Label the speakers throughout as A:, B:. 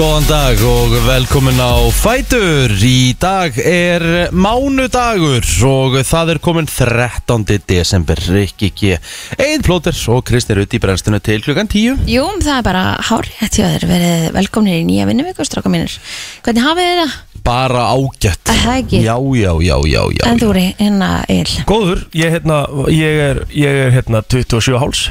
A: Góðan dag og velkomin á Fætur Í dag er mánudagur og það er komin 13. desember Rikki G. Einn plóter og Kristnir út í brennstuna til klukkan 10
B: Jú, það er bara hárétt hjá þér verið velkomnir í nýja vinnuvíku, stráka mínir Hvernig hafið þið það?
A: Bara ágætt
B: Er það ekki?
A: Já, já, já, já, já
B: en þú eru hérna eil
C: Góður, ég, hérna, ég, er, ég er hérna 27 háls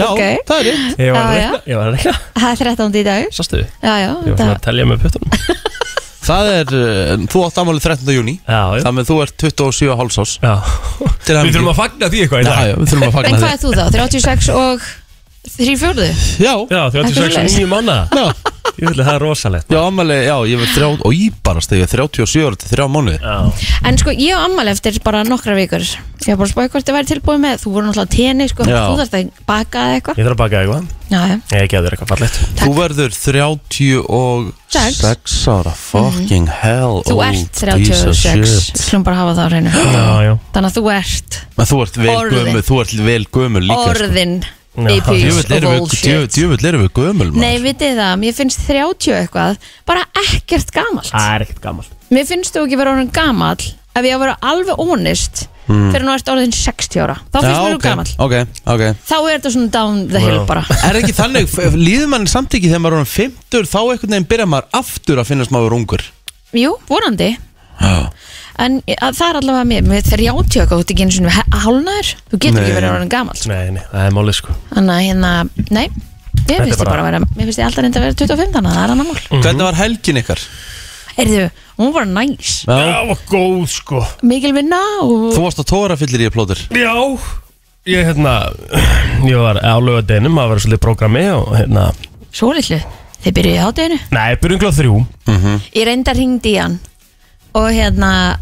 A: Já,
B: ok.
A: það er rétt
C: Ég var að
B: Já,
C: rekna, ég var að rekna
B: Það er 13. í dag
C: Sástu þið?
B: Já, já,
C: Ég var svona
B: það,
C: að telja með puttunum
A: Það er, uh, þú átt aðmálið 13. júni
C: Já, já,
A: Þannig að þú ert 27 hálsás
C: já.
A: Til
C: Eh? Við
A: hamingju.
C: þurfum að fagna því eitthvað
A: Já,
C: í dag
A: já, við þurfum að
B: En
A: fagna
B: hvað er þú þá? 36 og 3 fjórðu?
A: þér Já,
C: Já, 36 og 9 manna
A: já
C: Ég vil það er rosalegt
A: Já, ammali, já, ég var þrjá, og ég bara stegið 37 ára til þrjá mánuði
C: Já,
B: En sko, ég á ammali eftir bara nokkra vikur Ég var bara að spáði hvort þið væri tilbúið með Þú voru náttúrulega tenni, sko,
A: Já.
B: þú þarft að baka eða eitthvað
C: ég þarf að baka eitthvað
B: Já, já,
C: Ég gef þér eitthvað fallegt
A: Þú verður 36 ára Fucking hell
B: Mhm. þú
A: oh,
B: ert
A: Jesus
B: 36
A: shit.
B: Slum bara hafa það á reynu
C: Já, já
B: Þannig að þú ert
A: Men þú ert vel
B: Orðin.
A: gömul Þú ert vel gömul líka sko.
B: orðin
C: Já.
B: Djöfull
A: Djöfull erum við- djöfull- Djöfull erum við gömul maður.
B: Nei, vitið það, mér finnst 30 eitthvað bara ekkert gamalt
C: Það er ekkert gammal
B: Mér finnst þú ekki vera orðin gamall ef ég að vera alveg honest fyrir nú ert orðin 60 ára þá finnst
A: Já,
B: mér þú
A: ok,
B: gamall Ah.
A: Ok, ok
B: þá er þetta svona down the hill
C: Já.
B: bara
A: Er ekki þannig, f- líður mann samt ekki þegar maður er um 50 þá einhvern veginn byrjar maður aftur að finnast maður ungur
B: Jú, vonandi
A: Já,
B: en e, að, það er allavega mér, mér 30 eitthvað þú ert ekki einu sinni hálnaður þú getur
A: Nei.
B: ekki verið orðin gamall
C: Nei, nei, það er málið sko
B: þannig að hérna, nei Mér
C: Þetta er
B: finnst ég
C: bara-
B: bara að vera, mér finnst ég alltaf reynda að vera 25 þannig að það er annar mál.
A: Hvernig var helgin ykkar?
B: Heyrðu, hún var bara næs,
A: Já.
C: var góð sko
B: mikil vinna og
A: Þú varst á tóra fyllir í plótur
C: Já Ég hérna Ég var á lögadeginum að vera svolítið í prógrami og hérna
B: svo litlu. Þið byrjuðu á deginu.
C: Nei, byrjum glóð þrjú
B: Ég reynda hringdi í hann og hérna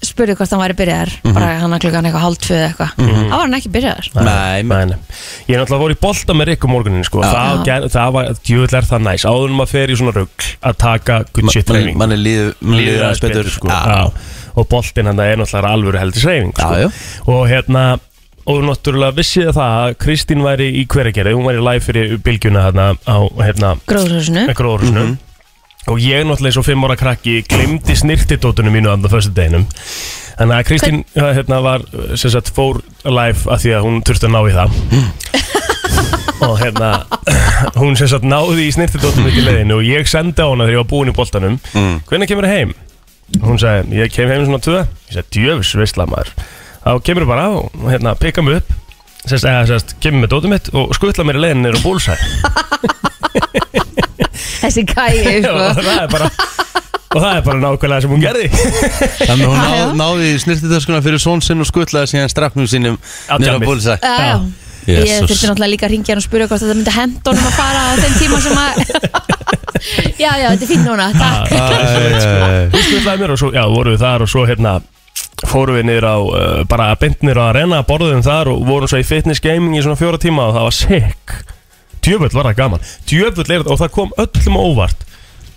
B: spurði hvort hann væri byrjaðar bara hann að klukkan eitthvað hálf tvö eða eitthvað þá var hann ekki byrjaðar
A: Nei,
C: Mhm. nei, nei. Ég er náttúrulega voru í bolta með Rick um morgunin sko. það, ger, það var, djúvill er það næs Áður en maður fer í svona rugg að taka good shit
A: mann,
C: reyning
A: mann er líður, mann líður aðeins betur
C: sko.
A: Já.
C: Já. Og boltin hann er náttúrulega alvöru heldur reyning sko.
A: Já, já.
C: Og hérna Og náttúrulega vissi það að Kristín væri í hveragerði, hún væri live fyrir bylgjuna hérna á hérna
B: gróðröðsunu
C: ekkur orðsnu Og ég náttúrulega eins og fimm ára krakki glimdi snirtidótunum mínu andan fyrstu deginum Þannig að Kristín eh, hérna, var sem sagt fór live að því að hún þurfti að ná í það og hérna hún sem sagt náði í snirtidóttum mitt í leiðinu og ég sendi á hana þegar ég var búin í boltanum hvenær kemur það heim? hún sagði, ég kem heim svona tvö ég sagði, djöfus veistla maður þá kemur bara og hérna, pikka mig upp sest, eða, sest, kemur með dóttum mitt og skutla mér í leiðinu neyra búlsæ
B: þessi gæi
C: og
B: sko.
C: það er bara og það er bara nákvæmlega sem hún gerði
A: Þannig að hún
B: Já, já.
A: náð, náði snirtitöskuna fyrir són sinn og skutlaði síðan strafnum sínum nýra
C: djammið.
A: búlsa
B: Já, já. ég
A: Jesus.
B: þurfti náttúrulega líka að ringja hann og spurði hvort þetta myndi henda honum að fara á þeim tíma sem að já já þetta er fín núna takk
C: sko. hún skutlaði mér og svo, já, vorum við þar og svo hérna fórum við niður á, uh, bara bindnir á arena, borðum þar og vorum svo í fitness gaming í svona fjóra tíma og það var sick djöfull var það gaman, djöfull er það og það kom öllum á óvart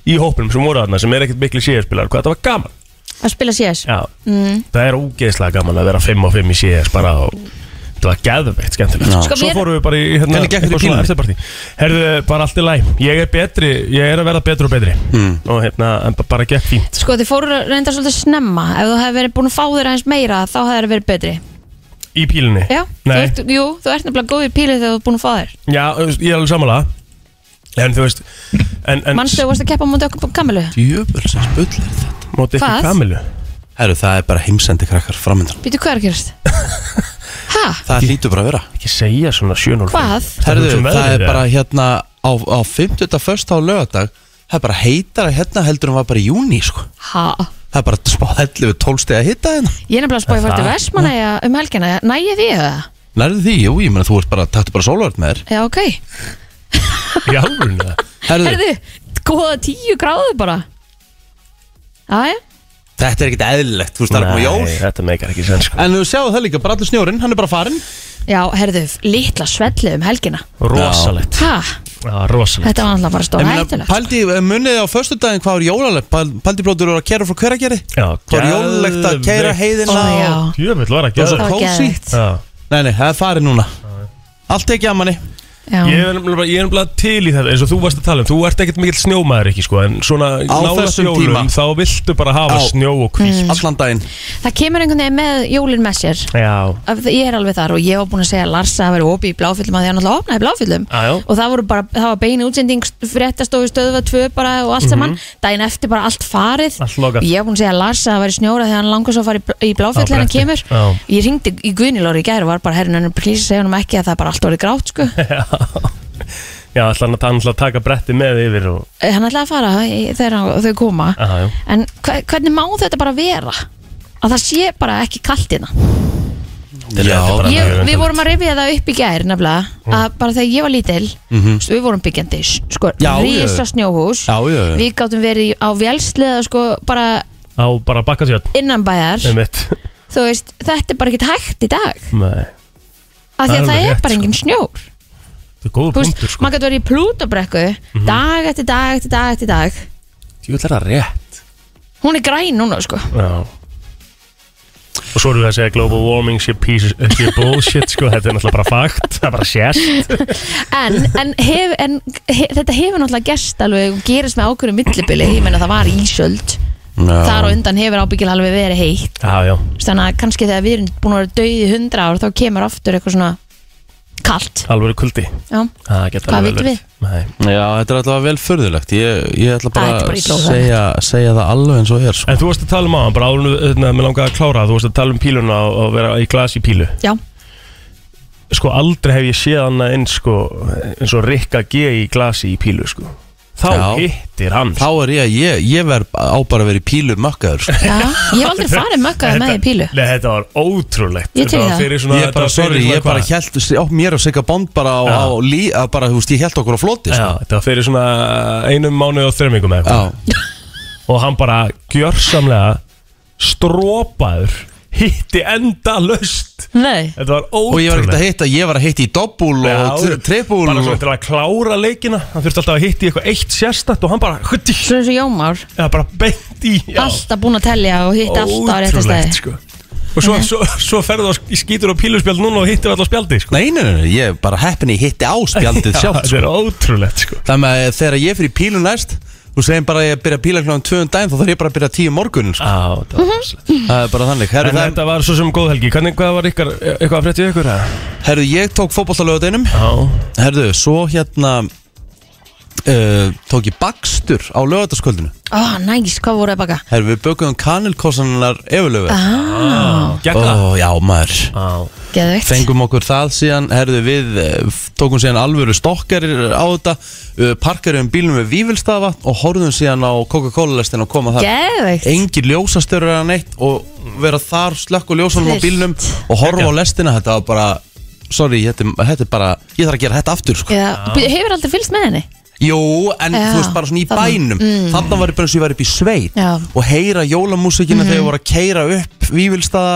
C: í hópinum sem voru þarna sem er ekkert miklu CS-spilar hvað þetta var gaman,
B: að spila CS
C: já, mm. það er ógeðslega gaman að vera 5 og 5 í CS bara og þetta var geðveikt skemmtilegt
A: Já.
B: Sko,
C: svo
B: mér-
C: fórum við bara í hérna,
A: Hvernig gekk þér í
C: eitthvað svona
A: pílunni?
C: eftirpartí. herðu, bara allt í læg, ég er betri ég er að verða betri og betri
A: Hmm.
C: mm. og hérna, en ba- bara gekk fínt
B: sko þið fóru reyndar svolítið snemma ef þú hefði verið búin að fá þér aðeins meira þá hefði það verið betri
C: Í pílunni?
B: já, þú
C: Nei,
B: ert, jú, þú ert nefnilega góð í píli þegar þú ert búin að fá þér
C: já, ég er alveg samanlega En þú veist en, en
B: mannstu þú varst að keppa mútið okkur kamilu
A: Djöfulsins bull er þetta
C: Móti
B: Hvað?
C: ekki kamilu
A: Herru, það er bara heimsendi krakkar framöndan
B: býtu hvað er að gerast hæ,
A: Það hlýtur bara að vera
C: Ekki segja svona 7.05
B: Hvað?
A: Herru,
C: um
A: það er bara hérna á, á 50. á lögadag Það er bara heitara hérna heldur en var bara í júni sko.
B: hæ
A: Það er bara smá hellu við tólsteg að hitta hérna
B: Ég er nefnilega að spá í
C: Er
B: fært til
C: það?
B: Vestmanæja um helgina Næja því það?
A: Nærðu því, jú, ég meina þú ert bara, taktu bara sólvörð með þér
B: Já, ok
C: Já, alveg
A: Herru,
B: Herðu, góða tíu gráðu bara Æja,
A: þetta er ekkert eðlilegt, þú veist það er komið jól
C: þetta meikar ekki senn sko
A: En þú sjáðu það líka, bara allur snjórin, hann er bara farinn
B: já, herðu, litla svelli um helgina
C: Rosalegt
B: Hæ,
C: Já, rosalegt
B: þetta var náttúrulega bara stór
A: Ég meina,
B: hættulegt
A: Paldi, munið þið á föstudaginn hvað er jólalegt Pal- Paldi blótur eru að kæra frá hveragerði
C: Já,
A: Hvað er jólalegt að kæra heiðina
B: Ó, já.
C: Jöfull var að
A: Það
C: gera
A: var
B: Það var
A: kósí.
B: geðvitt
C: Já,
A: Nei, nei, það er farið núna Allt ekki að manni
B: Já.
C: Ég er nefnilega bara- ég er nefnilega til í þetta eins og þú varst að tala um Þú ert ekkert mikill snjómaður ekki sko En svona nála
A: þessum tíma.
C: snjólum þá viltu bara hafa
A: Já.
C: snjó og
B: Mm.
C: hvíl
A: Allan daginn
B: Það kemur einhvern veginn með jólin með sér
C: Já
B: Af því- Ég er alveg þar og ég var búin að segja að Larsa að vera opið í bláfyllum að því hann alltaf opnaði í bláfyllum
C: Já, já.
B: og það voru bara, það var bein útsending fréttastofu stöðva tvö bara og allt saman daginn eftir bara allt farið
C: Mhm. Allt lokað.
B: ég var búin að segja að Larsa að vera í snjóra þegar hann langar svo að fara í, bl- í bláfyll
C: Á
B: hann
C: bretti,
B: kemur
C: já.
B: ég ringdi í Guðnilóri í gær og var bara herrin en plísi segja hann ekki að það er bara allt orðið grátt sko.
C: Já, ætlaði hann ætlaði að taka bretti með yfir og
B: Eh, hann ætlaði að fara í- þegar hann- þau koma
C: Aha, já.
B: en hve- hvernig má þetta bara vera að það sé bara ekki hérna? kaltina
C: Þetta er bara Mm.
B: ég,
C: mjög
B: við
C: undarlegt.
B: vorum að rifja það upp í gær nefnilega að bara þegar ég var lítil
C: Mhm.
B: við vorum byggjandi s- sko,
A: Já, já.
B: rísa snjóhús
A: Já, já, já.
B: við gáttum verið í- á vélsliða sko, bara
C: Á bara bakka sér
B: innanbæjar
C: Nei mitt
B: þú veist, þetta er bara ekkert hægt í dag
C: Nei
B: af því
C: Það er
B: að það
C: alveg
B: er
C: rétt,
B: bara
C: sko.
B: engin snjór
C: Þetta er góður
B: Þú veist,
C: punktur sko Mhm.
B: maður gæti verið í plútabrekku dag eftir dag eftir dag eftir dag
A: Ég vil það rétt
B: hún er græn núna sko
C: Já Og svo erum við að segja global warming sé piece sé bullshit sko Þetta er náttúrulega bara fakt Það er bara sérst
B: en, en, hef, en he, þetta hefur náttúrulega gerst alveg og gerist með ákveðum millibili ég menna það var ísöld þar og undan hefur ábyggil alveg verið heitt
C: Já, já
B: Þú veist, þannig að kannski þegar við erum búin að vera döið í hundra ár þá kemur aftur eitthvað svona kalt
C: Alvöru kuldi
B: já,
C: Það geta
B: Hvað
C: alveg
B: vitum
C: verið. Nei
A: Já, þetta er alltaf vel förðulegt Ég, ég ætla bara
B: Æ, þetta er
A: að
B: bara illa orðað.
A: segja, segja það alveg eins og er sko.
C: En þú varst að tala um á hann, bara árunum, hérna, mér langaði að klára það, Þú varst að tala um píluna og, og vera í glasi pílu
B: já,
C: Sko aldrei hef ég séð hann eins sko eins og Rikka G í glasi í pílu sko Þá
A: Já.
C: hittir hann
A: Þá er ég, ég, ég verð á bara að vera í pílu mökkaður sko.
B: já ég hef aldrei farið mökkaði með í pílu
C: Nei, þetta var ótrúlegt
B: Ég til í
C: Þetta var
B: það.
C: fyrir svona-
A: Ég er
C: þetta
A: bara,
C: var fyrir
A: sorry,
C: svona
A: ég bara sko.
C: hvað?
A: held á, Mér og Sigga Bond bara á, á
C: Já.
A: lí, að bara, þú veist, ég held okkur á floti sko.
C: Já, þetta var fyrir svona einum mánuð og þreymingum eða
A: Já,
C: eitthvað og hann bara gjörsamlega strópaður hitti enda löst
B: nei,
C: Þetta var ótrúlegt
A: Og ég var ekkert að hitta, ég var að hitta í dobbúl og
C: Já,
A: tri- trippúl
C: Bara
A: og-
C: svona til að klára leikina Hann þurfti alltaf að hitta í eitthvað eitt sérstætt Og hann bara hutti
B: svona eins og jómár
C: Eða bara beint í já.
B: alltaf búin að telja og hitta alltaf á rétta Mhm. stæði
C: Ótrúlegt, sko Og svo, svo, svo ferðu á sk- í skítur og píluspjald núna og hittir alltaf spjaldi sko.
A: Nei, nei, nei, nei, ég er bara heppin í hitti á spjaldið sjálft
C: Þetta
A: sko.
C: er ótrúlegt sko.
A: Þannig að þegar ég fyrir pílu næst Þú segir bara að ég byrja að píla kláðan tvöðum daginn Þá þarf ég bara að byrja tíu morgunin sko.
C: Á, þetta
B: Mhm.
C: var ótrúlegt.
A: Það er bara þannig
C: Mm. En
A: Herru, það,
C: þetta var svo sem góð helgi Hvernig, hvað var ykkar, eitthvað að frétti ykkur? eða?
A: herru ég tók fótbollalögadeinum
C: Já,
A: Herru, svo hérna uh, Tók ég bakstur á lögadagskvöldinu
B: ó, næs, hvað voru að baka
A: Herru, við bökum kanilkossanar efulöfu
B: ah,
C: gekk það?
A: Ó, já, maður
C: Á,
B: geðveikt
A: Fengum okkur það síðan, herðu við eh, tókum síðan alvöru stokkarir á þetta eh, parkerum bílum við Vívilstafa og horfðum síðan á Coca-Cola lestin og koma það
B: geðveikt,
A: engin ljósastörur eða neitt og vera þar slökk og ljósunum á
B: Stillt.
A: bílnum og horfa á lestina þetta var bara sorry, þetta, er- þetta er bara, ég þarf að gera þetta aftur sko.
B: Eða, býttu, hefur aldrei fylgst með henni
A: jú, en
B: Já,
A: þú veist bara svona í
B: þarna.
A: bænum þarna var ég bara eins og ég var upp í sveit
B: Já.
A: og heyra jólamúsikina þegar ég voru að keira upp Vívilstaða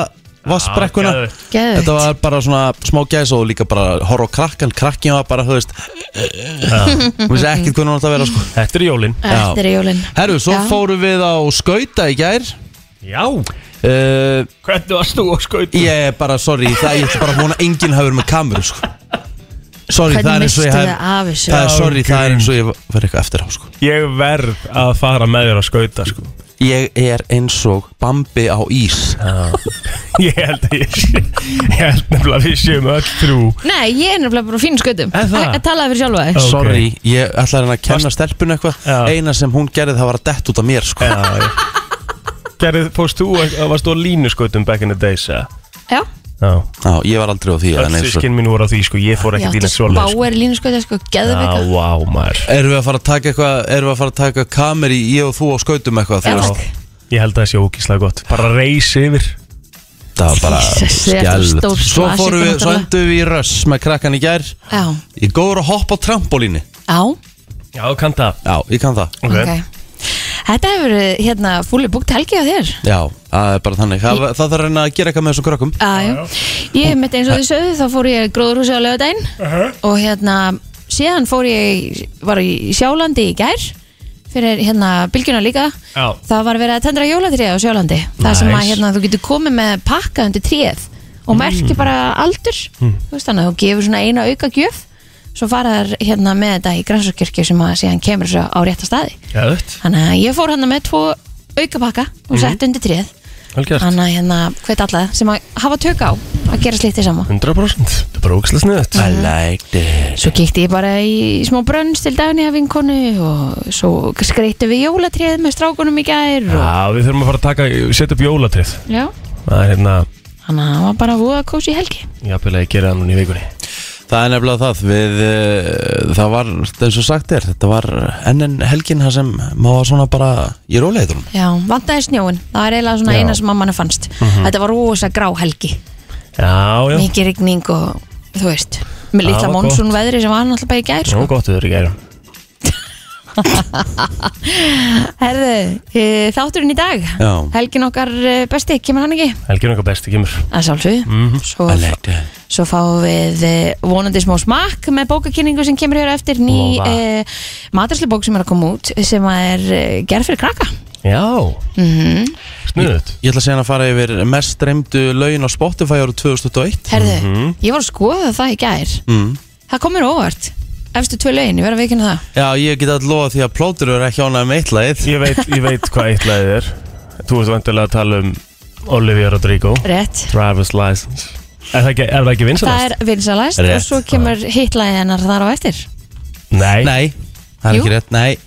A: vassbrekkuna
C: geðveikt.
B: Geðveikt.
A: þetta var bara svona smá gæs og líka bara horfa á krakkan, krakkin var bara, þú veist þú veist ekkert hvernig hann átt að vera sko.
C: þetta er jólin
A: Já.
B: eftir jólin
A: herru, svo
B: Já.
A: fórum við á skauta í gær
C: Já
A: uh,
C: Hvernig varst þú á skautum?
A: Ég er bara, sorry, það ég ætla bara að vona að enginn hafi verið með kameru, sko Sorry, það er
B: Hvernig
A: eins og ég
B: misstu
A: hef
B: þið af þessu?
A: Það er, sorry, það er eins og ég verið eitthvað eftir á, sko
C: Ég verð að fara með þér á skauta sko.
A: Ég er eins og Bambi á ís
C: Ég held að ég sé Ég held nefnilega að við séum öll trú
B: nei, ég er nefnilega bara á fínu skautum
C: Er það?
B: að talaði fyrir sjálfa þig
C: Ó.
A: Sorry, ég ætla að reyna að kenna stelpun
C: Já.
A: eitthvað Eina sem hún gerði það var að dett út af mér, sko
C: Gerðið, fórst þú, að- varst þú á línu skautum back in the days eða?
B: já,
C: Já
A: Já, ég var aldrei á því
C: Öll
A: en eins og-
C: sískinn mín voru á því sko Ég fór
B: já,
C: ekki dýna
B: þetta
C: svolítið sko.
B: spáir línu skautum sko, geðveika
C: Já, vá, maður
A: Erum við að fara að taka eitthvað, erum við að fara að taka kameri Ég og þú á skautum eitthvað, þú
B: Já,
A: veist
B: takk.
C: Ég held að það sé ógíslega gott Bara reys yfir
A: Það var bara
B: Jesus, þetta er
A: skellt
B: stór
A: Svo
B: slasi,
A: fórum við, svo
B: náttúrulega.
A: endum við í röss með krakkan í gær
B: já,
A: Ég góður að hoppa á trampolíni
B: já,
C: Já, kann það
A: Já, ég kann það
C: Ok.
B: ok Þetta hefur verið, hérna fúli búkt helgi á þér
A: Já, það er bara þannig Það, það þarf að reyna að gera eitthvað með þessum krökkum
B: Já, já. Ég mitt eins og þið sögðu þá fór ég í gróðurhúsi á lögadaginn og hérna síðan fór ég var í sjálandi í gær fyrir hérna bylgjuna líka
C: Já.
B: það var verið að tendra jólatrið á sjálandi það sem að
C: Nice.
B: hérna þú getur komið með pakka undir tríð og merki bara aldur þú veist þannig að þú gefur svona eina auka gjöf svo fara þær hérna með þetta í grænsarkirkju sem að síðan kemur svo á rétta staði
C: Gæðvett
B: þannig að ég fór hérna með tvo aukapakka
C: Mhm.
B: og sett undir tríð
C: Velgjart
B: þannig að hérna hvet alla sem að hafa tök á að gera slíkt í sama
C: 100% Þetta er bara ógislega sniðut
A: I liked it
B: svo kíkti ég bara í smá brönns til dagni af vinkonu og svo skreittu við jólatrið með strákunum í gær og,
C: Já, við þurfum að fara að taka, setja upp jólatrið
B: já,
C: Það er hérna,
B: þannig að það var bara voða kósi helgi
C: jafnvel að ég gera það núna í vikunni
A: Það er nefnilega það við, eh, Það var, eins og sagt er Þetta var enn en helgin það sem maður var svona bara í róleitunum
B: já, vantaði snjóin, það er eiginlega svona
C: Já. Mhm.
B: eina sem mamman fannst þetta var rosa grá helgi
C: Já, já,
B: mikið rigning og þú veist með
C: Já,
B: litla
C: var gott.
B: monsun veðri sem var náttúrulega bara í gær
C: já,
B: sko.
C: gott við þurfum að gera
B: Herðu, e, þátturinn í dag
A: Já.
B: helgin okkar eh, besti, kemur hann ekki?
C: Helgjur okkar besti kemur
B: að sjálfsög
A: Mhm.
B: svo,
A: I liked it
B: svo fáum við eh, vonandi smá smakk með bókakynningu sem kemur hér á eftir ný
C: Voða.
B: e, matarslubók sem er að koma út sem er e, gerð fyrir krakka Mhm.
C: Já, sniðut
A: Ég ætla að segja að fara yfir mest streymdu lögin á Spotify árið 2021
B: Herðu,
A: Mhm.
B: ég var að skoða það í gær
A: mm.
B: það komur óvart efstu tvö lögin, ég verð að veikina það
A: Já, ég get að lofa því að plótur er ekki ánægð með eitt lagið
C: Ég veit, ég veit hvað eitt lagið er Þú ert vantilega að tala um Olivia Rodrigo
B: rétt
C: Driver's License Er það ekki, er það ekki
B: Það
C: vinsanast?
B: er vinsalast
A: Rétt.
B: og svo kemur hitlæðið hennar þar á eftir
C: Nei,
A: Nei, það er
B: Jú.
A: ekki rétt, nei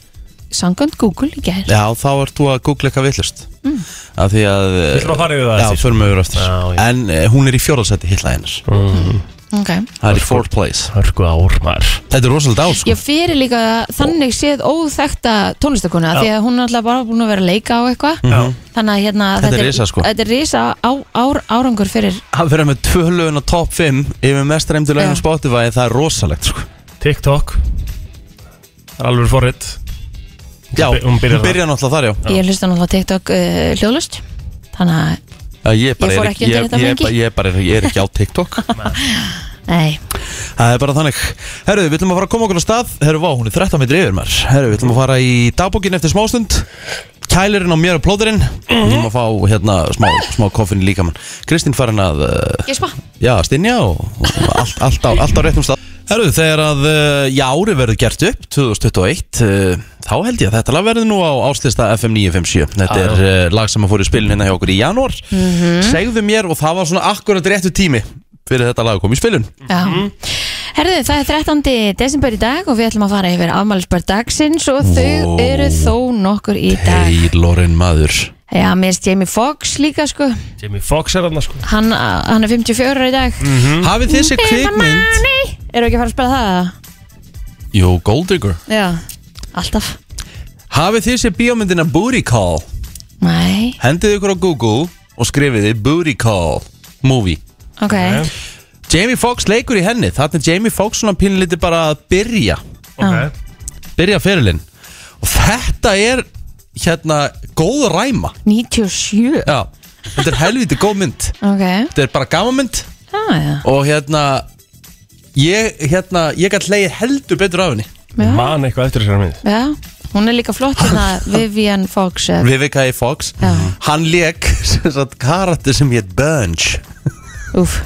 B: Sangönd Google í gær
A: Já, þá ert þú að googla eitthvað villust mm. Af því að eh,
C: Ætlum að fara yfir það
A: Já,
C: eftir?
A: förum við yfir aftur
C: Já, já.
A: En uh, hún er í fjórðarsæti hitla hennar
B: Ok
A: Það er í fourth place
C: Mm, Hörku ár maður
A: Þetta er rosalega dál, sko
B: Ég fyrir líka þannig séð óþekta tónlistakona því að hún er alltaf bara búin að vera að leika á eitthvað
C: Já.
B: Þannig að hérna
A: Mhm. Þetta er risa, sko.
B: Þetta er risa á, ár, árangur fyrir
A: Hann fyrir með tvö lögin á top 5 Yfir mest streymdu lögin á
B: Já.
A: Spotify Það er rosalegt, sko
C: TikTok Það er alveg forrið
A: Já,
C: Hún by- hún
A: hún
C: byrjar
A: byrjar, náttúrulega þar, já
B: Ég hlusta náttúrulega TikTok uh, hljóðlust Þannig að,
A: Já, Ég, bara
B: Ég fór
A: er
B: ekki undir
A: ég-
B: þetta
A: ég-
B: fengi.
A: ég bara er- Ég er ekki á TikTok
B: nei,
A: Það er bara þannig Herru, við ætlum að fara að koma okkur á stað Herru, vá, hún er 13 metri yfir maður Herru, við ætlum að fara í dagbókin eftir smástund Kælirinn og mér og plóðurinn Við ætlum að fá hérna smá, smá koffin líka mann Kristín farin að, uh,
B: ég spá
A: já, stinja og, og allt, allt, á, allt á réttum stað Herru, þegar að uh, í ári verður gert upp 2021 uh, Þá held ég að þetta lag verður nú á áslista FM 957 Þetta
C: Já, já.
A: er uh, lag sem að fór í spilin hérna hjá okkur í janúar Segðu mér og það var svona akkurat réttu tími Fyrir þetta lag kom í spilun
B: Já.
A: Mhm.
B: Herðu, það er 13. desember í dag og við ætlum að fara yfir afmælisbörn dagsins og þau
A: Vó.
B: eru þó nokkur í dag.
A: Lorraine maður
B: Já, mér erst Jamie Foxx líka sko,
C: Jamie Foxx er þarna sko
B: hann, uh, hann er 54 í dag. Mm.
A: Hafið þið sér kvikmynd
B: Eru ekki að fara að spila það? eða?
A: Jó, Gold Digger
B: Já, alltaf.
A: Hafið þið sér bíómyndina Booty Call
B: Nei,
A: Hendið ykkur á Google og skrifiði Booty Call Movie
B: ok.
C: Eh,
A: Jamie Foxx leikur í henni Þarna er Jamie Foxx svona pínliti bara að byrja
B: Ah.
C: Ok
A: Byrja fyrirlinn Og þetta er hérna góð ræma
B: 97.
A: Já, þetta er helviti góð mynd
B: Ok,
A: Þetta er bara gaman mynd
B: ah, já,
A: Og hérna Ég, hérna, ég gæt leið heldur betur af henni
B: Já.
C: Man eitthvað eftir þessari mynd
B: já. Hún er líka flott hérna, Vivian Fox. eða-
A: Vivica A. Fox
B: Já.
A: Hann leik sem sagt karakter sem hétt Bunch
B: Úf.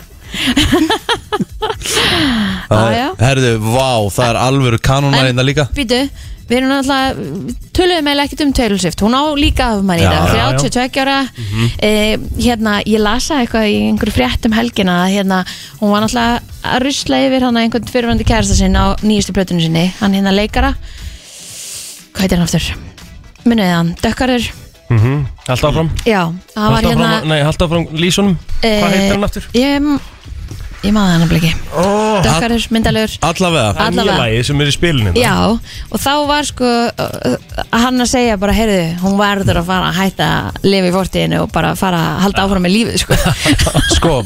A: Það er-
B: Ah, já.
A: Herðu, vá, það er alvöru kanónar
B: En-
A: einna líka
B: Býtu, við erum náttúrulega töluðum eða ekkert um Taylor Swift, hún á líka afmæli í
A: Já,
B: dag,
C: já, já.
B: 32 ára eh, hérna, ég lasa eitthvað í einhverju fréttum helgina, að, hérna hún var náttúrulega að rusla yfir hann einhvern fyrirvandi kærasta sinn á nýjustu plötunum sinni, hann hérna leikara hvað heitir hann aftur? Munið þið hann, dökkarur,
C: Mhm. Halda áfram
B: já hann var
C: Halda
B: hérna Eh,
C: áfram, nei, halda áfram lísunum Hvað heitir hann aftur?
B: Ég, ég maður hann að bliki
C: Oh,
B: dökkarur, myndalur
A: Allavega
C: það er nýja
B: allavega.
C: lagið sem er í spilinu
B: Já, og þá var sko uh, hann að segja bara, heyrðu, hún verður að fara að hætta að lifa í fortíðinu og bara fara að halda áfram með lífið, sko.
A: Sko,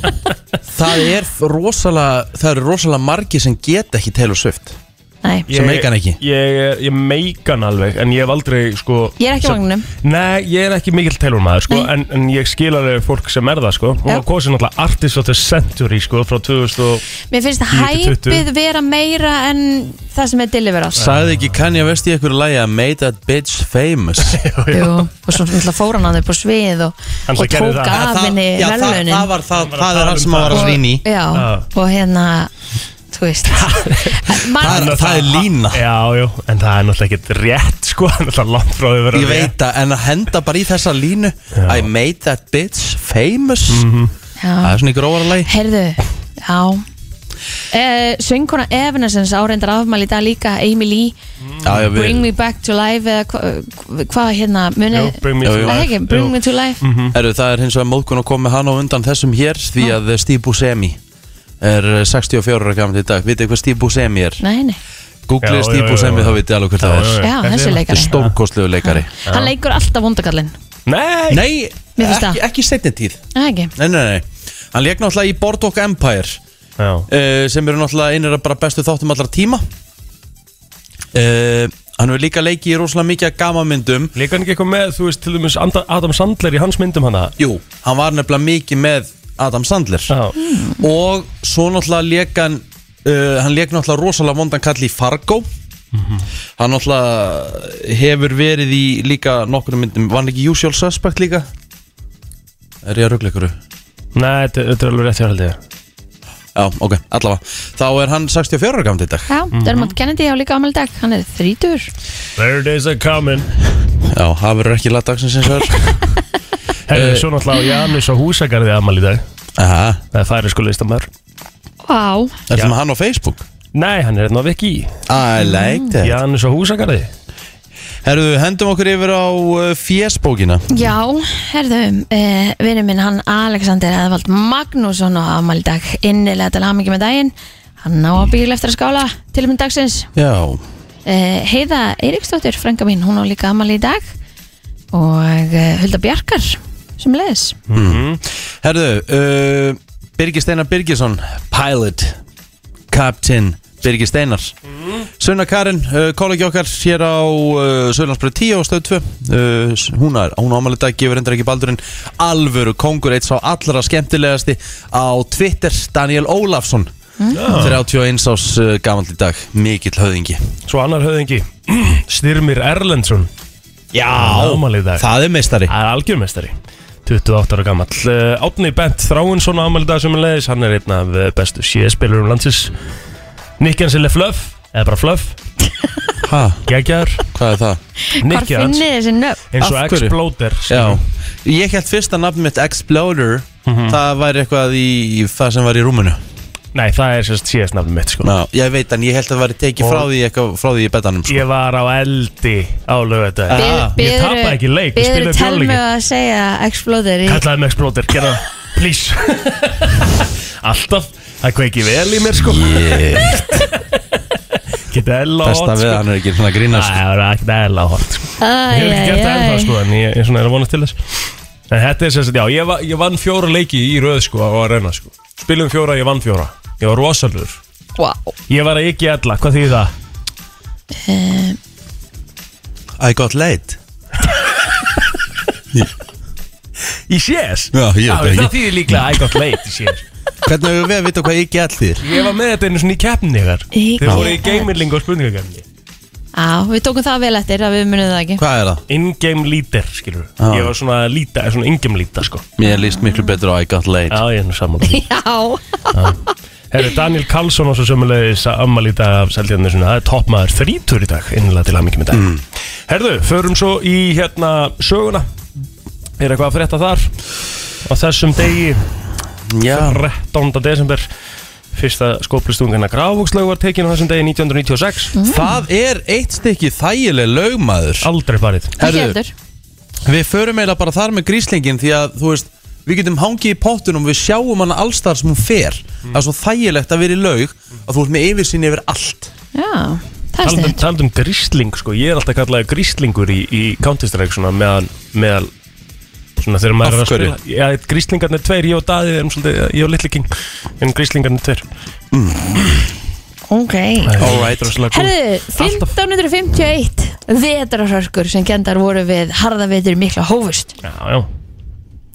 A: það er rosalega Það eru rosalega margi sem geta ekki Taylor Swift
B: Nei,
A: Sem meika hann ekki.
C: Ég, ég, ég meika hann alveg En ég hef aldrei sko
B: ég er ekki á
C: sem-
B: vagnum.
C: Nei, ég er ekki mikill Taylor maður sko,
B: Nei.
C: en, en ég skil alveg fólk sem er það sko Hún
B: Já.
C: var kosin náttúrulega Artist of the Century sko Frá 2000 og
B: Mér finnst að
C: 9-20.
B: hæpið vera meira en það sem er deliverað.
A: Sagði ekki Kanye West í einhverju lagi að Made that bitch famous
B: Jú, og svo náttúrulega fór hann að upp á svið og,
C: Hann
B: og
C: gerði
B: tók
C: það.
A: Það-
B: af henni
A: já, það,
B: velunin.
A: það var það,
C: Hann
A: það
C: var að tala
A: er það
C: um
A: sem að
C: það.
A: var að rýna í
B: Já,
C: Já.
B: og hérna, þú veist Man,
A: Það er- það er lína.
C: Já, já, en það er náttúrulega ekkert rétt sko, það er náttúrulega langt frá því að vera
A: Ég veit það, en að henda bara í þessa línu I made that bitch famous Það
B: já.
A: er svona í gróðarlegi
B: Heyrðu, já Uh, söngkona Evanescence áreindar afmæli í dag líka Emily
C: Mm.
A: Já, já, við-
B: Bring Me Back to Life eða hva- hvað hérna muni,
C: Jú, Bring Me
A: Jú,
C: to
A: jú.
B: Nei,
C: Life
B: ekki, Bring
C: Jú. Mm.
B: Me to Life
A: Heru, Það er hins vegar móðkun að koma hann á undan þessum hér Því
B: Ah.
A: að Steve Buscemi er 64 ára gammal í dag Vitið þið hvað Steve Buscemi er?
B: Nei, nei,
A: Googlið
C: Já, já,
A: Steve
C: já,
A: Buscemi
C: já.
A: þá vitið alveg hver
C: Já,
A: það er
C: já,
B: já,
C: Þessi
B: þessi
C: er-
A: Þetta er
B: leikari
A: stórkostlegu leikari
B: Hann leikur alltaf vondakallinn
C: Nei,
A: Nei,
B: Mér finnst
A: ekki,
B: það.
A: ekki setni tíð
B: Nei, ekki
A: Nei, nei, nei Hann leik náttúrulega í Boardwalk Empire
C: Já,
A: uh, sem eru náttúrulega einir af bara bestu þáttum allra tíma uh, Hann hefur líka leikið í rosalega mikið af gamamyndum
C: líka hann ekki eitthvað með, þú veist, til dæmis Anda- Adam Sandler í hans myndum hana
A: Jú, hann var nefnilega mikið með Adam Sandler
C: Já,
A: og svo náttúrulega leik hann uh, hann leik náttúrulega rosalega vondan kall í Fargo hann náttúrulega hefur verið í líka nokkur myndum, var hann ekki Usual Suspect líka? Er ég að ruggla ykkur?
C: nei, þetta þetta er alveg rétt hjá haldið
A: Já, ok, allavega Þá er hann 64 ára gammal í dag
B: Já,
C: Mhm.
B: Dermot Kennedy á líka afmæli í dag Hann er þrítur
C: There it is a coming
A: Já, það verður ekki latdagsins eins og er
C: Herðu, svo náttúrulega á Janus á Húsagarði amal í dag
A: Aha,
C: Það er færi sko listamæður
B: Vá,
A: er
C: Já.
A: það með hann á Facebook?
C: Nei, hann er hérna á Viki
A: I like that
C: Janus á Húsagarði
A: Herðu, hendum okkur yfir á uh, fjesbókina
B: já, herðu eh, Vinur minn, hann Alexander Eðvald Magnússon á afmæli í dag Innilega til hamingi með daginn Hann á að bíl eftir að skála Til minn dagsins
A: Já,
B: eh, Heiða Eiríksdóttir, frænga mín, hún á líka afmæli í dag Og eh, Hulda Bjarkar Sem leðis
A: Herðu, uh, Birgir Steinar Birgisson, pilot, captain, Birgir Steinar Sunna Karin, uh, kollegi okkar hér á uh, Söðlandsbröð 10 og stöð 2 uh, s- Hún er, hún ámæli dag, gefur endur ekki baldurinn Alvöru kongur, eitt sá allra skemmtilegasti á Twitter, Daniel Ólafsson 31 ás uh, gamall í dag, mikill höðingi
C: Svo annar höfðingi Styrmir Erlendsson
A: Já,
C: Ámali í dag
A: það er meistari
C: Það er algjörmestari 28 ára gammal uh, Átni Bent Þráinsson ámali í dag sem er leiðis Hann er einn af eh, bestu CS-spilurum landsins Nikjansille Fluff Eða bara Fluff
A: ha,
C: Gægjar
A: Hvað er það?
B: Hvar
C: Nikjans
B: finnið þið þessi nöfn?
C: Eins og
A: Af hverju?
C: Exploder
A: Já, ég held fyrst að nafnum mitt Exploder Það væri eitthvað í, í það sem var í rúminu
C: Nei, það er sérst CS-nafnum mitt sko
A: Já, Ég veit en ég held að það væri tekið
C: Og-
A: frá því, eitthvað, frá því í betanum sko.
C: Ég var á eldi á lögðardaginn
A: Ah,
C: ég tapaði ekki leik, við
B: Beður
C: spiluðum
B: telmu
C: fjóluleiki.
B: að segja Exploder í
C: Kallaði mig Exploder, gera það, please Alltaf, það kveiki vel í mér sko
A: yeah.
C: Geta ella
A: Besta við hann er ekki svona að
C: Næ,
A: grínast sko.
C: það er ekkert ella hort sko.
B: Æ,
C: Ég hef ekki gert
B: æ,
C: það
B: æ.
C: ennþá sko En ég, ég svona er að vonast til þess En þetta er sérst, já, ég, va ég vann fjóra leiki í röð sko á arena sko Spilum fjóra, ég vann fjóra Ég var rosalur
B: Vá.
C: Ég var að ekki ella, hvað þýði það?
B: Eh,
A: I got late
C: Í CS?
A: Já, ég veit
C: það
A: ekki.
C: Það þýðir líklega I got late í CS
A: Hvernig hefur við að vita hvað ég gæl þýr?
C: Ég var með þetta einu svona í keppni ykkar
B: Í
C: Þeir voru í
B: keppni.
C: gamerling og spurningakeppni
B: Á, við tókum það vel eftir að við munum það ekki
A: Hvað er það?
C: In-game leader, skilur
A: Já.
C: Ég var svona líta, svona in-game líta, sko
A: Mér líst miklu betur á I got late
C: Já, ég er nú saman Það
B: Já,
C: er Daniel Karlsson og svo sömulegis ammali í dag af Seldjarnisuna Það er toppmaður þrítur í dag, innlega til hamingjum í dag Herðu, förum svo í hérna söguna Er eitthvað að frétta þar Á þessum degi,
A: Já,
C: 13. desember Fyrsta skóplistungana Grafvókslaug var tekin á þessum degi 1996
A: Það er eitt stykki þægileg lögmaður
C: Aldrei farið
B: ekki
A: Herðu.
B: heldur
A: Við förum eiginlega bara þar með gríslingin því að þú veist Við getum hangið í pottunum og við sjáum hana allstar sem hún fer Það er svo þægilegt að vera í laug að þú ert með yfirsýn yfir allt
B: Já, það er
C: Taldum,
B: sniðt
C: taldum grísling sko, ég er alltaf kallaði gríslingur í, í Counter-Strike svona meðal, meðal svona þegar maður
A: Af
C: er að
A: hverju?
C: spila Já, gríslingarnir tveir, ég og Daði erum svolítið, ég og Little King en gríslingarnir tveir
B: Ok
A: Alright.
B: Herðu, 1551 vetrarhörkur sem kendar voru við harðavetur mikla hófust
C: Já, já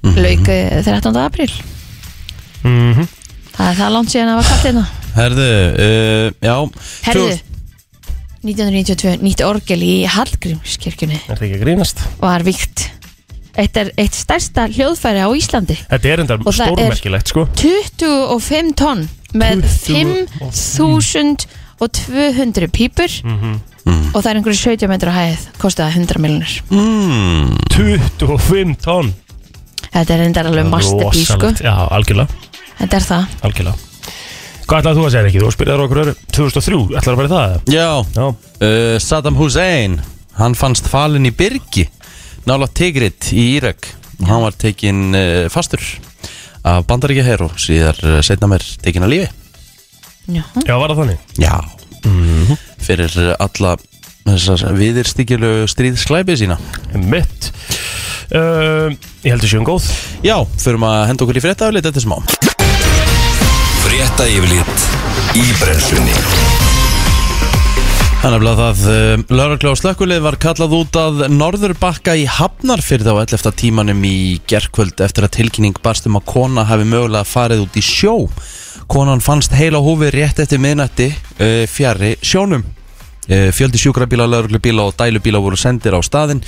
C: Mhm.
B: lauk eh, 13. apríl
C: mm
B: Það er það langt síðan að var kallt hérna
A: Herðu, uh, já
B: Herðu,
A: Tvö-
B: 1992, nýtt orgel í Hallgrímskirkjunni
C: Er það ekki að grínast?
B: var víkt Eitt er eitt stærsta hljóðfæri á Íslandi
C: Þetta er endar
B: Og það er-
C: stórmerkilegt sko
B: 25 tonn með
C: 20
B: 5200 pípur
C: Mhm.
B: og það er einhverju 70 metrar á hæð kostaði 100 miljonir
A: mm.
C: 25 tonn
B: þetta er reyndar alveg masterpiece sko.
C: Rosalegt. Já, algjörlega,
B: þetta er það
C: algjörlega Hvað ætlaði þú að segja ekki? Þú spyrðar okkur öru 2003, ætlaði að vera það? eða?
A: Já,
C: Já,
A: uh, Saddam Hussein Hann fannst falin í Byrgi Nála Tigrit í Írak Og hann var tekin uh, fastur Af bandaríkja her og síðar uh, Setna mér tekin að lífi
B: Já.
C: já var það þannig?
A: Já Fyrir uh, alla þessar viðirstíkjulegu stríðsklæpi sína
C: Mitt uh, Ég heldur sjöum góð
A: Já, förum að henda okkur í fréttaöflið Þetta er smá
D: Frétta yfirlit í brennslunni
A: Þannig að það eh, laurugla og slökkulið var kallað út að Norðurbakka í Hafnarfyrði á 11. tímanum í gerkvöld eftir að tilkynning barst um að kona hafi mögulega farið út í sjó. Konan fannst heila á hófi rétt eftir miðnætti eh, fjarri sjónum. Eh, Fjöldi sjúkrabíla, lauruglubíla og dælubíla voru sendir á staðinn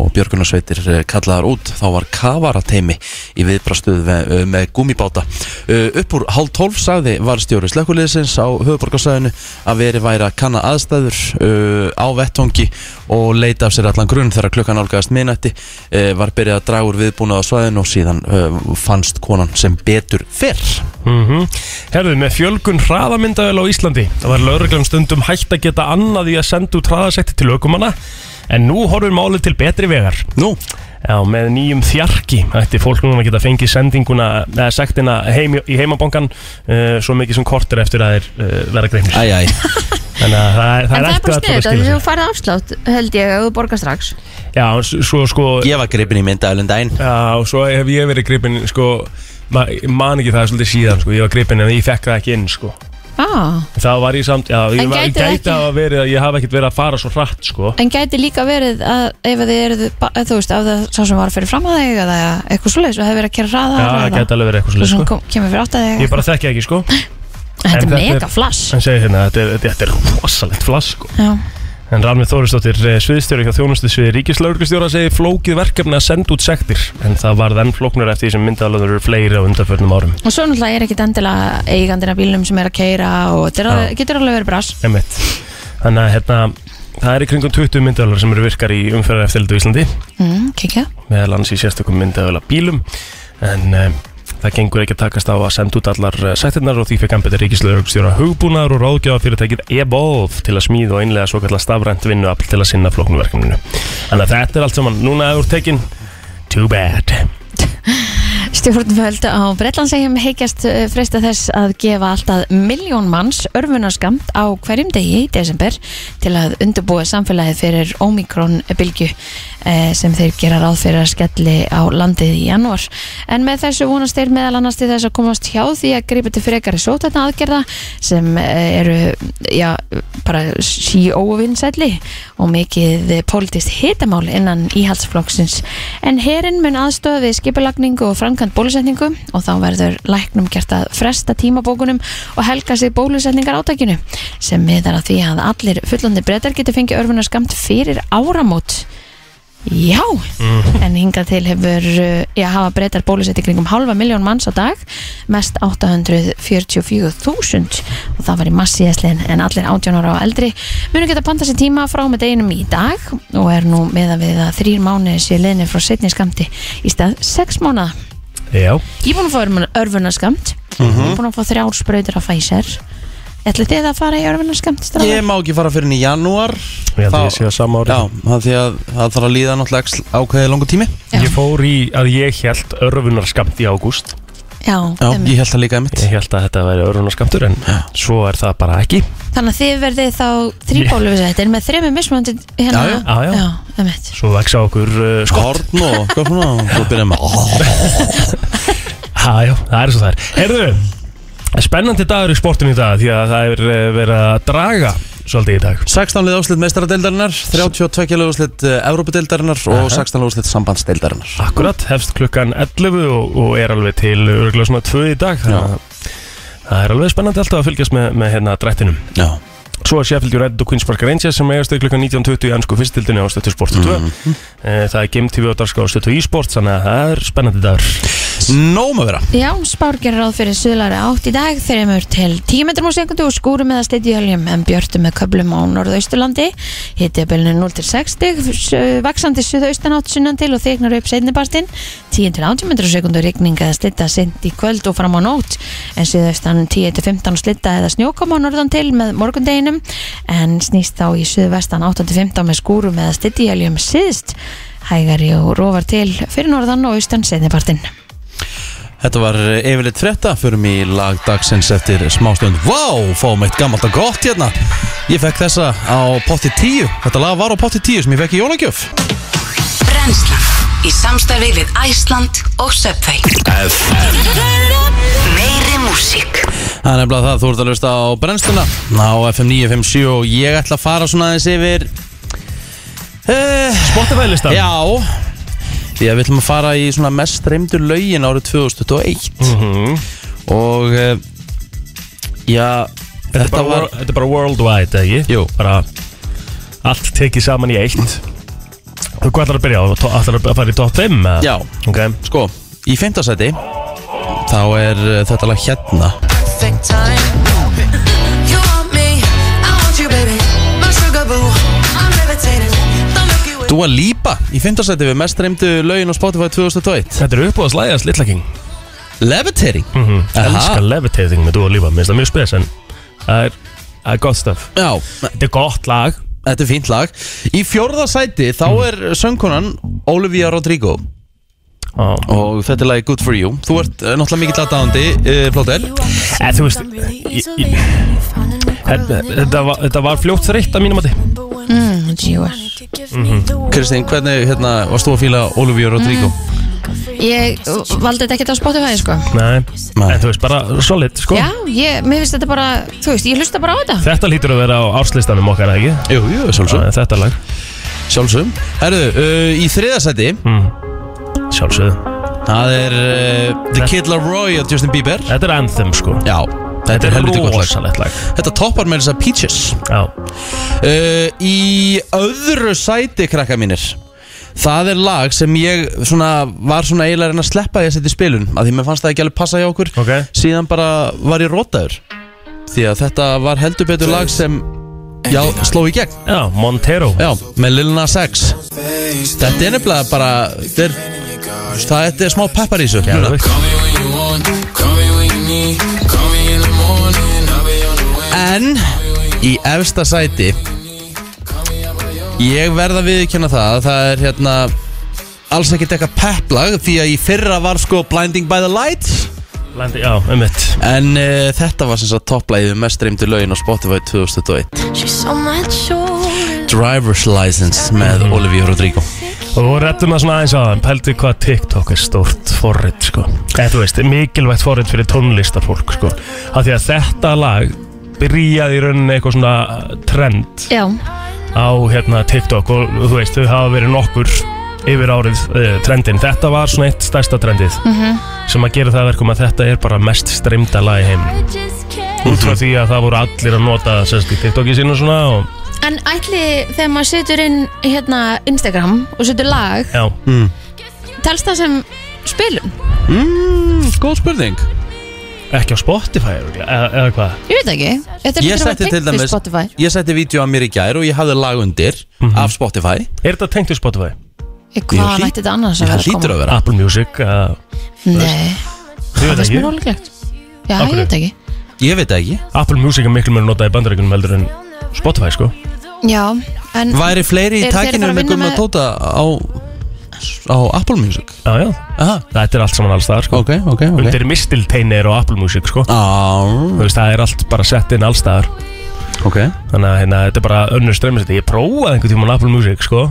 A: og björgunarsveitir eh, kallaðar út. Þá var kavarateimi í viðbrastuð með gummibáta. Eh, Upp úr hálf tólf sagði varstjóri slökkuliðsins á höfuborgarsæðinu að veri væri að kanna aðstæður eh, á vettvangi og leita af sér allan grunn þegar klukkan álgaðast minnætti var byrjað að draga úr viðbúnað á svæðinu og síðan eh, fannst konan sem betur fyrr.
C: mm Herðu, með fjölgun hraðamyndavel á Íslandi Það var lögreglum stundum hægt að geta annað í að senda út hraðasekti til ökumanna En nú horfum málið til betri vegar
A: Nú,
C: Já, með nýjum þjarki ætti fólk núna að geta fengið sendinguna eða sektina heim, í heimabankan uh, svo mikið sem kortir eftir að þeir uh, vera greifnir
A: æj, æj,
C: Þannig að það, það
B: en
C: er
B: það er
C: eftir
B: bara
C: að það
B: sniðut
C: skilja
B: að þú
C: sér
B: farið afslátt held ég að þú borgar strax
C: Já, s- svo sko
A: ég var gripin í myndaðalinn daginn.
C: Já, og svo hef ég verið greipin sko, ma ég man ekki það svolítið síðan sko, ég var greipin en ég fekk það ekki inn sko
B: ah.
C: Það var ég samt, já, ég
B: En
C: var-
B: gæti það ekki-
C: gæti að verið að ég hafa ekkert verið að fara svo hratt sko
B: en gæti líka verið að ef þið eruð, ba- þú veist, af það sá sem var fyrir fram að þig eða eitthvað svoleiðis og hefur verið að kera hraða
C: Já, það gæti alveg verið eitthvað
B: og
C: svolítið
B: svo
C: sko
B: kom, kemur fyrir átt að
C: Ég
B: þig
C: bara þekki ekki sko
B: þetta
C: en
B: er
C: þetta er-
B: mega flash
C: En segi hérna, þetta er, þetta er rosalegt flass sko
B: já,
C: En Rannveig Þórisdóttir, eh, sviðstjóri hjá þjónustu sviði ríkislauglustjóra segir flókið verkefni að senda út sektir en það varð enn flóknur eftir því sem myndaðalöður eru fleiri á undanförnum árum
B: og svo náttúrulega er ekkit endilega eigandina bílnum sem er að keira og þetta er alveg- getur alveg verið brass
C: Einmitt. Þannig að hérna, það er í kringum 20 myndaðalöður sem eru virkar í umferðar á Íslandi
B: mm, kikja,
C: meðal annars í sérstökum myndaðalöða bílum en um, það gengur ekki að takast á að senda út allar eh, sektirnar og því fekk anbyrði ríkislauglustjóra hugbúnaðar og ráðgjáða fyrirtækið Evolve til að smíða og innlega svo stafrænt vinnuafl til að sinna flóknverkninu. Þannig að þetta er allt saman, núna er úr tekin, too bad.
B: Stjórnvöld á Bretlandsegjum heikjast eh, freista þess að gefa alltaf miljón manns örfunarskamt á hverjum degi í desember til að undurbúa samfélagið fyrir Omikron-bylgju eh, sem þeir gera ráð fyrir að skelli á landið í janúar. En með þessu vonast þeir meðal annars til þess að komast hjá því að grípa til frekari sótarna aðgerða sem eh, eru já, bara E síóvinsælli og mikið politist hitamál innan íhaldsflokksins. En herinn mun aðstofa við skipulagningu og framkvæmt bólusetningu og þá verður læknum gert að fresta tímabókunum og helga sig bólusetningar átakinu sem miðar að því að allir fullandi breytar getur fengið örfunar skamt fyrir áramót. Já, en hingað til hefur, uh, já, hafa breytar bólusett í kringum halva miljón manns á dag, mest 844.000 og það var í massíðasliðin en allir 18 ára og eldri munum geta panta sér tíma frá með deginum í dag og er nú meða við að þrýr mánuði sé liðni frá setni skamti í stað 6 mánuða.
C: Já.
B: Ég er búin að fá örfunarskamt, ég
A: Mhm.
B: er búin að fá þrjár sprautur af Pfizer. Ætla þið að fara í örfunarskamt? strákar?
A: Ég má ekki fara fyrir henni í janúar.
C: Ég held að
A: Þá-
C: ég sé það sama ári
A: Já, það er því að það þarf að líða náttúrulega axl- ákveðið langu tími.
B: Já.
C: Ég fór í að ég held örfunarskamt í ágúst
B: Já,
A: Já,
B: einmitt.
A: ég held það líka einmitt.
C: Ég held að þetta væri örfunarskamptur en svo er það bara ekki
B: Þannig að þið verðið þá þrýbólusettir með þremur mismunandi
A: Já,
B: hérna.
C: já. Já, já.
B: það mitt.
C: Svo veksa okkur uh, skott
A: Horn og hvað svona, og svo byrjaðum við að...
C: ha, já, Það er svo það er Herðu, spennandi dagur í sportinu í dag því að það er eh, verið að draga svolítið í dag
A: 16 lið áslit meistaradeildarinnar, 32 kilo áslit uh, Evrópadeildarinnar og 16 lið áslit sambandsdeildarinnar.
C: Akkurat, hefst klukkan 11 og, og er alveg til örgulega svona 2 í dag þannig að Það er alveg spennandi alltaf að fylgjast með, með hérna drættinum
A: Já.
C: Svo er Sheffield United og Queen's Park Rangers sem eigast þau klukkan 19.20 í ennsku fyrstildinni á stöttu Sport 2
A: Mhm.
C: Eh, Það er Game TV og Darska á stöttu e-sport þannig að það er spennandi dagur
A: Nóm um að vera
B: Já, spár gerir ráð fyrir suðlæri átt í dag þreymur til 10 metrum á sekundu og skúrum eða steyti höljum en björtu með köplum á norðausturlandi hitið bylnu 0 til 60 su- vaxandi suðaustan átt sunnan til og þegnar upp setnipartin 10 til 80 metrum á sekundu rigning eða steyta sent í kvöld og fram á nót en suðaustan 10 til 15 slitta eða snjókom á norðan til með morgundeginum en snýst þá í suðvestan 8 til 15 með skúrum eða steyti höljum síðst hægari og rofar til fyrir norðan og austan setnipartin
A: Þetta var eh, yfirleitt frétta, förum í lag dagsins eftir smástund. Vá, fáum eitt gammalt og gott hérna. Ég fekk þessa á potti 10, þetta lag var á potti 10 sem ég fekk í jólagjöf.
E: Brennslan í samstarfi við Æsland og Subway Meiri músík
A: Það er nefnilega það, þú ert að lusta á brennsluna á FM 957 og ég ætla að fara svona aðeins yfir... Uh,
C: Spotify-listan
A: já, því að við ætlum að fara í svona mest reymdu lögin árið 2021
C: Mhm.
A: og uh, já,
C: Þetta, er bara
A: var...
C: wor- þetta er bara worldwide, eða ekki?
A: Jú.
C: Bara allt tekið saman í eitt Þú hvað ætlar að byrja á? Tó- Ætlar að fara í top 5? eða?
A: Já.
C: Ok
A: Sko, í fymtasæti þá er uh, þetta lag hérna
F: perfect time. You want me, I want you, baby. My sugar boo, I'm levitating. Don't look away.
A: Dua Lipa í fymtasæti við mest reymdu lögin á Spotify 2021
C: Þetta er uppáðs lægjast Little King
A: Levitating mm
C: mm. Elskar levitating með Dua Lipa Mér finnst það mjög spes en það er, það er gott stöf
A: Já,
C: Þetta er gott lag
A: þetta er fínt lag Í fjórðasæti þá
C: Mhm.
A: er söngkonan Olivia Rodrigo
C: ah.
A: og þetta er lagi Good For You Þú ert uh, náttúrulega mikill aðdáðandi, uh, Plóter
C: En þú veist
A: uh,
C: ég, ég, þetta, þetta, var, þetta var fljótt þreytt að mínum mati
B: Mm, djúar.
A: Mm-hmm. Kristín, hvernig hérna, varst þú að fíla Olivia Rodrigo?
C: Mm.
B: Ég valdi þetta ekkert á Spotify sko.
C: Nei.
A: Nei.
C: En þú veist, bara solid sko
B: Já, ég, mér finnst þetta bara Þú veist, ég hlusta bara á þetta
C: Þetta lítur að vera á árslistanum okkar, eða ekki?
A: Jú, jú, sjálfsög
C: Ah, Þetta lag
A: Sjálfsög Herðu, uh, í þriðasæti
C: Mm. Sjálfsögðu
A: það er uh, The Kid Laroi og Justin Bieber
C: Þetta er anthem sko
A: Já, þetta er helviti gott lag
C: rosalegt lag
A: Þetta toppar með þess að Peaches
C: Já,
A: uh, Í öðru sæti krakka mínir Það er lag sem ég svona, var svona eiginlega að reyna að sleppa því að setja í spilun af því mér fannst það ekki alveg passa hjá okkur
C: Ok.
A: síðan bara var ég rótaður því að þetta var heldur betur lag sem já, sló í gegn
C: já Montero
A: já, með Lil Nas X Þetta er nefnilega bara þetta er, það þetta er smá peppar í þessu
C: Já,
A: núna.
C: þú veist.
A: En í efsta sæti Ég verð að viðkynna það að Það er hérna Alls ekkert eitthvað pepplag Því að í fyrra var sko Blinding by the Light
C: Landi, já, um mitt
A: En uh, þetta var sem sagt topplæðið Mest streymdu lögin á Spotify 2001
G: She's on my shoulder.
A: Driver's License með Olivia Rodrigo
C: Og við rettum það svona aðeins á það Pældu hvað TikTok er stórt forrið sko Eða þú veist, mikilvægt forrið fyrir tónlistarfólk sko Af því að þetta lag byrjaði í rauninni eitthvað svona uh, trend
B: Já,
C: á hérna TikTok og þú veist, þau hafa verið nokkur yfir árið uh, trendin. Þetta var svona eitt stærsta trendið sem að gera það að verkum að þetta er bara mest streymda lag í heim
G: I just can't.
C: út frá því að það voru allir að nota það, sem sagt, í TikToki sínu svona og
B: en ætli þegar maður setur inn hérna Instagram og setur lag
C: já,
B: telst það sem spilum?
A: mm, Góð spurning
C: ekki á Spotify örugglega, eða, eða hvað
B: Ég veit ekki Þetta
A: Ég
B: er að vera
A: setti til
B: tengt við
A: dæmis
B: Spotify
A: Ég setti vídeo af mér í gær og ég hafði lag undir Af Spotify
C: Er þetta tengt við Spotify?
B: Ég, Eh, Hvað
A: hlýt-
B: ætti þetta annars að vera
A: Það hlýtur
B: koma?
A: að vera
C: Apple Music uh,
B: Nei,
C: Þið
B: það
C: veit
B: finnst mér
C: ekki,
B: ólíklegt Já,
C: Af
B: ég
C: hverju?
B: veit ekki
A: Ég veit það ekki
C: Apple Music er miklu mér notað í bandaríkunum heldur en Spotify sko
B: Já, en
A: Væri fleiri í
B: Eru þeir að
A: takinu
B: fara að
A: með
B: vinna
A: Gumma
B: með-
A: Tóta á, á Apple Music?
C: Já, já,
A: Aha,
C: þetta er allt saman alls það sko
A: ok, ok, ok
C: Undir mistilteini er á Apple Music sko
A: Á,
C: Þú veist, það er allt bara sett inn allstaðar
A: ok
C: Þannig að hérna, þetta er bara önnur streymisæti Ég prófaði einhvern tímann Apple Music, sko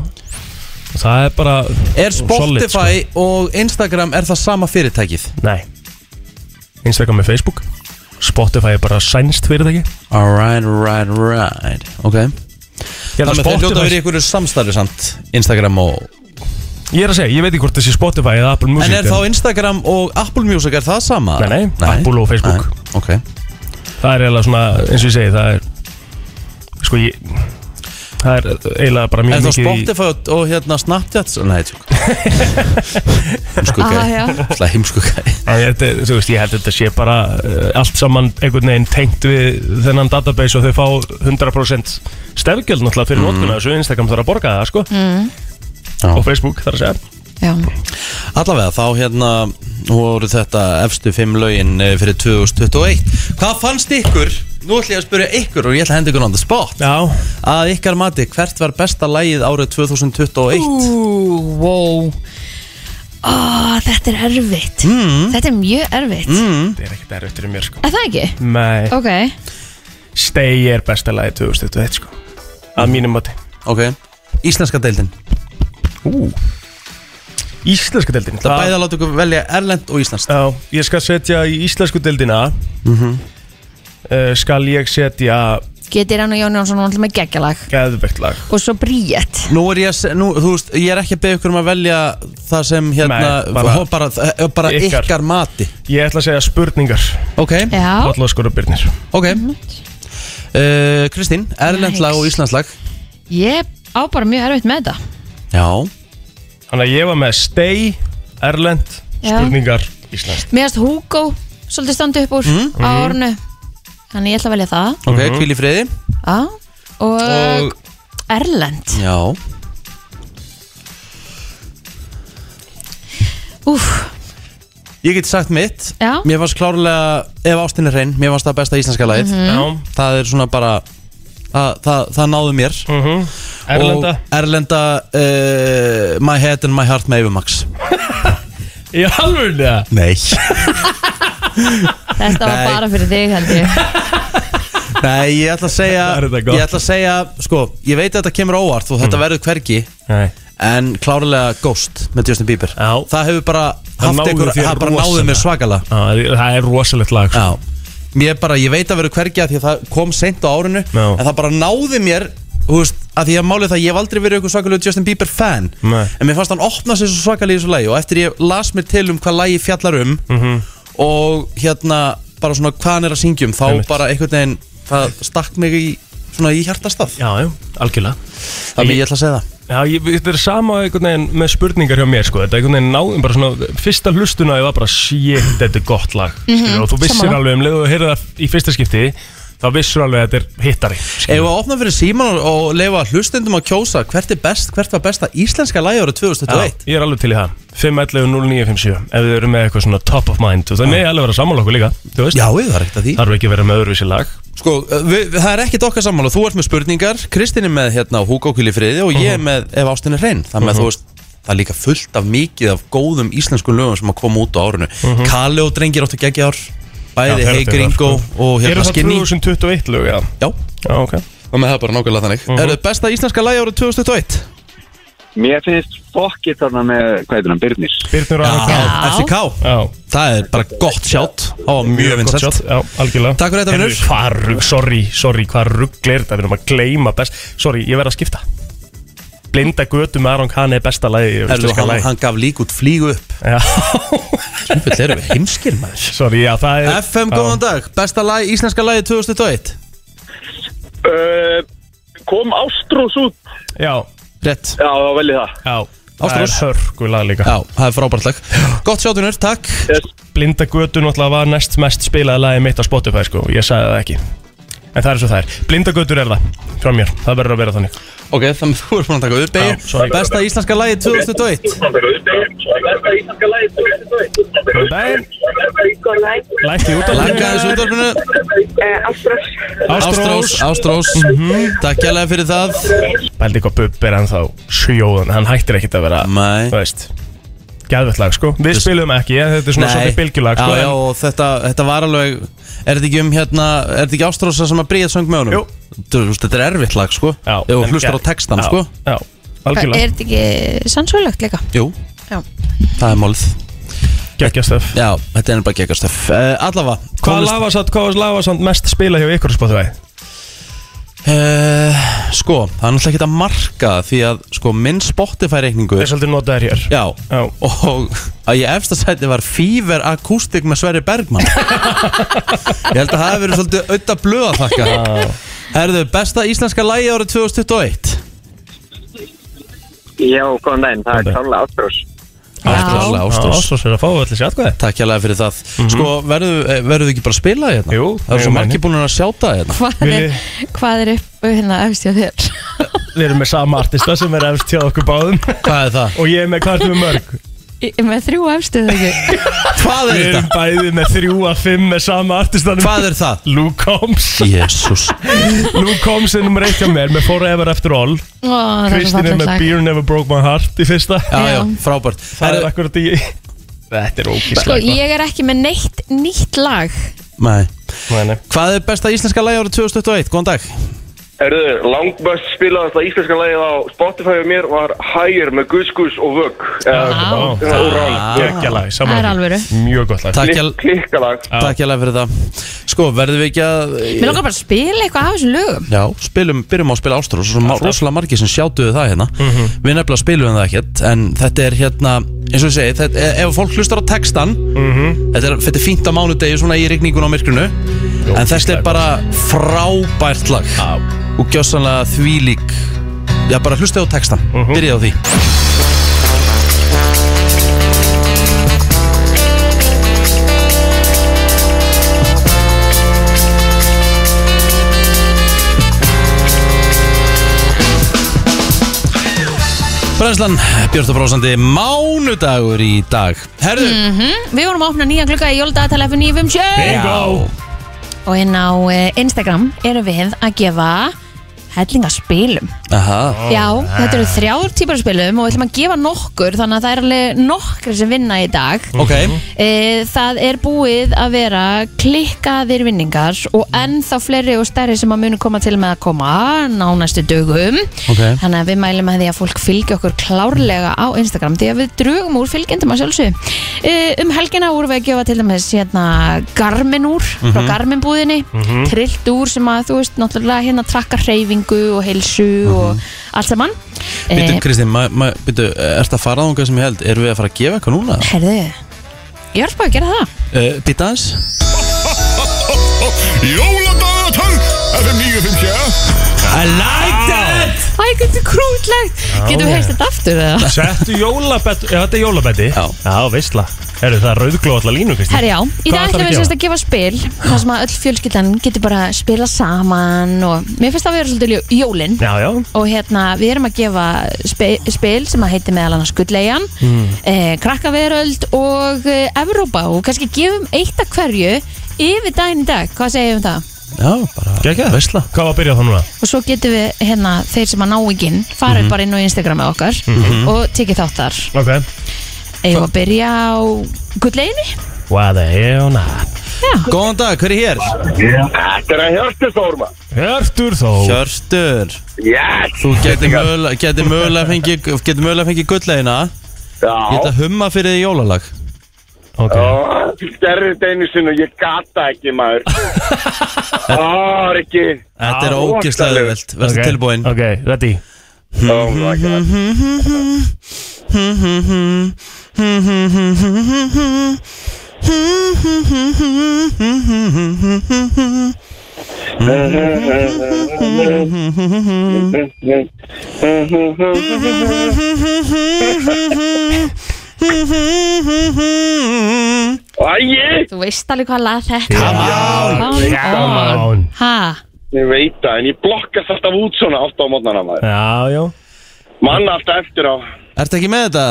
C: Og það er bara
A: Er
C: solid,
A: Spotify og Instagram er það sama fyrirtækið?
C: sko. Nei Instagram með Facebook Spotify er bara sænst fyrirtæki
A: Alright, right, right Ok
C: Ég held að
A: Þannig að þeir hljóta að vera í
C: Spotify
A: einhverju samstarfi samt Instagram og
C: Ég er að segja, ég veit ekki hvort þessi Spotify eða Apple Music
A: En er þá Instagram og Apple Music er það sama?
C: Nei, nei, Apple og Facebook.
A: Nei, Ok
C: Það er eiginlega svona, eins og ég segi, það er sko ég Það er eiginlega bara mjög
A: En þá
C: mikið í-
A: Spotify og, og hérna Snapchat Nei, tjók Heimskugga
B: Ah, já.
A: Það er heimskugga
C: En þetta, er- þú veist, ég held að þetta sé bara uh, allt saman einhvern veginn tengt við þennan database og þau fá 100% stefgjöld náttúrulega fyrir mm. notkunna þessu Instagram þarf að borga það, sko
A: Já.
C: og Facebook þarf að segja
B: Já,
A: Allavega, þá hérna voru þetta efstu fimm lögin eh, fyrir 2021 Hvað fannst ykkur? Nú ætla ég að spyrja ykkur og ég ætla að henda ykkur on the spot
C: Já,
A: Að ykkar mati, hvert var besta lagið árið 2021?
B: Ú, wow Ó, þetta er erfitt Þetta er mjög erfitt mm.
C: þetta er ekkert erfitt fyrir mér, sko
B: Er það ekki?
C: Nei,
B: Ok,
C: Stay er besta lagi 2021, sko að mínum mati
A: Ok, íslenska deildin
C: Ú Íslenska deildin
A: Það bæði að láta ykkur velja erlend og íslenskt
C: Já, ég skal setja í íslensku deildina Mhm. uh, skal ég setja
B: getur hann og Jón Jónsson alltaf með geggjalag
C: geðvegt lag
B: og svo bríett
A: Nú er ég, að se- nú, þú veist, ég er ekki að beða ykkur um að velja það sem hérna, bara,
C: Nei, bara-
A: bara, eh, bara ykkar.
C: Ykkar.
A: mati
C: Ég ætla að segja spurningar
A: Ok,
B: Já, Mhm.
C: Hotlaskur og Byrnir
A: ok Eh, Kristín, erlend lag og íslensk lag
B: ég á bara mjög erfitt með þetta
A: Já,
C: Þannig að ég var með Stay, Erlend,
B: Já.
C: spurningar, Ísland
B: Mér erst Hugo svolítið standi upp úr á ornu Þannig ég ætla að velja það
A: ok, hvíl í friði
B: Já, og,
A: Og-
B: Erlend
A: Já,
B: Úf,
A: ég get sagt mitt
B: Já.
A: Mér fannst klárlega, ef ástin er hrein Mér fannst það besta íslenska lagið
C: Mhm.
B: Mm.
C: Já,
A: Það er svona bara Það, það, það náðu mér
C: Mhm. Erlenda
A: Og Erlenda uh, My Head and My Heart með Efumax
C: Í alvörni það
A: Nei
B: þetta var
A: Nei.
B: bara fyrir þig held ég
A: Nei, ég ætla að segja
C: Það er þetta gott. Mhm.
A: Ég ætla að segja, sko, ég veit að þetta kemur á óvart og þetta verður hvergi
C: Nei
A: en klárlega Ghost með Justin Bieber
C: Já.
A: Það hefur bara
C: Það
A: haft
C: náði
A: ykkur,
C: þér
A: það bara náði
C: rosalega.
A: mér svakala
C: Á, Það er rosalegt lag sko.
A: Já Ég bara, ég veit að verður hvergi að því að það kom seint á árinu
C: Já.
A: en það bara náði mér þú veist, að því að málið það, að ég hef aldrei verið ykkur svakalegu Justin Bieber fan
C: Nei.
A: en mér fannst hann opna sér svo svakalega í þessu lagi og eftir ég las mér til um hvað lagi fjallar um
C: Mhm.
A: -hmm. og hérna bara svona hvað hann er að syngjum þá
C: Einmitt.
A: bara einhvern veginn, það stakk mig í svona í hjartastað
C: Já, já, algjörlega
A: Þannig ég ætla að segja það
C: Já, ég, þetta er sama einhvern veginn með spurningar hjá mér sko. Þetta einhvern veginn náðum bara svona Fyrsta hlustuna ég var bara Shit, þetta er gott lag mm Og þú vissir
B: sammála.
C: alveg um leið og þú heyrði það í fyrsta skipti Þá vissir alveg að þetta er hittari skilur.
A: Ef við opna fyrir síman og leifa hlustendum að kjósa hvert er best, hvert var besta íslenska lagi árið 2021
C: Ég er alveg til í það 511-0957 Ef þið eru með eitthvað svona top of mind Það með alveg vera sammála okkur líka Þú veist
A: Já, við var ekkert að því
C: Þarf ekki að vera með öðruvísi lag
A: Sko, við, það er ekkert okkar sammála Þú ert með spurningar, Kristinn er með hérna Hugo Kili Friði og ég er með Ef ástin er hrein Þannig að þú veist, það er líka fullt af mikið af góðum íslenskum lögum sem að koma út á árinu mm -hmm. Kali og drengir áttu geggi ár Bæði
C: þeir
A: Hey
C: áttu
A: Gringo
C: það,
A: og
C: Eru
A: hérna
C: það
A: Skinny
C: 2021 lög, já
A: Já,
C: Já, ok
A: og með það er bara nákvæmlega þannig mm besta íslenska lagi árið 2021?
H: Mér finnst fokkið þarna með, hvað heitir hann, Byrnir.
C: Byrnur og Anna
B: Já.
A: FCK
C: Já
A: Það er bara gott sjátt og mjög
C: Gott
A: vinsett
C: shot, Já, algjörlega
A: Takk fyrir þetta,
C: Heyrðu,
A: vinur.
C: Hvað rugg, sorry, sorry, hvað rugg er þetta Við erum að gleyma best Sorry, ég verð að skipta Blinda götu með Aron Khan er besta lagi
A: Erlu,
C: íslenska
A: hann,
C: lagi.
A: hann gaf lík út flýgu upp
C: Já,
A: Sjöfull erum við heimskir maður
C: Sorry, já, það er
A: FM, góðan dag, besta lag, íslenska lagi 2021
H: Uh, kom Ástrós út?
C: Já,
A: Rétt
H: Já, þá vel ég það.
C: já Það
A: Ástrós.
C: er hörgulag líka
A: Já, það er frábært lag Gott sjátunur, takk
C: Blinda götu náttúrulega var næst mest spilaði lagi mitt á Spotify sko, ég sagði það ekki En það er svo það er, blinda götur er það frá mér, það verður að vera þannig
A: Ok, þannig að þú ert búin að taka upp
C: Já, sorry.
A: Beir Besta íslenska lagi 2021
C: Góðan daginn Lækki út af
A: Langa þessu útvarpinu Ástrós,
C: Ástrós Mhm.
A: Ástrós Mhm. Takk jæglega fyrir það
C: Bældi hvað Bubbi er ennþá sjóðan Hann hættir ekkit að vera
A: Nei.
C: Þú veist Gæðvett lag sko Við spilum ekki ég, Þetta er svona svolítið bylgjulag sko
A: já, já,
C: en-
A: og þetta, þetta var alveg Er þetta ekki um hérna, er þetta ekki Ástrósa sem að bríða söng með honum?
C: Jú.
A: Þú veist, þetta er erfitt lag, sko
C: já
A: Ef þú
C: en
A: hlustar á
C: geð-
A: textan,
C: já,
A: sko
C: Já,
B: Er
C: algjörlega
B: þetta ekki sannsvölegt líka?
A: Jú,
B: Já
A: það er málið
C: Gækjastöf
A: Já, þetta er bara gekkastöf uh, Allafa,
C: Hvað lafa samt, hvað lafa samt mest spila hjá ykkur á Spotify?
A: Uh, sko, það er náttúrulega ekki að marka því að sko, minn Spotify reikningu
C: Ég er svolítið notaður hér
A: Já,
C: Já.
A: og að ég efsta sæti var Fever Acoustic með Sverri Bergman Ég held að það hefur verið svolítið auðvitað blöð að þakka Herðu, besta íslenska lægi árið 2021
H: Já, góðan daginn, það er
C: Góðan
H: Karla Ástrós
A: Ástrós, Ástrós
C: Ástrós er að fá allir sér atkvæði
A: Takk hérlega fyrir það Sko, verðu, eh, verðu þið ekki bara að spila hérna?
C: Jú,
A: Það eru
C: jú,
A: svo
C: meini.
A: margir búin að sjáta hérna
B: Hvað er, hvað er upp hérna efst hjá þér?
C: Við erum með sama artista sem er efst hjá okkur báðum
A: Hvað er það?
C: Og ég er með hvað er með mörg
B: Ég er með þrjú efstu þegar ekki
A: Hvað er
C: Við erum
A: þetta?
C: bæði með þrjú að fimm með sama artistanum
A: Hvað er það?
C: Luke Combs
A: Jésús
C: Luke Combs er nummer eitt hjá mér með Forever After All
B: Ó, það er svo
C: Kristín er
B: fallegt
C: með
B: lag
C: Beer Never Broke My Heart í fyrsta
A: Já,
B: Já.
A: já, frábært
C: Það er
A: Herðu-
C: akkurat í Þetta er ókýrslega
B: Sko, ég er ekki með neitt nýtt lag
A: Nei.
C: Nei, nei.
A: Hvað er besta íslenska lægi árið 2021? Góðan dag
I: Erðu, langbæst spilaðast að íslenska lagið á Spotify og mér var Higher með Gus Gus og Vögg.
B: Vá.
C: Ó,
I: Það er úr
C: Ah.
I: án.
B: Það
C: Gekkjalag,
B: er
C: saman
B: alvöru.
C: Mjög gott lag
A: Takk hérlega-
I: Klikkalag.
C: Já.
A: takk hérlega fyrir það Sko, verðum við ekki að
B: Mér langar bara að spila eitthvað af þessum lögum
A: Já, spilum, byrjum á að spila Ástrós og svo ma- rosalega margir sem sjátuðu það hérna
C: Mhm.
A: Við nefnilega spilum það ekkert En þetta er hérna, eins og ég segi þetta, e- Ef fólk hlustar á textan
C: Mhm.
A: þetta, er, þetta er fínt á mánudegi svona í rigningun á myrkrinu En þetta er bara frábært lag
C: Já.
A: Og gjössanlega þvílík Já, bara hlustaðu á textan, mm
C: Mhm.
A: á því Brænslan, Björn og Brósandi, mánudagur í dag Herðu,
B: Við vorum að opna nýja klukka í jóladagatal F9 um
A: já
B: Og inn á eh, Instagram erum við að gefa hellingaspilum
A: Aha,
B: Já, þetta eru þrjár típar af spilum og við ætlum að gefa nokkur þannig að það er alveg nokkur sem vinna í dag
A: ok
B: e, Það er búið að vera klikkaðir vinningar og ennþá fleiri og stærri sem að munu koma til með að koma ná næstu dögum
A: Ok.
B: Þannig að við mælum að því að fólk fylgi okkur klárlega á Instagram því að við drögum úr fylgjendum að sjálfsög e, Um helgina vorum við að gefa til dæmis hérna Garmin úr frá Garmin búðinni trillt úr sem að þú veist náttúrulega hérna trakkar hreyfingu og heilsu og allt saman Eh,
A: Býtu, Kristín, ma- ma- býtu, ertu að fara á þangað sem ég held Erum við að fara að gefa eitthvað núna?
B: Herðu, ég var bara að gera það
A: Uh, býtu aðeins
D: Jóladagatal FM 957
A: I like that
B: Æ, þetta er krútlegt Getum við heist þetta aftur eða?
C: Settu jólabett, já þetta er jólabetti
A: Já.
C: veistla Herru það er rauðgló allar línu Kristi
B: Herri já, í dag
C: Hvað ætlarðu
B: ætlum
C: að
B: við
C: gefa?
B: sérst að gefa spil þar sem að öll fjölskyldan getur bara að spila saman og mér finnst það að vera svolítið ljó- jólin
C: Já, já
B: og hérna við erum að gefa spe, spil sem að heiti meðal annars Gulleian mm. eh, Krakkaveröld og eh, Evrópa og kannski gefum eitt að hverju yfir daginn í dag, hvað segjum við um það?
A: Já, bara
C: Gekkja.
A: veisla
C: Hvað var að byrja þá núna?
B: og svo getum við hérna þeir sem að ná ekki inn farið
C: Mhm.
B: bara inn á Instagramið okkar og tekið þátt þar
C: Ok
B: eigum við að byrja á Gulleinu
C: Why the hell not
A: Góðan dag, hver er hér?
I: Þetta er að hjörstu Þórma.
C: Hjörtur þó
A: Hjörtur
I: Yes!
A: Þú getur mögulega geti mögulega fengið geti mögulega fengið gullegina Ég ætla
I: Já.
A: að humma fyrir því jólalag
C: Ok
I: Gerði þetta einu sinn og ég gata ekki maður. Það er ekki.
A: Þetta er
I: Já,
A: ógeðslega
I: rosalega.
A: auðvelt Verður
C: Ok,
A: tilbúin
C: Ok, ready
I: Oh my god. Æi!
B: Þú veist alveg hvað lag þetta
C: Come on
B: Ha,
I: Ég veit það, en ég blokkast alltaf út svona átt á mótnana maður.
C: Já, já
I: Mann alltaf eftir á.
A: Ertu ekki með þetta?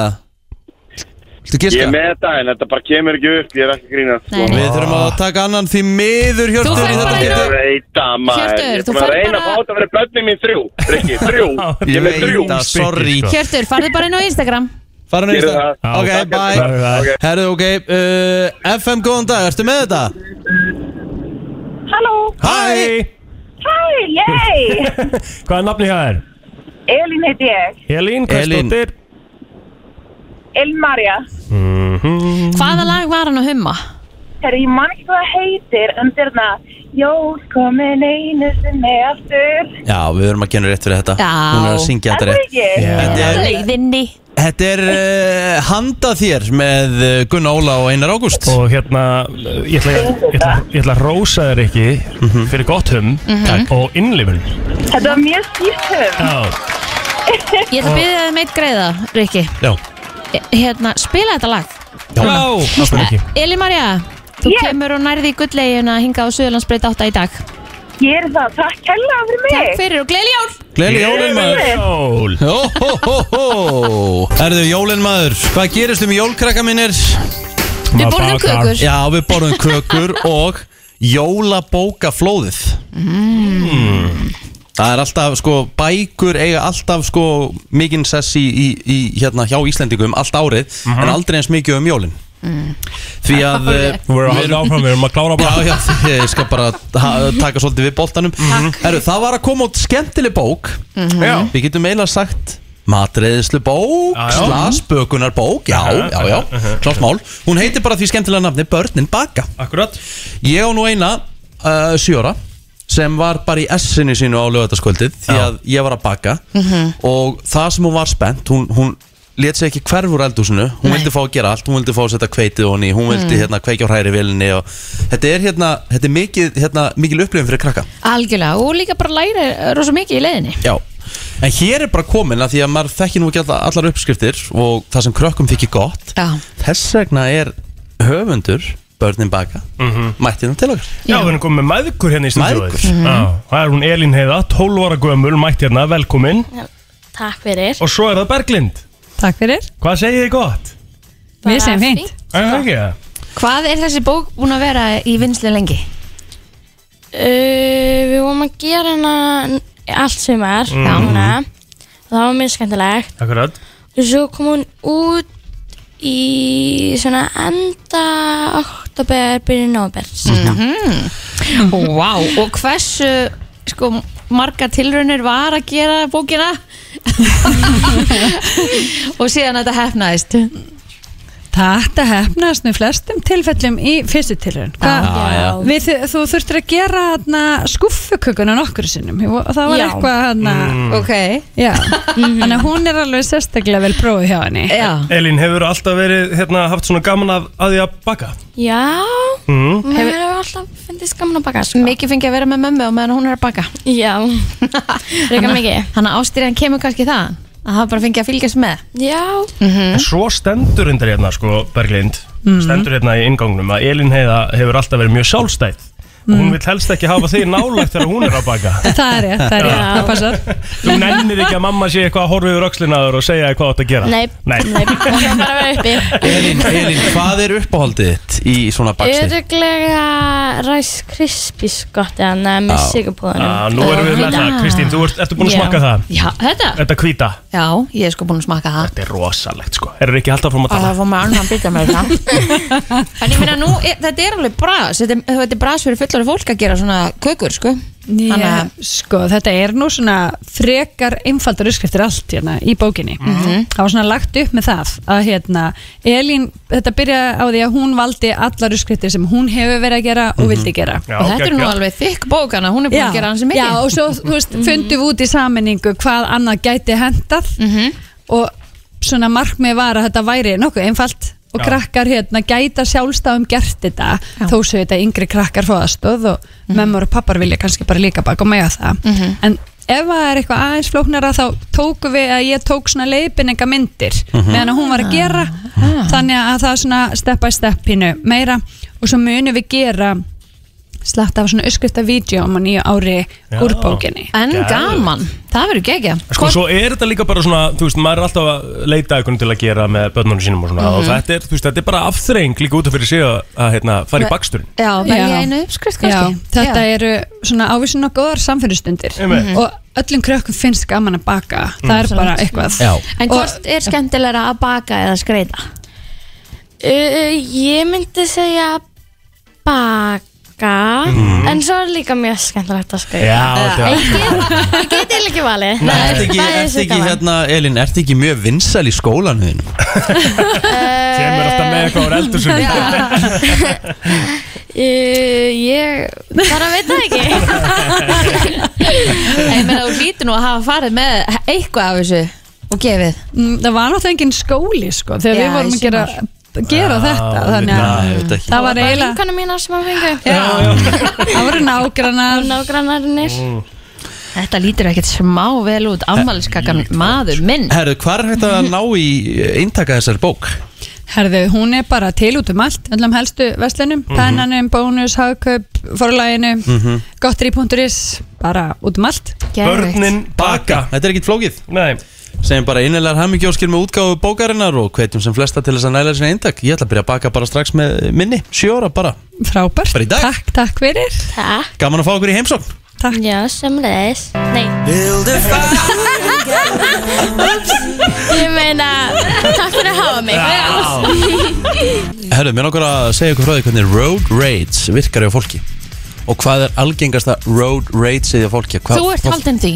A: Viltu
I: Ég er
A: giska?
I: með þetta, en þetta bara kemur ekki upp, ég er ekki að grínast.
B: Nei, nei.
A: Við þurfum að taka annan því miður
B: Þú
A: Hjörtur í
B: ferð
A: þetta
B: bara inn
A: skipti.
B: á-
I: Ég veit það maður.
B: Hjörtur,
I: Ég er
B: þú
I: búin að
B: ferð
I: reyna
B: bara-
I: að fá þetta að vera börnin mín þrjú. Rikki, þrjú.
A: Ég
I: Ég
A: veit
I: með þrjú.
A: það,
C: spytti,
A: sorry
C: sko.
B: Hjörtur, farðu bara inn á Instagram
A: Farum í
I: Gerðu
A: þetta
I: það.
A: Ok,
I: Já, takk,
A: bye
I: Hjörtur.
C: Ok.
A: Herðu, ok uh, FM, góðan dag, ertu með þetta?
J: Halló,
A: Hæ!
J: hæ, yey,
C: Hvað er nafni hjá þér?
J: Elín heiti ég,
C: Elín,
A: Elín.
C: Kristóttir
J: Elín Marja,
B: Hvaða lag var hann að humma?
J: þegar ég man ekki hvað það heitir, en þetta er þarna, jól komin einu sinni aftur,
A: Já, við verum að genna rétt fyrir þetta
B: Já.
A: Hún er að syngja þetta
J: er það
A: rétt
J: ekki?
A: Þetta er-
B: Leiðinni
A: Þetta er uh, handa þér með eh, Gunnar Óla og Einar Ágúst
C: Og hérna, ég ætla, ég ætla, ég ætla að rósa þér ekki fyrir gott hum
B: Mhm. Takk.
C: og innlifun
I: Þetta var mjög skýrtum.
C: Já,
B: Ég ætla að byrja þið meitt greiða, Rikki
A: Já.
B: Hérna, spila þetta lag
C: Já, það spyrir ekki
B: Eli Marja, þú kemur og nærði gullegin að hinga á Suðurlandsbreyt 8 í dag
I: Ég er það, takk hella fyrir mig.
B: Takk fyrir og gleyli jól
A: Gleðileg jólin maður
C: Jól
A: Jóhóhóhó Erðu jólin maður, hvað gerist um jólkrakka minnir?
B: Við borðum kökur.
A: Já, við borðum kökur og jólabókaflóðið mm. Það er alltaf, sko, bækur eiga alltaf, sko, mikinn sess í, í, í, hérna, hjá Íslendingum allt árið,
C: Mhm.
A: en aldrei eins mikið um jólin
C: Mm.
A: Því að eh,
C: Þú verður að halda áfram, við erum að klára bara
A: Já, já, ég skal bara ha- taka svolítið við boltanum Mm. Herru, það var að koma út skemmtileg bók
C: Mhm. Já.
A: Við getum eiginlega sagt matreiðislu bók,
C: Já, Uh-huh. já.
A: slasbökunar bók Já, já, já, klárt mál Hún heitir bara því skemmtilega nafni Börnin baka
C: Akkurat
A: Ég á nú eina uh, sjóra sem var bara í S-inu sínu á lögataskvöldið því
C: Já.
A: að ég var að baka
B: Mhm.
A: og það sem hún var spennt hún, hún let sig ekki hverf úr eldhúsinu hún
B: Nei. Mm.
A: vildi fá að gera allt, hún vildi fá að setja kveitið honni hún vildi hérna kveikja á hræri vilinni og þetta er hérna, þetta er mikið hérna, mikil upplifin fyrir krakka
B: Algjörlega, og líka bara læra eh, rosa mikið í leiðinni
A: Já. en hér er bara komin að því að maður þekki nú ekki alla- allar uppskriftir og það sem krökkum þykir gott
B: Já,
A: þess vegna er höfundur börnin baka, mm -hmm. mættina til okkar
C: Já, við erum komið með maðgur hérna í stundjóðið
A: Mæðgur?
C: Já, það er hún Elín Heiða, 12 ára gömul, mætt hérna, velkomin
G: Takk fyrir
C: Og svo er það Berglind,
K: Takk fyrir
C: hvað segið þið gott?
K: Mér sem fínt
C: Er það ekki það?
B: Hvað er þessi bók búin að vera í vinslu lengi?
G: uh, Við vorum að gera hana allt sumar
A: Mm-hmm.
G: mm. Það var mjög skemmtilegt
C: Akkurat
G: Og svo kom hún út í svona enda oktober, byrjun november mm
B: Vá, og hversu sko, marga tilraunir var að gera bókina og síðan þetta hefnaðist
K: Þetta hefnaðist með flestum tilfellum í fyrstu tilraun
A: Já, Ah, já.
K: Hvað- við, Þú þurftur að gera hana, skuffukökuna nokkur sinnum Ég vo- Það var
G: Já.
K: eitthvað hana,
B: Ok,
K: Já, þannig að hún er alveg sérstaklega vel prófið hjá henni
B: já
C: Elín, hefur alltaf verið, hérna, haft svona gaman af að því að baka?
G: Já,
A: Mm-hmm.
C: Mm.
G: maður hefur alltaf fyndist gaman að baka sko.
B: Mikið fengi að vera með mömmu og meðan hún er að baka
G: Já, reyka mikið
B: Þannig að ástyrjan kemur kannski það að hafa bara fengið að fylgjast með
G: Já,
C: En Svo stendur hendur hérna sko Berglind
G: Mm.
C: Stendur hérna í ingangnum að Elin Heiða hefur alltaf verið mjög sjálfstætt og
G: Mm.
C: Hún vil helst ekki hafa þig nálægt þegar hún er að baka
K: Það er rétt, það er rétt,
G: Já.
K: það passar
C: Þú nennir ekki að mamma sé eitthvað að horfa yfir öxlinaður og segja þér hvað þú átt að gera
G: Nei,
C: Nei.
G: nei, nei það er bara að vera uppi
A: Elín, Elín, hvað er uppáhaldið þitt í svona baksteg?
G: Öruglega Rice Krispies gott eða neða með Hérna.
A: Já.
C: Ah,
G: sigurpóðunum
C: Nú erum við með það, Kristín, þú ert, ertu búin að
G: Já.
C: smakka það
B: Já, þetta?
C: Þetta hvíta,
B: Já, ég er sko búin að smaka það
C: þetta er rosalegt sko Erum við ekki alltaf fórum að
G: Ah.
C: tala?
B: fór maður annan býta með það En ég meina nú, er, þetta er alveg bras þetta, er- þetta er bras fyrir fullara fólk að gera svona kökur, sko Þannig
K: Já,
B: að-
K: sko, þetta er nú svona frekar einfaldar uppskriftir allt hérna í bókinni. Það var svona lagt upp með það að hérna, Elín, þetta byrjaði á því að hún valdi allar uppskriftir sem hún hefur verið að gera og vildi gera.
C: Já,
B: Og þetta er nú
C: geggjað.
B: alveg þykk bókana, hún er búin að gera hans mikið
K: já, og svo, þú veist, fundum við út í sammenningu hvað annað gæti hendað og svona markmið var að þetta væri nokkuð einfalt
C: Já.
K: og krakkar hérna gæta sjálfstafum gert þetta
B: Já.
K: þó svo þetta yngri krakkar fá aðstóð og mömmur og pappar vilja kannski bara líka baka og mega það en ef það er eitthvað aðeins flóknara þá tókum við að ég tók svona leiðbynninga myndir meðan að hún var að gera þannig að það er svona step by step pínu meira og svo munum við gera slatt af svona uppskrifta vídjum á nýju ári
C: Já.
K: úr bókinni
B: En
C: Geðveikt.
B: gaman, það verður gegja
C: Sko, svo er þetta líka bara svona, þú veist, maður er alltaf að leita eitthvað til að gera með börnunum sínum og svona og þetta er, þú veist, þetta er bara afþreng líka út af fyrir sig að, að hérna, fara í baksturinn
B: Já,
K: Já.
B: velja einu uppskrift
K: Já,
B: kannski
K: þetta eru svona ávísun og góðar samfélustundir
C: Einmitt.
K: og öllum krökkum finnst gaman að baka það er bara eitthvað
A: Já.
B: En
K: Og-
B: hvort er skemmtilegra að baka eða skreita?
G: Uh, ég myndi segja baka en svo er líka mjög skemmtilegt að skrifa
C: Já, þetta er
G: Ég geti ekki valið
A: Ertu ekki, ertu ekki hérna, Elín, ertu ekki mjög vinsal í skólanum þinn?
C: kemur alltaf með eitthvað úr eldursunni
G: uh, Ég bara veit það ekki
B: Ég meina, þú lítur nú að hafa farið með eitthvað af þessu og gefið
L: Mm, það var náttúrulega engin skóli sko, þegar
B: Já,
L: við vorum
B: í
L: að gera, gera
A: Já,
L: þetta
A: auðvitað,
B: Ah.
L: þannig
A: nei,
L: að
A: auðvitað ekki.
L: það var
G: bara
L: eiginlega
G: vinkana mína sem að fengu
L: það voru nágrannar
G: nágrannarinnir
K: Mm.
B: Þetta lítur ekkert smá vel út Ammaliskakkan maður minn
A: Herru, hvað er hægt að ná í inntaka þessari bók?
L: Herðu, hún er bara til út um allt öllum helstu vestlunum,
A: Mhm.
L: pennanum, bónus hagkaup, forlæginu mm
A: Mhm.
L: gottri.is, bara út um allt
A: baka Þetta er ekkit flókið
C: Nei
A: Segjum bara innilegar hammingjóskir með útgáfu bókarinnar og hvetjum sem flesta til þess að næla sinna inntak Ég ætla að byrja að baka bara strax með minni, sjö ára bara
L: Frábært,
A: Bara í dag,
L: takk, takk fyrir
G: Takk
A: gaman að fá okkur í heimsókn
L: Takk
G: Já, semleðis Nei Ég meina Takk fyrir að hafa mig
A: Herru, mér nokkur að segja okkur frá því hvernig road rage virkar hjá fólki Og hvað er algengasta road rage eða fólki hvað,
B: Þú ert
A: hvað-
B: haldin því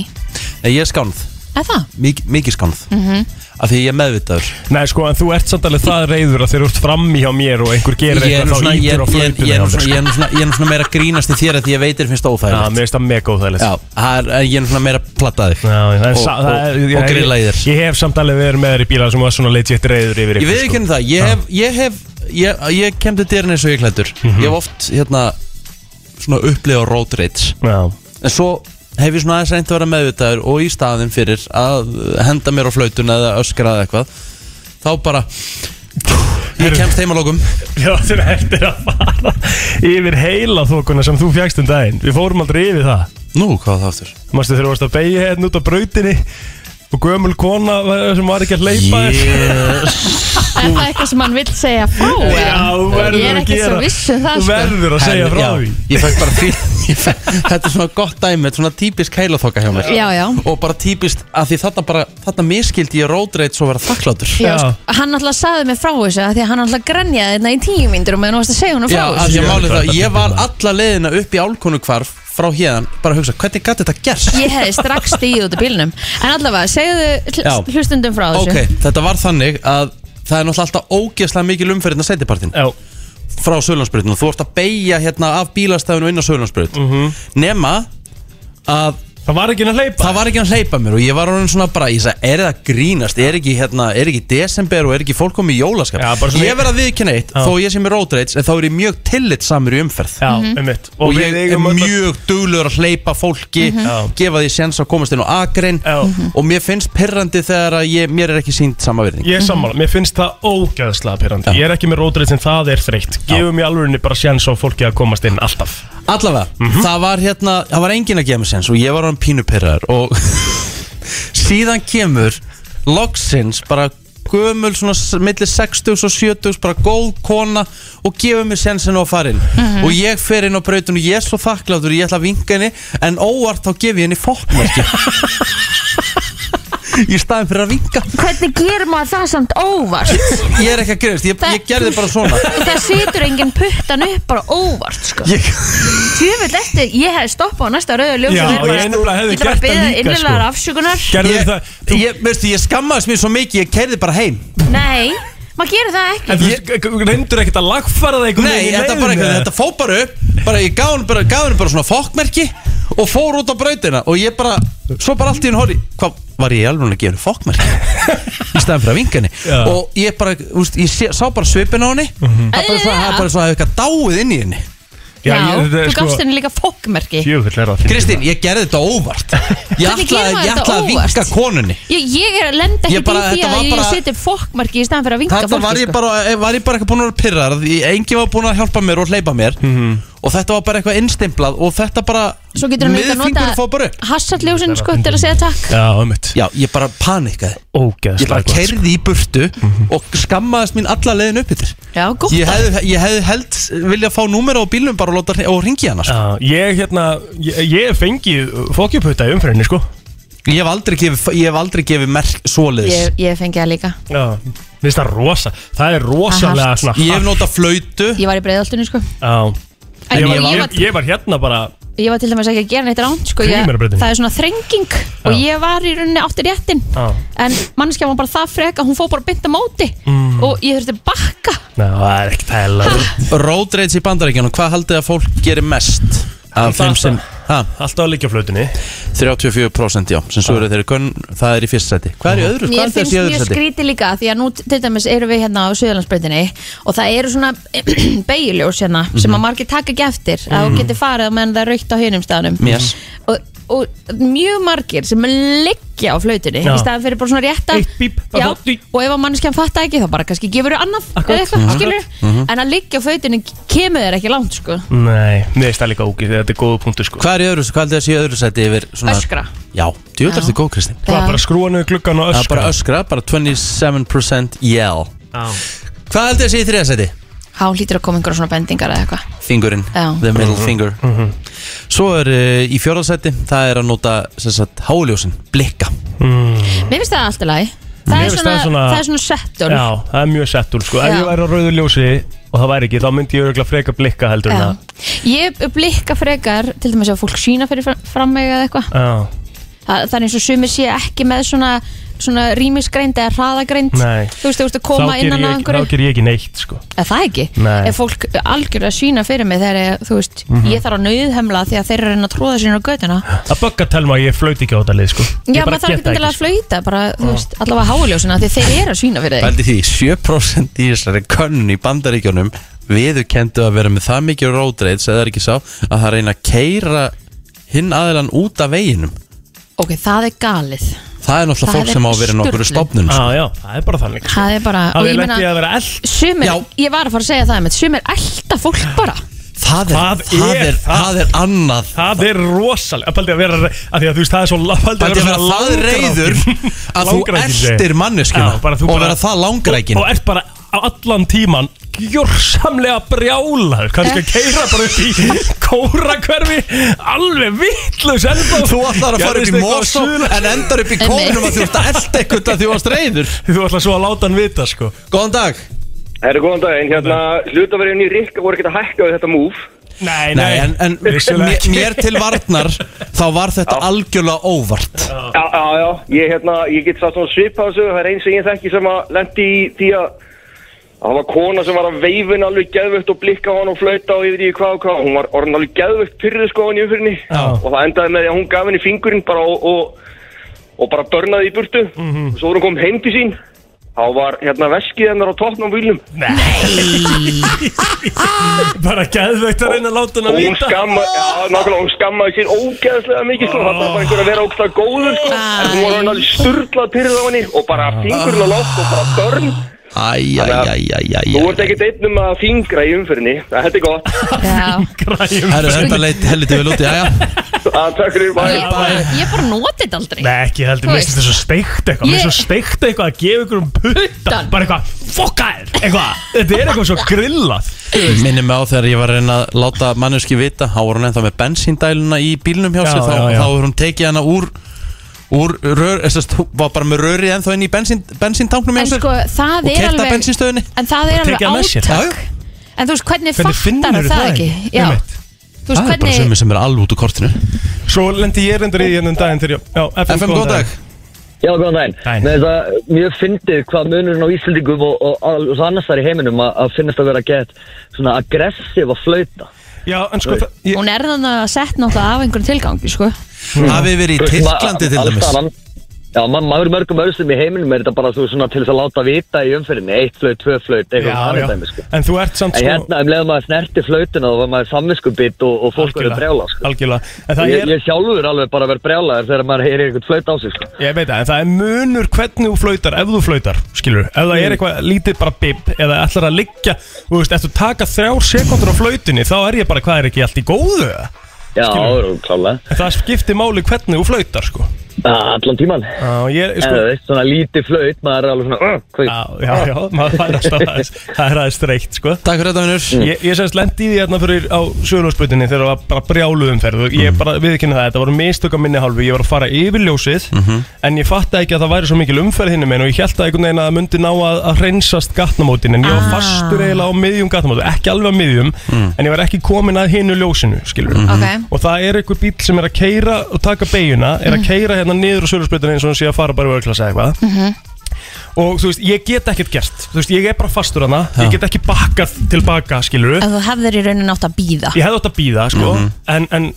A: Nei, Ég er skánð,
B: Er það?
A: Mik, mikið skánð
B: Mm
A: Af því ég er meðvitaður
C: Nei sko, en þú ert samt alveg það reyður að þeir eru út frammi hjá mér og einhver
A: Ég
C: gerir
A: er nú
C: eitthvað
A: svona,
C: þá
A: ég, ég,
C: ítur á
A: ég, ég,
C: flöytinu
A: er
C: hjá
A: nú svona, ég,
C: mér
A: er nú svona, ég er nú svona meira að grínast í þér af Því ég veit þér finnst það óþægilegt
C: Já, mér finnst það mega óþægilegt
A: Já, það er- ég er nú svona meira að platta þig
C: Það er
A: Og-
C: sa- það er-
A: og-
C: ég-
A: og grilla í þér
C: Ég hef samt alveg verið með þér í bíla sem var svona legit reyður yfir
A: Ég
C: ykkur, sko.
A: veit ekki henni það, ég hef, ég hef, ég, ég kem til dyrinn eins og ég klættur
C: Mhm.
A: Ég hef oft, hérna, svona upplifa road rage
C: Já.
A: En svo hef ég svona aðeins reynd að vera meðvitaður og í staðin fyrir að henda mér á flautuna eða öskra eða eitthvað Þá bara, ég kemst heim að lokum
C: Já, þú ertir að fara yfir heila þokuna sem þú fjagst um daginn Við fórum aldrei yfir það
A: Nú, hvað það aftur?
C: Manstu þegar þú varst að beigja hérna út á brautinni og gömul kona var- sem var ekki að leipa
B: Er það eitthvað sem hann vill segja frá?
C: Já, þú verður
B: Ég er
C: að
B: ekki
C: gera.
B: svo viss um það
C: Þú
B: sko.
C: verður að segja frá því.
A: Ég fekk bara fyrir, ég fekk, þetta er svona gott dæmi, þetta er svona típisk heilaþoka hjá mér
B: Já, já.
A: Og bara típist, að því þarna bara, þarna miskildi ég road rage og vera þakklátur
B: Já, sko, hann alltaf saði mig frá þessu af því að hann alltaf grenjaði þetta í tíu myndur og meðan þú varst að segja hún frá
A: Já, af því að málið það, ég var alla leiðina upp í álkonu hvarf frá hérðan, bara að hugsa, hvernig gæti þetta gerst?
B: Ég hefði strax stíð út af bílnum En allavega, segðu
A: Já.
B: hl- hlustundum frá þessu
A: Ok, þetta var þannig að það er náttúrulega alltaf ógeðslega mikil umferðin að setjapartin
C: Já
A: Frá Sölandsbrutinu, þú ert að beigja hérna af bílastæðinu og inn á Sölandsbrut
C: Mhm.
A: Nema að
C: Það var ekki hann að hleypa
A: Það var ekki hann að hleypa mér og ég var orðin svona bara, ég sagði, er það að grínast, er ekki hérna, er ekki desember og er ekki fólk komið í jólaskap
C: Já, bara svona-
A: Ég verð að viðkynna eitt,
C: Já.
A: þó ég sem er road rage, en þá er ég mjög tillitsamur í umferð
C: Já, Mhm. einmitt.
A: Og,
C: Og við
A: ég er
C: eigum öll að-
A: mjög duglegur að hleypa fólki,
C: Mhm. Já.
A: gefa því séns að komast inn á akrein
B: Mhm.
C: Já.
A: Og mér finnst pirrandi þegar að ég, mér er ekki sínt sama virðing
C: Ég er sammála, mér finnst það ógæðslega pyrrandi Ég er ekki með rótrið sem það er þreytt Gefum í alvörinni bara séns á fólki að komast inn alltaf
A: Allavega, það var hérna, það var engin að gefa mig sens og ég var hann pínupirraður og síðan kemur loksins bara gömul svona s- milli 60 og 70 bara góð kona og gefur mig sensin á farin
C: Mhm.
A: og ég fer inn á brautun og ég er svo þakkláttur ég ætla að vinka henni en óvart þá gef ég henni fókmarki í staðin fyrir að vinka
B: Hvernig gerir maður það samt óvart?
A: ég er ekki að gerist, ég, ég gerði bara svona
B: Það situr enginn puttan upp bara óvart sko.
A: Ég-
B: Tjöfull eftir, ég hefði stoppað á næsta rauða ljós
A: Já,
B: og
A: ég
B: þeir bara-
A: nefnilega hefði
B: Ég ætla bara
A: gert
B: að
A: það
B: beða
A: líka,
B: innilegar
A: sko.
B: afsökunar
A: ég, það ég, veistu, ég skammaðist mér svo mikið, ég kerði bara heim
B: Nei, maður gerir það ekki
C: En þú veist, reyndur ekkert að lagfæra það einhvern
A: Nei,
C: veginn í
A: þetta,
C: leiðinni,
A: bara, eitthvað,
C: eða?
A: þetta fó bara upp bara, Ég gaf henni bara, gaf henni bara svona fokkmerki Og fór út á brautina Og ég bara, svo bara allt í henni horri Hvað var ég alveg að gefa henni fokkmerki Í staðan fyrir að vinga henni
C: Já. Mhm.
A: Og ég bara, úst, ég sé, sá bara svipin á henni Það er bara svo, það er bara svo að hafa eitthvað dáið inn í henni
B: Já, þú
A: sko-
B: gafst henni líka fokkmerki
C: Jöfull er það
A: Kristín, ég gerði þetta óvart Ég
B: Hvernig
A: ætlaði
B: gerir maður
A: ég
B: þetta
A: ætlaði að
B: óvart?
A: vinga konunni
B: Ég, ég er að lenda
A: Ég
B: ekki
A: bara-
B: í því
A: þetta
B: að
A: var
B: ég
A: bara-
B: seti fokkmarki í staðan fyrir að vinka
A: Þetta var
B: fólki sko.
A: ég bara, eh, var ég bara eitthvað búin að vera pyrrar Því enginn var búin að hjálpa mér og hleypa mér
C: Mhm.
A: Og þetta var bara eitthvað innstimplað Og þetta bara,
B: Svo getur hann líka
A: miðfingurinn fór bara
B: nota hassalljósin sko til að segja takk
C: Já, ömmit
A: Já, ég bara panikaði
C: Ógeðslega
A: Ég bara
C: gott, sko.
A: kerði í burtu og skammaðist mín alla leiðin upp yfir
B: Já, gott
A: ég hefði, ég hefði held vilja fá númera á bílnum bara og, láta, hring- og ringi hana sko.
C: Já, ég hérna, ég, ég fengi fokkjuputta í umfyrinni sko
A: Ég hef aldrei gefið, ég hef aldrei gefið merk svoleiðis
B: Ég, ég fengi það líka
C: Já, minnst það rosa, það er rosalega
B: hart.
C: svona
A: Ég hef nota flöytu
B: Ég var í breiðaltunni sko
C: Já
B: En
C: ég,
B: ég
C: var,
B: var-
C: ég, ég var hérna bara
B: Ég var til dæmis ekki að gera neitt ránt sko ég,
C: Frímílnabrautinni.
B: Það er svona þrenging Og ég var í rauninni átti réttin
C: Já,
B: En manneskja var bara það frek að hún fór bara beint á móti
A: Mm.
B: Og ég þurfti bakka
C: Ná, það er ekkert heila
A: Road rage í bandaríkjunum, hvað haldið að fólk gerir mest af þeim sem
C: Alltaf að liggja á flautunni
A: 34% já, sem svo eru þeirri kunn, það er í fyrsta sæti Hvað er í öðru? Hvað
B: Mér
A: er
B: finnst
A: þessi í öðru
B: mjög
A: sæti?
B: skrítið líka því að nú til dæmis erum við hérna á Suðalandsbreytinni og það eru svona beigjuljósina hérna, sem að
K: Mhm.
B: margir taka ekki eftir að þú
K: Mhm.
B: getur farið og menn það er raukt á hinum staðanum
K: Yes.
B: og, og mjög margir sem liggja á flautinni
K: Já.
B: í staðan fyrir bara svona rétta bíp, já, og ef að manneskjan fatta ekki þá bara kannski gefur þau annað eða eitthvað,
C: Mhm.
B: skilur
C: Mhm.
B: en að liggja á flautinni kemur þér ekki langt sko.
C: Nei, mér finnst það líka ógið Þetta er góða punktu sko
A: Hvað er í öðru, hvað er þessi í öðru sæti yfir svona
B: Öskra.
A: Já, þú
B: Já.
A: veist þetta góð Kristín
C: Hvað, Já. bara skrúa niður gluggan og
A: Já, bara öskra, bara 27% yell
C: Já
A: Hvað heldur þessi í þriða sæti?
B: Há hlýtur að koma einhverja svona bendingar eða eitthvað
A: Fingurinn,
B: Já.
A: the middle
B: Mhm.
A: finger Svo er uh, í fjórða sæti, það er að nota sem sagt, háljósin, blikka
C: Mm.
B: Mér finnst það alltaf lagi það,
C: Mér
B: er
C: finnst
B: svona,
C: það svona-
B: það er svona settur
C: Já, það er mjög settur sko Ef
B: Já.
C: ég væri á rauðu ljósi og það væri ekki Þá myndi ég örgulega freka blikka heldur en
B: Já.
C: það
B: Ég blikka frekar til dæmis að fólk sína fyrir fram- fram mig eða eitthvað
C: Já,
B: Það það er eins og sumir sé ekki með svona, svona rýmisgreind eða hraðagreind
C: nei
B: Þú veist, þú veist að koma
C: Þá geri
B: innan
C: ég
B: að
C: ekki-
B: einhverju
C: Þá ger ég ekki neitt sko
B: Eða það ekki
C: Nei.
B: Ef fólk algjörlega sína fyrir mig þegar ég, þú veist,
C: Mhm.
B: ég þarf að nauðhemla því að þeir eru að reyna að tróða sína á götuna
C: Að bögga telma að ég flöyti ekki á þetta lið sko Ég
B: Já,
C: bara
B: maður þarf
C: get sko.
B: ekki endilega að flöyta bara, þú
C: Já.
B: veist, allavega háuljósina því þeir eru að sína fyrir þig
A: Pældi því, 7% í þessari könn í bandaríkjónum viðurkendu að vera með það mikið rótreitt sem það er ekki sá að það reyna að keira hinn aðilann út af veginum
B: Ok, það er galið
A: það er náttúrulega
B: Það
A: fólk
B: er
A: sem á að vera nokkur
B: sturlun.
A: stofnun
C: Já, Ah, já, það er bara þannig
B: Það er bara,
C: Það
B: og
C: er
B: ég
C: lent í að vera
B: meina
C: eld.
B: Sumir, ég var að fara að segja það einmitt, Sumir elta fólk bara
A: Það er,
C: það, er,
A: það er annað
C: Það er rosalega Paldi að vera að því að þú veist það er svo la- Paldi
A: Pældi að vera það reiður að þú eltir manneskjuna og vera það langrækin.
C: Og, og ert bara á allan tíman gjörsamlega brjálaður kannski að keira bara upp í kóra alveg vittlust
A: Þú ætlar að fara upp í Mosó en endar upp í kónum að þú ert að elda eitthvað að þú varst reyður
C: Þú ætlar svo að láta hann vita sko
A: Góðan dag
I: Herru, góðan daginn, hérna hlutaverjunni í Rikka voru ekkert að hækka við þetta múf
C: Nei,
A: Nei, en, en mér, mér til varnar þá var þetta algjörlega óvart
I: Já, já, já, ég, hérna, ég get satt svona svipað þessu, það er eins sem ég þekki sem að lendi í því að að það var kona sem var að veifin alveg geðvögt og blikka á hann og flauta og yfir í hvað og hvað hún var orðin alveg geðvögt pyrrið sko á hann í umfyrinni og það endaði með því að hún gaf henni fingurinn bara og, og, og bara börnaði í burtu og svo voru hún kom heim til sín þá var hérna veskið hennar á toppnum výlum
C: bara geðveikt að reyna að láta hann að
I: og hún
C: vita
I: skammaði, já, nákvæmlega, hún skammaði sér ógeðslega mikið, sko, það var bara einhver að vera ógeðslega góður, sko, en hún var hann alveg sturglað pyrrið á henni og bara fingurinn á loft og bara börn.
A: Æj, æj, æj, æj, æj
I: Þú ert ekkert einn um að fingra í umfyrinni, það þetta er gott.
A: Herru, þetta leit helviti vel út, já, já
I: Það Ah, takk fyrir,
B: Ég bara, ég bara noti þetta aldrei
C: Nei, ekki heldur,
B: Þú
C: mér finnst
B: veist.
C: þetta svo steikt eitthvað Mér finnst
B: Ég-
C: svo steikt eitthvað að gefa ykkur um putta
B: Puttan.
C: Bara eitthvað, fokka þér Eitthvað, þetta er eitthvað svo grillað
A: Minni mig á þegar ég var að reyna að láta manneski vita þá var hún ennþá með bensíndæluna í bílnum hjá
C: Já,
A: sér þá,
C: já, já.
A: þá var hún tekið hana úr úr rör, þessast, var bara með röri ennþá inn í bensín, bensíntanknum hjá
B: En
A: sér
B: sko, það
A: og
B: er
A: keyrt að
B: alveg
A: bensínstöðinni.
B: En það er
A: Og
B: alveg
A: tekið það með sér. Já,
B: átak En þú veist, hvernig,
A: Hvernig
B: hvernig fattar
A: finnurðu
B: það
A: það
B: ekki?
A: ekki?
B: Já
A: Einmitt.
B: Þú veist,
A: Það er bara
B: hvernig
A: sömu sem er alveg út úr kortinu
C: Svo lendi ég reyndar í
M: hérna um
C: ennum daginn þegar ég Já, FM,
A: FM, góðan dag
M: Já, góðan daginn. Dæn. Með það, mjög fyndið hvað munurinn á Íslandingum og, og, og, og annars þar í heiminum að, að finnast að vera gett svona aggressív að flauta.
C: Já, en sko það- ég-
B: Hún er þannig að sett náttúrulega af einhverjum tilgangi, sko
A: Hafið verið í
M: Þú veist,
A: Tyrklandi
M: ma-
A: til
M: alls
A: dæmis?
M: staðar ann- Já, maður ma maður í mörgum öðrum í heiminum er þetta bara þú, svona til þess að láta vita í umferðinni, eitt flaut, tvö flaut, eitthvað
C: Já, já,
M: annað dæmi, sko.
C: en þú ert samt
M: En
C: sko
M: hérna, um leiðum maður snerti flautuna þá var maður samviskubit og, og fólk verið brjála, sko.
C: Algjörlega, en það
M: Ég,
C: er
M: ég sjálfur alveg bara verið brjálaður þegar maður heyrir einhvern flaut á sig, sko.
C: Ég veit það, en það er munur hvernig þú flautar Ef þú flautar, skilur Ef
M: Mm.
C: það er eitthvað lítið bara bib Eða ætlar að liggja, þú veist, ef þú taka þrjár sekundur á flautinni Þá er ég bara, hvað er ekki allt í góðu
M: Já,
C: Skilurðu?
M: klálega.
C: En það skiptir máli hvernig þú flautar, sko
M: Allan tíman.
C: Já, ég,
M: En
C: sko,
M: þú veist, svona lítið flaut, maður er alveg svona, uh, hvað?
C: Já, já, maður fær alltaf aðeins Það er aðeins streikt, sko
A: Takk fyrir þetta, vinnur
C: Ég, ég semst lendi í því hérna fyrir á sögulósbrutinni þegar það var bara brjáluðum ferð og ég bara viðkynna það, þetta voru mistök á minni hálfu ég var að fara yfir ljósið en ég fatta ekki að það væri svo mikil umferð hinnum en og ég held að einhvern veginn að það myndi ná að, að reynsast gatnamótin en ég var fastur eiginlega á miðjum gatnamótin ekki alveg á miðjum en ég var ekki komin að hinu ljósinu, skilur
B: Mhm. Ok.
C: og það er einhver bíl sem er að keira og taka beiguna er að keira hérna niður á sögulósbrutinni eins og hann sé að fara bara í vörklasa eitthvað
B: Mhm.
C: og þú veist, ég get ekkert gert þú veist, ég er bara fastur hana, ég get ekki bakkað tilbaka, skilur
B: En þú hefðir í raunin átt að býða
C: Ég hefði átt að býða, sko
B: Mhm.
C: En, en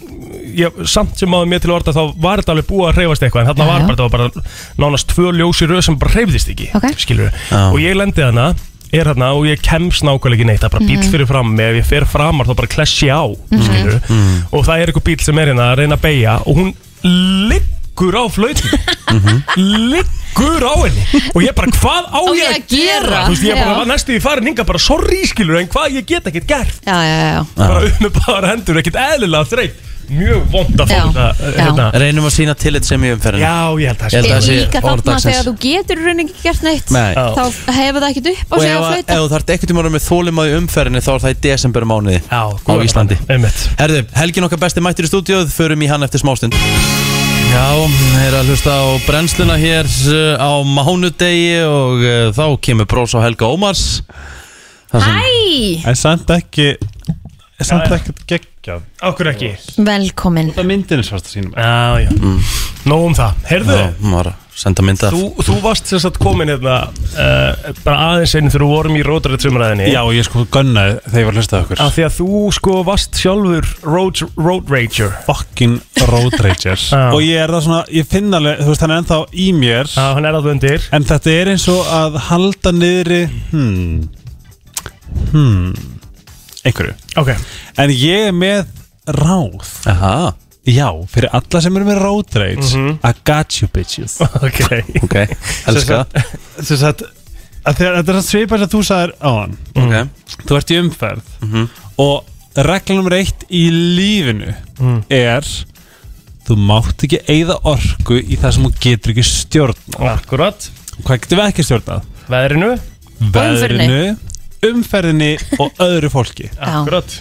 C: ég, samt sem áður mér til orða þá var þetta alveg búið að hreyfast eitthvað En þarna
B: Já,
C: var
B: já.
C: bara, það var bara nánast tvö ljósi röð sem bara hreyfðist ekki
B: Ok.
C: Skilur Og ég lendi þarna, er þarna og ég kemst nákvæmlega ekki neitt Það er bara bíl
B: Mhm.
C: fyrir fram mig, ef ég fer framar þá bara klessi á
B: Mhm.
C: Skilur Og það er eitthvað bíl sem er hérna að reyna að beigja Og hún liggur á flautum Liggur á henni Og ég bara, hvað á
B: Mhm. Á
C: ég að gera? Þú veist, ég bara
B: Já.
C: var næstu í farin hinga bara, sorry skilur En hvað ég get ekkert gert
B: Já, já, já, já
C: bara upp með bara hendur, ekkert eðlilega þreytt mjög vond að fá
B: Já,
C: þetta
B: já.
C: hérna.
A: Reynum að sína tillit sem í umferðinu
C: Já, ég held að
A: Ég held að það sé
B: Líka
A: orð
B: þarna
A: dagsins.
B: þegar þú getur í raunin ekki gert neitt
A: Nei. Já.
B: Þá hefur það ekkert upp á
A: Og
B: sig
A: ef,
B: að
A: að-
B: flauta
A: ef þú þarft ekkert um ára með þólimaði umferðinni þá er það í desember mánuði
C: Já,
A: á Íslandi
C: Einmitt.
A: Herðu, helgin okkar besti mættur í stúdíóð, förum í hann eftir smástund Já, er að hlusta á brennsluna hér uh, á mánudegi og uh, þá kemur brós á Helga Ómars
B: Æ,
K: En samt ekki En samt ekki geggja
C: Ákveð ekki
B: velkomin
K: Það myndin er svart að sínum
C: Já, já mm. Nóg um það, heyrðu
A: Já, maður að senda mynda
C: þú, þú varst sem sagt komin hérna uh, bara aðeins einn þegar við vorum í Rótarið sumræðinni
K: Já, ég sko gunnaði þegar ég var að hlusta á okkur
A: Ah.
C: Af því að þú sko varst sjálfur road, road rager
K: Fucking road rager
A: Ah.
C: Já.
K: Og ég er það svona, ég finn alveg, þú veist, hann er ennþá í mér Já,
C: hann er alltaf undir
K: En þetta er eins og að halda niðri Hmm Hmm Einhverju
C: Ok
K: En ég er með ráð
A: Aha
K: Já, fyrir alla sem eru með road rage I got you bitches
C: Mhm. Ok
A: Ok, elska
K: Þess að þegar- þetta er að svipa þess að þú sagðir Mhm. á hann
A: Ok.
K: Þú ert í umferð Og regla nummer eitt í lífinu
C: Mhm.
K: er Þú mátt ekki eigða orku í það sem þú getur ekki stjórna
C: Akkurat
K: Hvað getum við ekki stjórnað?
C: Veðrinu
K: Veðrinu, umferðinni og öðru fólki
C: Akkurat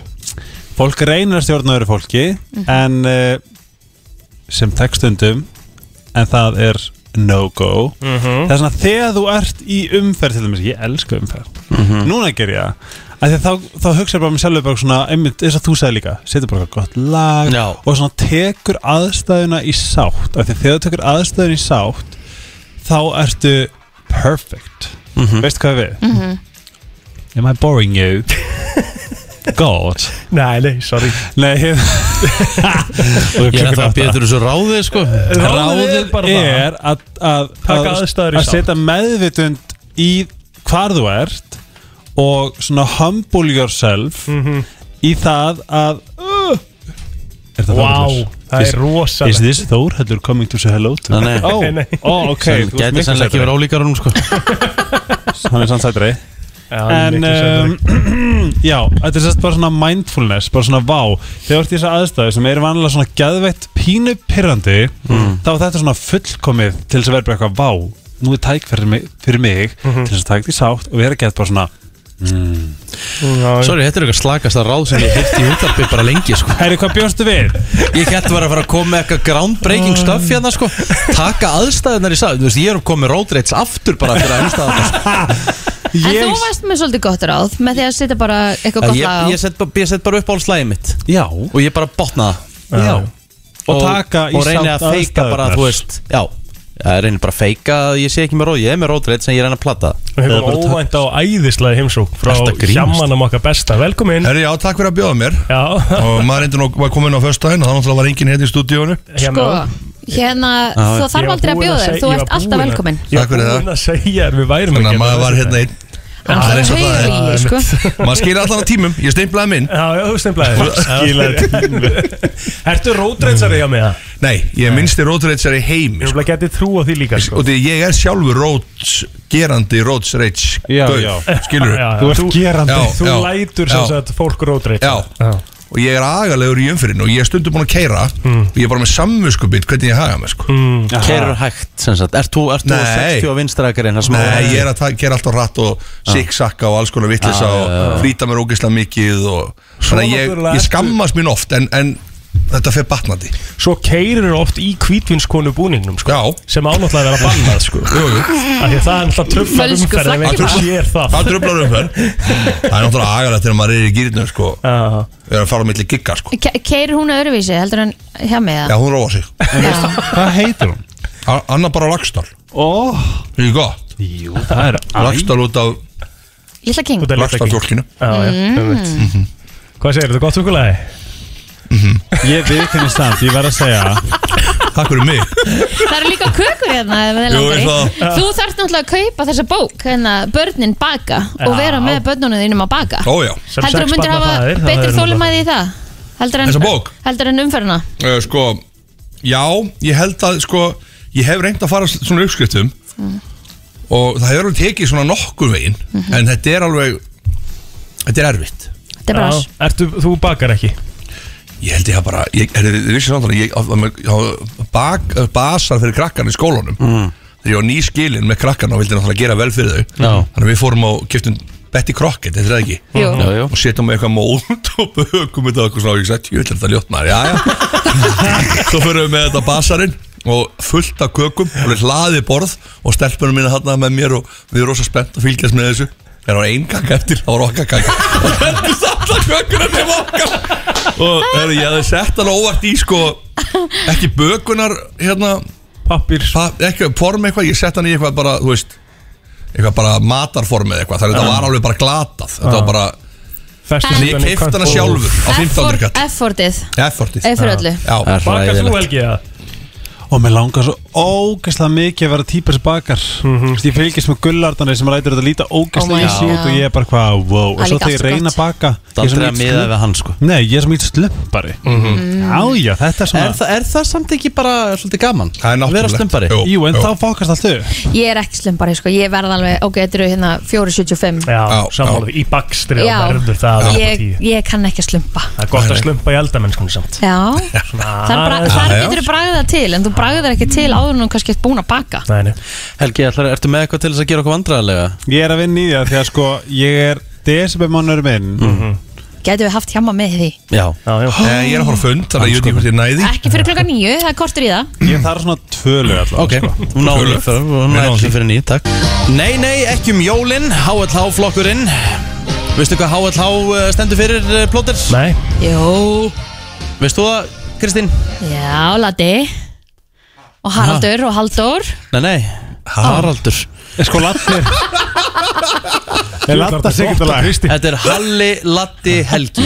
K: Fólk reynir að stjórna öðru fólki
M: sko.
C: Mhm.
K: En uh, sem tekstundum En það er no-go
C: Mhm.
K: Það er svona þegar þú ert í umferð til dæmis, ég elska umferð
A: Mhm. Mm-hmm.
K: Núna ger ég það af því að Þá, þá hugsa ég bara með sjálfur bara svona einmitt, þess að þú sagði líka, setur bara eitthvað gott lag
A: Já.
K: og svona tekur aðstæðuna í sátt, af því að þegar þú tekur aðstæðuna í sátt þá ertu perfect veistu hvað við?
F: Mhm.
K: Am I boring you? God
C: Nei, nei, sorry
K: Nei hef-
A: Ég er ennþá að bíða þurr þessu ráði sko
K: Ráðið er, er að, að,
A: Taka
K: að,
A: aðstæður í
K: að
A: sátt.
K: setja meðvitund í hvar þú ert og svona humble yourself
A: Mhm.
K: í það að uh, Er það
C: Vá,
K: Þórhallur?
C: það er
K: Is-
C: rosalegt.
K: Is this Þórhallur coming to say hello to
A: Nei, nei.
K: Oh,
A: Nei, nei.
K: oh, ok
A: Sem gæti sennilega ekki verið ólíkar hún sko
K: Hann er sann sætri
A: Já,
K: En
A: miklu sætari.
K: um, já, þetta er sérst bara svona mindfulness Bara svona vá Þegar þú ert í þessa aðstæðu sem eru vanlega svona geðveitt pínu pyrrandi
A: Mm.
K: Þá er þetta svona fullkomið til þess að vera bara eitthvað vá Nú er tæk fyrir mig, fyrir mig
A: Mhm.
K: Til þess að taka því sátt og vera gett bara svona mm.
A: Sorry, þetta er eitthvað slakasta ráð sem ég hitt í útarpi bara lengi sko
K: Herri, hvað bjóstu við?
A: Ég gæti bara að fara að koma með eitthvað groundbreaking stuff hérna sko Taka aðstæðunar í sátt Þú veist, ég er að koma með road rates aftur bara fyrir aðstæðunar sko.
B: En þú varst með svolítið gott ráð með því að setja bara eitthvað
A: En
B: gott
A: Ég,
B: lag á
A: ég, set, bara- ég set bara upp á slæðið mitt
K: Já
A: Og ég bara botna það
K: Já. Og taka í
A: Og reyni
K: sátt
A: að feika bara,
K: aðstæðurnar.
A: þú veist Já, ég reyni bara að feika að Ég sé ekki með róð, ég er með róð reynd sem ég reyni að platta
C: Við hefum óvænt á æðislega heimsók frá
A: Ertu að grínast?
K: sko.
C: hjamanum okkar besta, velkomin
D: Herri, já, takk fyrir að bjóða mér
C: Já
D: Og maður reyndi nú var komin á föstudaginn og þannig að var enginn hérna í stúdíónu
B: Sko, hérna, þú þarf aldrei að bjóða þér Þú ert alltaf velkominn
D: Takk fyrir það
C: að segja þér, við værum
D: Þannig að maður var hérna einn
B: Hann
D: Það er eins og
B: var
D: það
B: haugur í,
D: er.
B: sko.
D: Maður skilja allan á tímum, ég steimplaði minn
C: Já, já, þú stemplaði Skilaði tímu Ertu rótreinsari hjá mig það?
D: Nei, ég er minnsti rótreitsari heimi Ég
C: vil að geti trú á því líka sko.
D: Og því ég er sjálfur rótsgerandi rótsreits
C: Já, já.
D: Skilur
C: Já, já. Þú ert gerandi. Þú lætur sem sagt
D: fólk rótreits Já, og ég er agalegur í umfyrin og ég er stundum búin að keira og ég er bara með samvöskubit hvernig ég haga mig sko. mm.
A: Keirur hægt, sem sagt Ert þú, ert þú
D: Nei.
A: 60 á vinstrakarinn
D: Nei, ég er að ta- gera alltaf rætt og siksakka og alls konar vitlisa
A: Já, já, já,
D: og
A: já.
D: frýta mér ógeðslega mikið og
C: Svo
D: þannig að ég,
C: náttúrulega
D: ég skammast mín oft en, en þetta fer batnandi
C: Svo keirir oft í hvítvinskonu búningnum sko, sem ánáttlega að vera bannað sko.
D: Jú, jú.
C: Af því að það er alltaf truflar
D: Fölsku
C: umferð ef einhver
D: flaggið.
C: sér það
D: Það tröflar umferð Það er náttúrulega agalegt þegar maður er í gýrnum sko Við erum að fara á milli gigga sko
B: Ke- Keirir hún öðruvísi, heldur hann hjá mig
D: Já,
B: það?
D: hún róa sig Hvað heitir hún? Anna bara Lagstall
K: Ó
D: Það er gott
K: Jú, það er
D: Lagstar út á
B: Lilla King
D: Lagstar fólkinu
C: já,
B: Mm.
C: einmitt.
K: Mhm.
C: Hvað segir þetta, gott hugulæði?
K: Ég viðkynni stand, ég verð að segja
D: Takk fyrir mig
B: Það eru líka kökur hérna ef þið
K: Jú,
B: langar
K: ég
B: í.
K: sá það.
B: Þú þarft náttúrulega að kaupa þessa bók hérna, Börnin baka
D: Já.
B: og vera með börnunum þínum að baka
D: Ó, já. Sem sex
B: Heldur þú myndir
D: barna
B: hafa
D: faðir, það
B: betri
D: er nú
B: þólumæði í það? Heldur en,
D: Þessa bók?
B: Heldur en umferðina
D: uh, Sko, já, ég held að sko, Ég hef reynd að fara s- svona uppskriftum
B: Mm.
D: Og það hefur alveg tekið svona nokkur veginn En þetta er alveg Þetta er erfitt
B: Þetta er bara alls.
C: Ertu, þú bakar ekki?
D: Ég held ég að bara Ég er vissi samt að ég á- á- á- bak, Basar fyrir krakkan í skólanum Þegar ég var ný skilin með krakkan Og vildi náttúrulega gera vel fyrir þau
A: Já.
D: Þannig að við fórum á kiptum Betty Crockett, þetta er það ekki
A: Jú. Jú, jú.
D: Og setjum með eitthvað mót og bökum þetta og eitthvað svona og ég sagði, jú, þetta er ljótt maður, já, já Svo fyrir við með þetta basarinn og fullt af kökum, alveg hlaði borð og stelpunum mína hann með mér og við erum rosa spennt að fylgjast með þessu Það var ein gang eftir, það var okkar gang og þetta er samt að kökuna til okkar og heyrðu, ég hefði sett hann óvart í sko, ekki bökunar hérna,
C: pappir
D: pa, ekki form eitthvað, ég sett hann í eitthvað bara, þú veist eitthvað bara matarform eða eitthvað, þannig að
C: Já.
D: þetta var alveg bara glatað þetta var bara
C: Festu
D: Þannig ég keipti hana sjálfur á 15. kall
B: Effortið
D: Effortið
B: Ef fyrir öllu.
D: Já
K: Það er Bakar þú, hræðilegt.
C: Helgi, eða?
K: Og mér langar svo ógeðslega mikið að vera típar sem bakar mm
C: Mhm.
K: Ég fylgist með gullardanir sem rætur þetta líta
A: Oh my
K: ógeðslega oh
A: God.
K: út Og ég er bara hvað, wow
A: Það
K: Og
A: er
K: svo
A: líka
K: þegar ég
A: allt
K: reyna
A: gott.
K: að baka
A: Það
K: ég er
A: er
K: svo
A: aldrei að
K: mikill
A: miða
K: slump-
A: við hann, sko.
K: Nei, ég er svo mítið slumpari Já, já, þetta er svona
A: Er, það, er það samt ekki bara svolítið gaman?
D: Það er
A: Vera slumpari?
K: Jú, en þá fokast allt upp
B: Ég er ekki slumpari sko, ég verð alveg Ok, þetta eru hérna 475
C: Já, sammála því, í bakstri
B: Já.
C: og verður það upp á
B: ég,
C: tíu.
B: ég kann ekki að slumpa
C: Það er gott að slumpa í eldamennskunni samt
B: Já, þar, bra, þar
A: Ah, já.
B: getur þú bragðað til En þú bragðar ekki til áður nú kannski ert búin að baka
C: Nei, nei.
A: Helgi, ætlar, ertu með eitthvað til þess að gera okkur vandræðilega?
K: Ég er að vinna í því að því að sko Ég er desembermánur minn
A: Mhm.
B: Gætu við haft hjá maður með því
A: Já,
C: já.
D: Eh, Ég er að fara á fund, þannig að ég veit ekki hvort ég næði
B: Ekki fyrir klokka nýju, það er kortur í það
K: Ég þarf svona tvölu alltaf
A: Ok, þú náður fyrir, þú náður því fyrir nýju, takk Nei, nei, ekki um jólin, HLH-flokkurinn Veistu hvað HLH eh, stendur fyrir, eh, Plóter?
C: Nei
B: Jó
A: Veist þú það, Kristín?
B: Já, Lati Og Haraldur og Haldur
A: Nei, nei, Haraldur
K: Sko, Lattir
A: Er Latta
K: Sigurðarlag?
A: Þetta er Halli Latti Helgi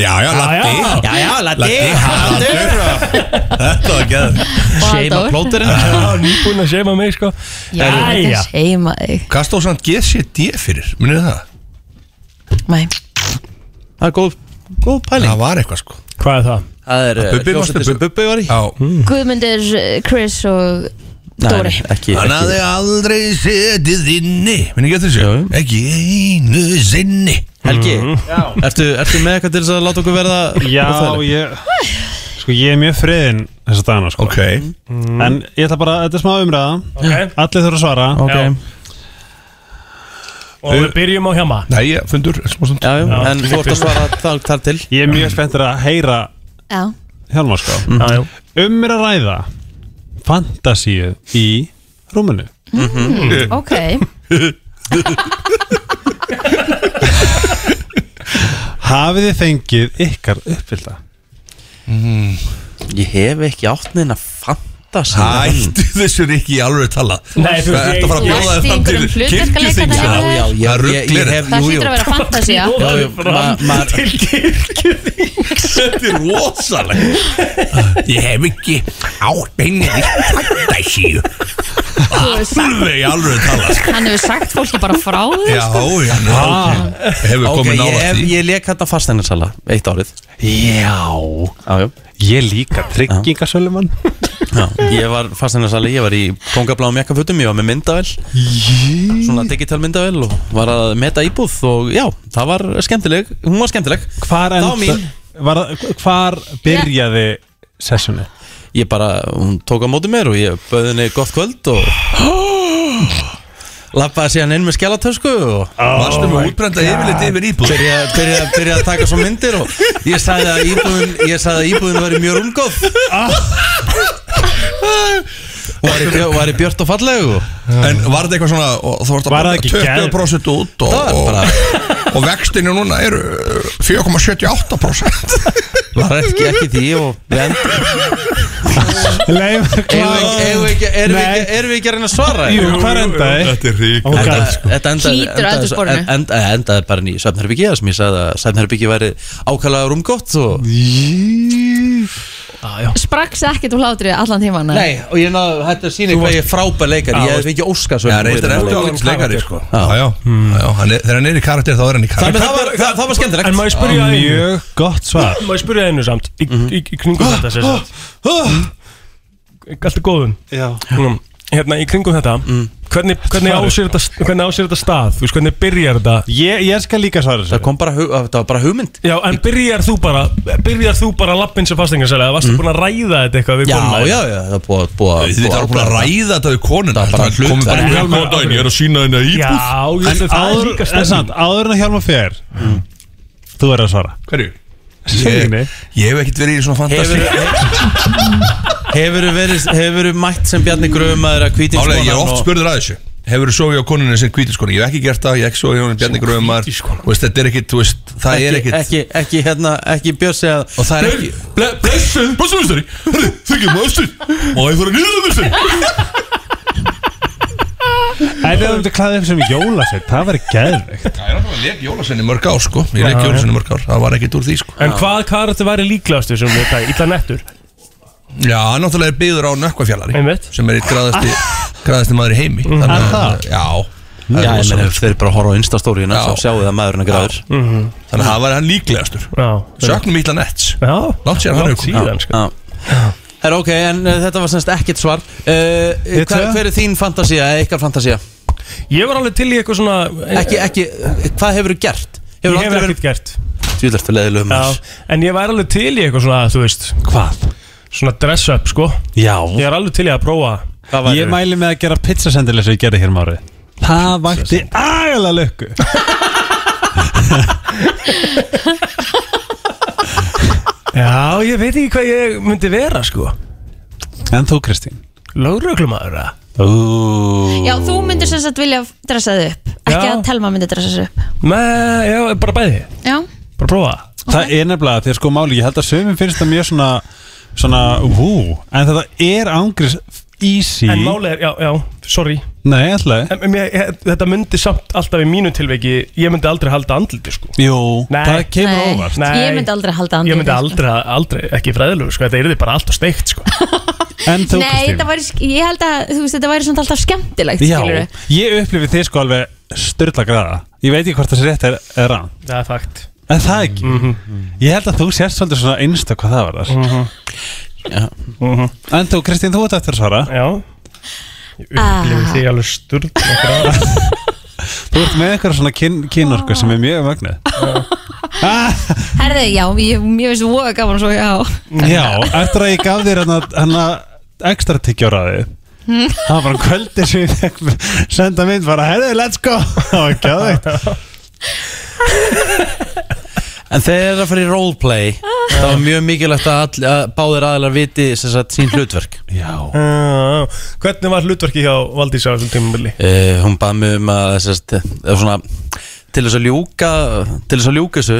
D: Já, já, Latti
A: Já, já, Latti
D: Latti,
A: Haraldur
D: Þetta var gæð
A: Seima plóterinn
C: Já, nýbúin að seima mig sko
B: Já, þetta er seima þig
D: Hvað stóð svona GCD fyrir? Minnið það?
B: Nei
A: Það er góð, góð pæling
D: Það var eitthvað sko
C: Hvað er það?
A: Það er eh,
D: Bubbi varstu,
A: hljómsveitin sem Bubbi var í
D: Já
B: Guðmundur, eh, Chris og Dóri
A: ekki
D: Hann hafði aldrei setið inni Minnið getur þessu? Ekki einu sinni
A: Helgi, ertu, ertu með eitthvað til þess að láta okkur verða
K: Já,
A: óþægileg?
K: ég Sko, ég er mjög friðin þessa dagana sko.
D: Ok
K: En ég ætla bara, þetta er smá umræða
C: Ok.
K: Allir þurfa að svara
C: Já. Og við byrjum á hjá maður
D: Nei, ég fundur Já,
A: já,
K: Já.
A: en þú ert að svara þar, þar til
K: Ég er mjög spenntur að heyra
B: Já
K: Hjálmar sko
C: Já, já.
K: Um er að ræða Fantasíu í rúminu
B: Mm, Ok
K: Hafið þið fengið ykkar uppfylta?
A: mm. Ég hef ekki átt neina fantasi
D: Hættu þessu er ekki í alveg tala
A: Nei, þú veist,
D: Þetta
A: ég-
D: var að
A: ég-
D: bjóða
A: Varstu í
D: þér fram
A: einhverjum
D: til
A: hlutverkaleik
D: kirkjuþings
A: þarna
D: hérna.
A: í dag? Já, já,
D: Það
A: ég- ég
D: ruglir
A: hef-
B: Það hlýtur að vera fantasía
A: Já, já, ma- ma-
D: Þetta er rosalega Ég hef ekki átt einnig fantasíu Alveg, alveg tala sko.
B: Hann hefur sagt fólki bara frá því
D: Já, já, já Hefur
A: Ok,
D: komið
A: ég,
D: nála
A: hef,
D: því
A: ég leik hérna fasteignasala eitt árið Já, já.
K: Ég líka tryggingasölumann
A: Já, ég var fasteignasali, ég var í kongabláum jakkafutum, ég var með myndavel Svona digital myndavel og var að meta íbúð og já, það var skemmtileg, hún var skemmtileg
K: Hvar,
A: Það var mín.
K: var, hvar byrjaði sessjoni?
A: Ég bara, hún tók á móti mér og ég bauði henni gott kvöld og Lappaði síðan inn með skjálatösku og
D: Varstu með útbrenda yfirleitt yfir íbúð
A: Byrja, byrja, byrja að taka svo myndir og ég sagði að íbúðin, ég sagði að íbúðin væri mjög umgóð
D: Ah.
A: Hún var í, björ, var í björt og fallegu
D: En var þetta eitthvað svona og Þú varst að
A: Var það ekki geð-
D: 20% út og,
A: Það var bara-
D: og, og vextinu núna eru uh, 4,78%
A: Var ekki, ekki því og við, end,
K: Leif,
A: Erum við ekki- erum við ekki- erum við ekki að reyna að svara?
K: Jú, hvar endaði?
D: Þetta er rík
K: Ok.
A: Þetta
D: sko.
A: þetta endaði
K: Hlýtur
A: endaði-
K: eldhúsborðinu.
A: en- en- en- endaði bara í svefnherbyggi þar sem ég sagði að svefnherbyggi væri ákvæmlega rúmgott og Já, já.
B: Sprakk sér ekkert úr hlátri allan tíman
A: Nei, og ég náðu hætti að sína hvað ég er frábær leikari Ég hef ekki óska svo
D: Já, reyndar eftir ágætis leikari sko. Já, já, já, hann er- þegar hann er í karakter þá er hann í karakter
A: það var, það, það var skemmtilegt
C: En má ég spyrja að einu
K: Mjög gott svar Mhm. Ah,
C: Má ég spyrja að einu samt Í, í, í kringum þetta sér satt Allt er góðun
K: Já Mm.
C: mm. Hérna í kringum þetta Hvernig, hvernig
K: Svarið.
C: ásýr þetta Hvernig ásýr þetta stað Þú veist hvernig byrjar þetta
K: Ég, ég skal líka svara
A: Það kom bara, hug- það var bara hugmynd
C: Já en byrjar þú bara Byrjar þú bara lappin sem fastingarsælega
K: Mm.
C: Varstu búin að ræða þetta eitthvað við
A: Já,
C: konuna?
A: já, já, það er búið að- búið að
D: Þið þarf bara að ræða þetta við konuna Það er bara hlut Komum bara í
C: Hjálmar-
D: hjálpa á daginn, ég er að sína henni að íbúð
C: Já,
K: En áður, en samt, áður en að hjálma fyrir
C: Mm.
K: Þú verður að svara
D: Hverju?
K: Sjöginni
D: Ég hef ekkert verið í svona fantasi
A: Hefur verið, hefur mætt sem Bjarni Grömaður að hvítin
D: Málega, ég er oft spurður að þessu Hefur þú sofið á konunni sem kvítiskona? Ég hef ekki gert það, ég hef ekki sofið á henni Bjarni Gröfumar Þú veist, þetta er ekkit, þú veist, það er
A: ekki,
D: ekkit
A: ekki, ekki, hérna, ekki bjössi að
D: Og það er ekki Blessuð, blessuð mistari Þau ekki maður Má ég fara niður að mistari
K: En ef þú myndir klæðið upp sem jólafett, það verður geðveikt
D: Það er alltaf að leik jólasenni mörg ár, sko Ég leik jólasenni mörg ár, það var ekkit úr því, sko
C: En hvað karakter væri líklegastu sem við þetta Ítla nettur
D: Já, hann náttúrulega er byggður á nökkvafjallari
C: Einmitt.
D: Sem er eitt græðasti, græðasti maður í heimi
C: Mm.
D: Þannig
C: Er
D: að-
C: það?
D: Já
A: Já, ég meina,
D: þeir bara horfa á instastóriðina
A: þá sjáið þið að maðurinn er gráður.
D: Þannig að það var hann líklegastur Söknum ítla nets
C: Já
D: Látt sér hann
A: Langt
D: hefur
A: síðan, sko. Það er ok, en uh, þetta var semst ekkert svar uh, hver,
C: tvö?
A: hver er þín fantasía, eða ykkar fantasía?
C: Ég var alveg til í eitthvað svona
A: Ekki, ekki, hvað hefur þú gert?
C: Ég hef ekkert gert
A: Tvílert að leiðilegum
C: Já, en ég væri alveg til í eitthvað svona, þú veist Hvað? Svona dress up, sko
K: Já
C: Ég er alveg til í að prófa Hvað væri-
K: Ég mæli með að gera pizzasendil eins og ég gerði hér um árið Það vakti agalega lukku
C: Já, ég veit ekki hvað ég myndi vera, sko
K: En þú Kristín
C: Lögreglumæður, eða?
K: Ó
B: Já, þú myndir sem sagt vilja dressa þið upp Ekki
K: Já.
B: að Telma myndi dressa þið upp
C: Nei, já, bara bæði
B: Já,
C: Bara prófa
K: Það er nefnilega því að sko máli Ég held að sömum finnst það mjög svona Svona, hú En þetta er ángriðs easy
C: En máli er, já, já, sorry
K: Nei, alltaf
C: en, en, ég, ég- Þetta myndi samt alltaf í mínu tilveiki Ég myndi aldrei halda andliti, sko
K: Jú,
C: Nei.
K: það kemur
B: Nei.
K: óvart
B: Ég myndi aldrei halda andliti,
C: Ég myndi
B: sko.
C: aldrei, aldrei, ekki fræðilegu, sko Þetta yrði bara alltaf steikt, sko
K: En þú
B: Nei,
K: Kristín
B: þetta væri, ég held að þú veist, þetta væri svona alltaf skemmtilegt
K: Já,
B: skilurðu.
K: ég upplifi þið sko alveg styrla græða Ég veit ekki hvort þessi rétt er, er rann
C: Það er fakt Mhm.
K: En það ekki Ég held að þú sért svolítið svona einsta hvað það var þar En þú Kristín, þú ert eftir að svara
C: Mhm. Já Ég upplifi
B: Ah.
C: þig alveg sturd
K: Þú ert með einhverja svona kyn, kynorku sem er mjög magnið
B: Herði, já, ég, ég veist voga gaman svo, já
K: Já, eftir að ég gaf þér hana, hana ekstra tyggjóraði
C: Hmm.
B: Mm.
K: Það var bara um kvöldi sem ég fekk senda mynd bara Herðu, let's go Það var ekki að
A: En þegar það er að fara í roleplay Það var mjög mikilvægt að, all, að báðir aðlar viti sem sagt, sín hlutverk
K: Já
C: Já, Ah, Hvernig var hlutverki hjá Valdís á þessum tímabili?
A: uh, Hún bað mig um að sem sagt, eh, svona, til þess að ljúka til þess að ljúka þessu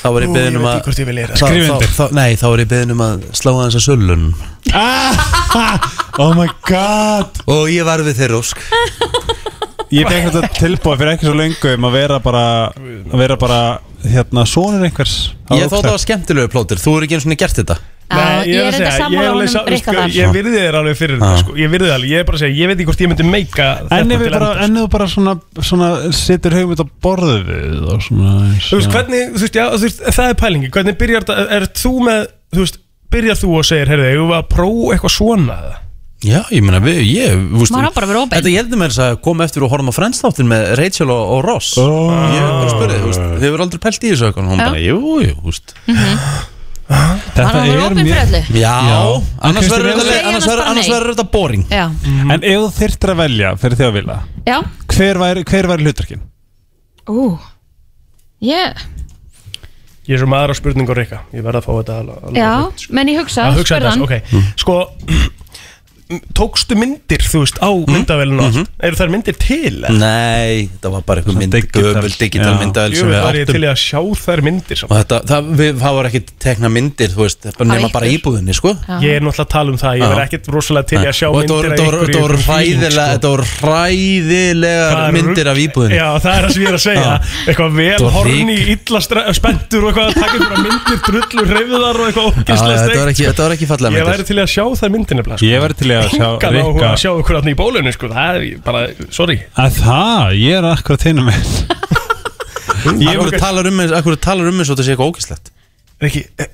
A: þá var ég
C: Ú,
A: beðin
C: ég
A: um
C: veit
A: að
C: ekki hvort ég vil heyra.
A: Þá-
C: Skrifa
A: þá-
C: undir.
A: þá- Nei, þá var ég beðin um að slá aðeins að sölun
K: þig Oh my god
A: Og ég var við þeirra ósk
K: Ég fekk þetta tilbúið fyrir ekki svo lengu um að vera bara, að vera bara hérna, sonur einhvers
A: Ég þótt að það var skemmtilegu plótir, þú eru ekki eins og gert þetta
C: Nei,
B: ég er
C: er að
B: þetta
C: segja,
B: sammála
C: ég er alveg
B: honum
C: sá-
B: Rikka
C: sko,
B: þar.
C: Ég virði þér alveg fyrir
K: Ah.
C: þetta sko. Ég virði þér alveg, ég er bara að segja Ég veit ekki hvort ég myndi meika
K: En ef við bara, en ef við bara svona, svona setur hugmynd á borðu við og svona eins,
C: Þú veist,
K: já.
C: hvernig, þú veist, já, þú veist, það er pælingi Hvernig byrjar þetta, er þú með, þú veist Byrjar þú og segir, heyrðu, ég var að prófa eitthvað svona eða?
A: Já, ég meina, við, ég vúst,
C: Maður á bara að vera opinn.
A: Þetta ég heldur mér þess að koma eftir og horfum á frendstáttin með Rachel og, og Ross oh. Ég hef bara spurði, þú veist, þið hefur aldrei pælt í þessu eitthvað Hún
B: Já.
A: bara, jú, jú, þú veist
B: Maður á að vera opinn fyrir öllu
A: Já, annars
K: Kristín,
A: verður
K: ef þú-
A: þetta- annars
B: Segja annars
A: verður-
B: bara
A: annars
B: nei.
A: verður þetta boring
B: Já,
K: En ef þú þyrftir að velja fyrir því að vilja
B: já,
K: Hver væri, hver væri hlutverkin?
B: ú Ég,
C: Ég er svo maður á spurningu Rikka Ég verð að fá þetta alveg- Mm. alveg
B: já, menn ég hugsa
C: að hugsa þetta,
B: spurðan.
C: ok Sko, tókstu myndir, þú veist, á myndavælinu og allt Eru þær myndir til? eða?
A: Nei, þetta var bara einhver mynd, gömul digital
C: Já.
A: myndavel sem
C: Jú,
A: við
C: var ég
A: áttum
C: til í að sjá þær myndir samt.
A: og þetta, það, við, það var ekki tekna myndir, þú veist, bara nema bara
C: ykkur.
A: íbúðinni, sko
C: Ég er náttúrulega að tala um það, ég
A: Já.
C: er ekkert rosalega til í að sjá
A: Og þetta
C: myndir
A: voru-
C: af
A: þetta voru-
C: ykkur í sko.
A: þetta voru
C: einhverjum fíling,
A: hræðilega,
C: sko.
A: þetta voru hræðilegar
C: Bara
A: myndir af íbúðinni
C: Já, það er það sem ég er að segja
A: Já.
C: Eitthvað
A: Þetta
C: vel
A: var
C: horni, illa stra- spenntur og eitthvað að taka einhverja myndir, drullur, reyfiðar og eitthvað
A: Já,
C: ógislega
A: þetta var ekki, þetta var ekki fallega
C: Ég væri
A: myndir
C: til í að sjá þær myndir nefnilega
K: Ég væri til í að sjá
C: Engan áhuga
K: Rikka-
C: að sjá okkur hann í bólunni sko Það er bara, sorry
K: Að það, ég er akkurat hinn með
A: Akkur talar um eins akkur talar um eins og þetta sé eitthvað ógislegt
C: Rikki,
A: e,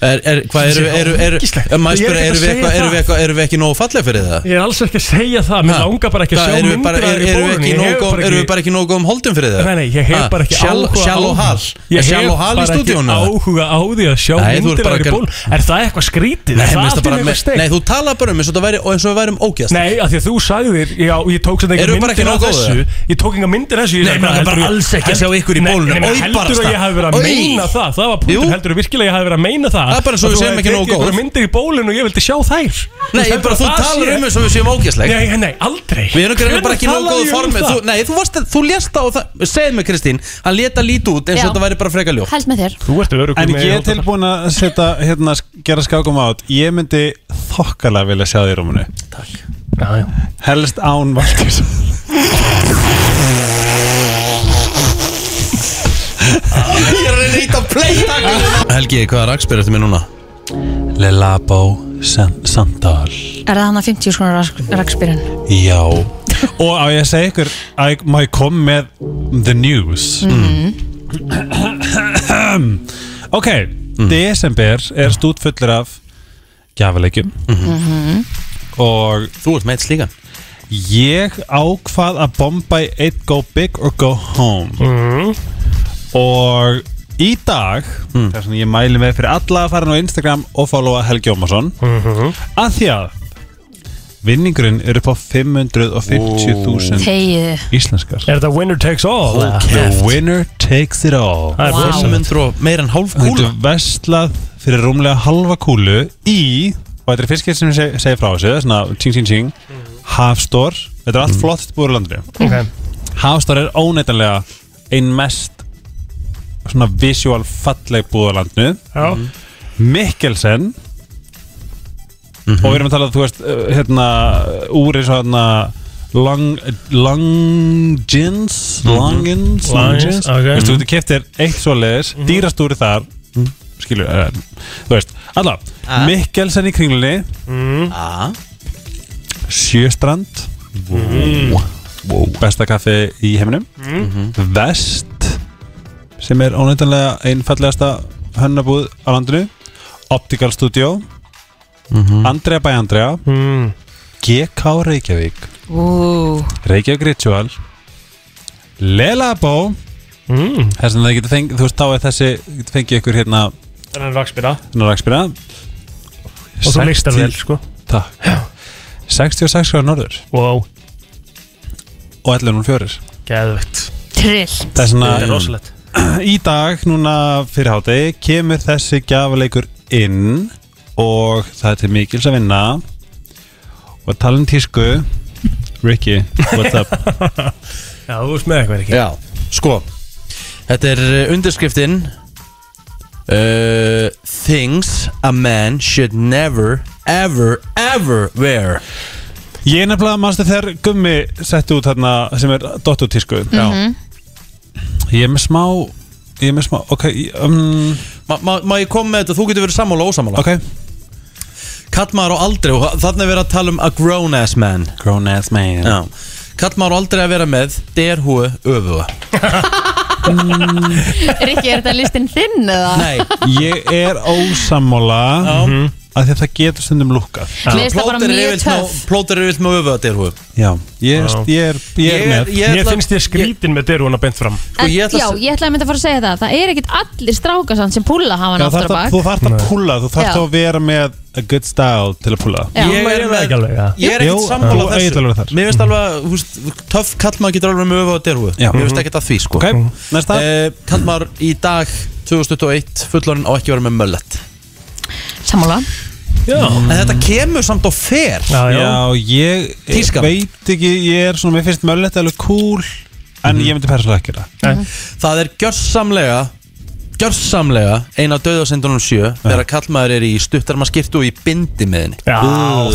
A: Er, er, hvað
C: Þetta
A: eru,
C: sé
A: eru, eru,
C: ógeðslegt.
A: eru, mæstur,
C: Ég er ekkert að
A: eru við
C: segja
A: eitthvað, eru við
C: það.
A: eitthvað, eru við ekki nógu fallega fyrir það?
C: Ég er alls ekki að segja það, mér
A: Ha?
C: langar bara ekki að
A: Hvað,
C: sjá
A: erum við
C: myndir
A: bara-
C: af
A: er-
C: þér í
A: erum við ekki
C: bólunni,
A: nógu
C: ég hef
A: góð-
C: bara
A: erum við bara ekki nógu góðum holdum fyrir það?
C: Nei, nei, ég hef
A: Ha?
C: bara ekki
A: Shall-
C: áhuga
A: Shallow
C: á því.
A: Hall? Er
C: Ég
A: Shallow
C: hef
A: Hall í
C: bara ekki
A: stúdíónu, eða?
C: áhuga á því að sjá
A: Nei, þú ert bara
C: myndir af
A: að
C: þér í
A: gera-
C: bólunni Er það eitthvað skrítið? Er
A: mér finnst það
C: það
A: bara-
C: allir eitthvað steikt?
A: Nei, þú talar bara um eins og þetta væri og eins og við værum ógjast
C: Nei, af því að þú sagðir Já, ég tók sem
A: Erum við
C: eitthvað
A: bara ekki nógu
C: myndir af þessu
A: góðir?
C: Ég tók enga myndir af þessu ég
A: Nei, mig
C: sagði
A: langar
C: heldur
A: bara
C: ég-
A: alls ekki að
C: held-
A: sjá ykkur í
C: Nei,
A: bólunum.
C: nei,
A: Oj,
C: nei,
A: barasta.
C: Heldur að ég hafi verið
A: Oj.
C: að meina það Það var
A: Jú.
C: punktur, heldur að virkilega ég hafi verið að meina það
A: Það er bara eins og
C: Að
A: við
C: þú
A: séum
C: hafir
A: ekki nógu
C: tekið einhverjar
A: góðir.
C: myndir í bólun og ég vildi sjá þær
A: Nei, ég bara, þú talar um eins og við séum ógeðsleg.
C: Nei, nei, aldrei
A: Við erum greinilega bara ekki
C: Hvenær
A: nógu góðu
C: talaði ég um
A: formi
C: það?
A: þú, Nei, þú, varst, þú lést það og það Segð mér Kristín, hann leta lítið út eins og
B: Já.
A: þetta væri bara freka ljótt
B: Held með þér
C: Þú ert örugum
K: En ég er tilbúin að setja, hérna, gera skákum át Ég myndi þokkalega vilja sjá þig í rúmunu Takk
C: já, já.
K: Helst án Valdur
A: Ég er að reyna að íta play Helgi, hvaða rakspyr ertu með núna?
K: Le Labo Sandal
B: Er það hann að 50 skonar rakspyrun?
K: Já Og á ég að segja ykkur að ég- Má ég kom með the news
A: Mm-hmm.
K: Ok
A: Mm.
K: Desember er stút fullur af Gjafaleikjum
A: Mm-hmm.
F: Mhm.
K: Og
A: Þú ert meitt slíkan
K: Ég ákvað að bomba í eitt Go big or go home
C: Mhm.
K: Og Í dag,
C: Hmm.
K: mm. þess að ég mæli með fyrir alla að fara nú á Instagram og followa Helgi Ómarsson
C: Mhm.
K: að því að vinningurinn er upp á 550.000
B: Þegiðu.
K: íslenskar
C: Er þetta winner takes all? Ah,
K: The winner takes it all
C: Það er Vá. rosalegt.
A: 500 meira en hálf
K: kúla Þetta veslað fyrir rúmlega halva kúlu í, og þetta er fyrst fyrstskið sem seg, segir frá þessu, svona ting ting ting Hafstór, þetta er allt flott búið úr landinu
C: Ok.
K: Hafstór er óneitanlega ein mest svona visual falleg búið úr landinu
C: Já.
K: Mikkelsen og við erum að tala þú veist, uh, hérna úr eins og hérna long, longins
C: Mhm.
K: longins,
C: Longins, ok. Mhm.
K: Þú veist, þú keftir eitt svoleiðis, mm -hmm. dýrast úr þar skilur, uh, þú veist alla, Mikkelsen í kringlunni
C: mm.
K: Sjöstrand
F: Mhm.
K: wow. besta kaffi í heiminum
F: Mhm.
K: Vest sem er óneitanlega einfallegasta hönnabúð á landinu Optical Studio Andrea by Andrea GK Reykjavík
B: Ú,
K: Reykjavík Ritual Lelabó
C: mm.
K: þess að það getur fengið þú veist þá er þessi getur fengið ykkur hérna
C: Það er rakspyrra
K: hérna rakspyrra
C: Og þú listar vel, sko.
K: Takk 66 gráður norður
C: Wow
K: Og 11 fjórir
C: Geðvögt
B: trill
K: Það er svona
C: Þetta er rosalegt.
K: Í dag núna fyrir hátegi kemur þessi gjafaleikur inn og það er til mikils að vinna og talin tísku Ricky, what's up?
C: Já, þú veist með eitthvað ekki
A: Já, sko Þetta er uh, undirskriftin uh, Things a man should never ever, ever wear
K: Ég er nefnilega mannstu þegar gummi setti út þarna sem er dottu tísku
F: Mhm.
K: Ég er með smá Ég er með smá, ok ég- um,
A: Má ma, ma, ég kom með þetta, þú getur verið sammála og ósammála
K: Ok
A: Kallmaður á aldrei og þarna er verið að tala um a grown ass man
K: Grown ass man
A: Já Kallmaður á aldrei að vera með derhúi öfuga
B: Rikki, er þetta listin þinn eða?
K: Ég er ósammála að því að það getur stundum lukkað
B: Mér finnst það Mhm. bara
A: Plóter er
B: mjög
A: yfirleitt með-
B: töff.
A: Plóter er vilt með öfuga derhúi
K: Já, ég,
A: Já.
K: ég, er, ég er
A: Ég er-
K: með
A: ég
C: Mér
A: ætla-
C: finnst ég skrítin með deruna bent fram
B: En,
K: Sko,
B: já, ég ætlaði að mynda að fara að segja það Það er ekkit allir strákar samt sem púla hafa hann
K: Já,
B: aftur á
K: þarft að,
B: bak
K: þú þarft að púla, þú
B: Já.
K: þarft að vera með a good style til að púla
B: Já. Ég
A: er með- Ég er ekkert sammála þessu Mér finnst alveg, hú veist, töff kallmaður getur alveg með öfu á derhúi
K: Já.
A: Mér finnst ekkert að því, sko
K: Ok, næsta.
A: eh, Kallmaður í dag 2021, fullorinn á ekki að vera með möllet
B: Sammála
A: Já. En þetta kemur samt og fer
K: Já, ég
A: Tískan.
K: veit ekki, ég er svona, mér finnst möllett alveg cool En ég myndi persónulega ekki það
A: Það er gjörsamlega Gjörsamlega Ein af döðasendunum sjö Þegar kallmaður er í stuttarma skirtu og í bindi með henni
C: Já,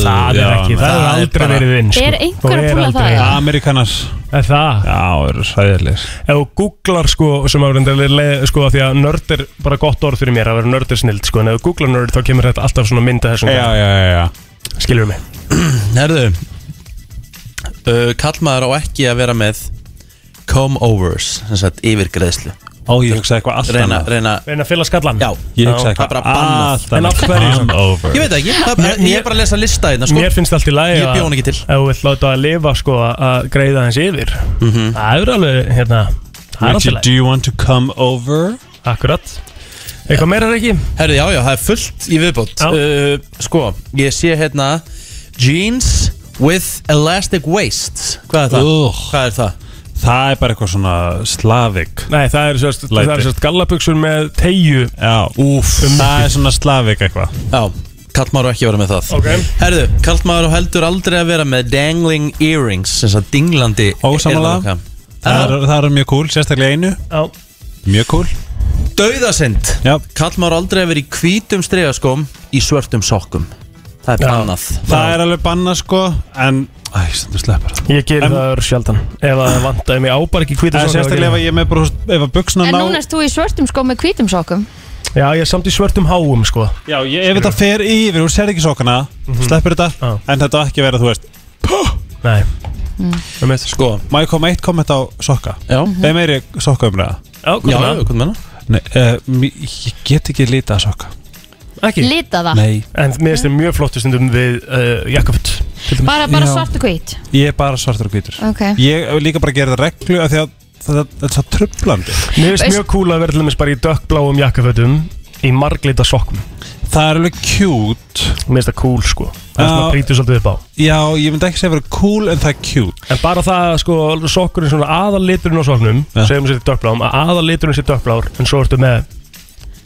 C: það er ekki- það hefur aldrei verið vinn, sko. Er einhver að Það er púla það, aldrei- eða?
K: Amerikanar
C: Er það?
K: Já, eru sæðilegir
C: Ef þú googlar sko, sem að reynda leið, sko, af því að nörd er bara gott orð fyrir mér að vera nörd er snild, sko, en ef þú googlar nörd þá kemur þetta alltaf svona mynda þessum
K: Já, já, já, já
C: Skilur mig
A: Herðu uh, Kallmaður á ekki að vera með Come overs Sem sagt yfirgreðslu
K: Ó, ég hugsaði eitthvað allt
A: reyna,
K: annað.
A: reyna,
C: reyna að fylla skallan
A: Já,
K: Ég hugsaði
A: það er
K: eitthvað
A: bara bannað
K: allt annað. En af hverju? Come over.
A: Ég veit það ekki, það,
C: Mér-
A: ég er bara að lesa lista hérna sko.
C: Mér finnst allt í lagi
A: Ég bjó
C: að-
A: hann ekki til
C: Ef þú vill láta að lifa sko að greiða hans yfir
A: Mhm.
C: Það er alveg hérna Það er
K: Richie,
C: alveg
K: do you want to come over?
C: Akkurat Eitthvað meira er ekki?
A: Herðu, já, já, það er fullt í viðbót uh, Sko, ég sé hérna Jeans with elastic waist Hvað er það? Hvað er það?
K: Það er bara eitthvað svona slavik
C: Nei, það er sérst, það er sérst gallabuxur með tegju
K: Já,
A: Úf,
K: það er svona slavik eitthvað
A: Já, kallmaður á ekki að vera með það
C: Ok.
A: Herðu, kallmaður á heldur aldrei að vera með dangling earrings Þess að dinglandi
K: Ósamála Það er- það er mjög cool, sérstaklega einu
C: Já
K: Mjög cool
A: Dauðasind Kallmaður á aldrei að vera í hvítum stregaskóm Í svörtum sokkum Það er bannað
K: Það er alveg bannað sko En, æ, sem þú sleppar það
C: Ég ger
K: En-
C: það öður sjaldan Ef að vantaði mig ábar ekki hvita
K: Það er sérstaklega ef að ég er með bara, þú veist, ef að buksna
B: En
K: ná
B: núna erst þú í svörtum skóm með hvítum sokkum
C: Já, ég er samt í svörtum háum sko Mhm.
K: Já, ég, ef þetta fer yfir og sér ekki sokana Sleppur þetta, en þetta á ekki að vera, þú veist
C: Nei
K: mm.
A: Sko,
K: má ég koma eitt komment á sokka?
A: Já
K: Það er meiri sokka um. umræða
C: Já, hvað
A: Já, já, hvað meina?
K: Nei, uh, ég get ekki lítið að sokka
C: Ekki
B: Lita það
K: Nei.
C: En mér finnst þið mjög flottu stundum við uh, Jakobut
B: Bara, bara
K: Já.
B: svart og hvít
K: Ég er bara svartur og hvítur
B: Ok.
K: Ég hef líka bara að gera það reglu af því að það það- það er svo trublandi
C: Mér finnst mjög cool að vera til dæmis bara í dökkbláum jakkafötum Í marglita sokkum
K: Það er alveg cute
C: Mér finnst það cool sko Það er svona
K: Já.
C: prítur svolítið upp á
K: Já, ég myndi ekki segja að vera cool en það er cute
C: En bara það að, sko sokkurinn svona aðaliturinn á sokknum Segjum sér dökkbláum að aðaliturinn sér dökkblár En svo ertu með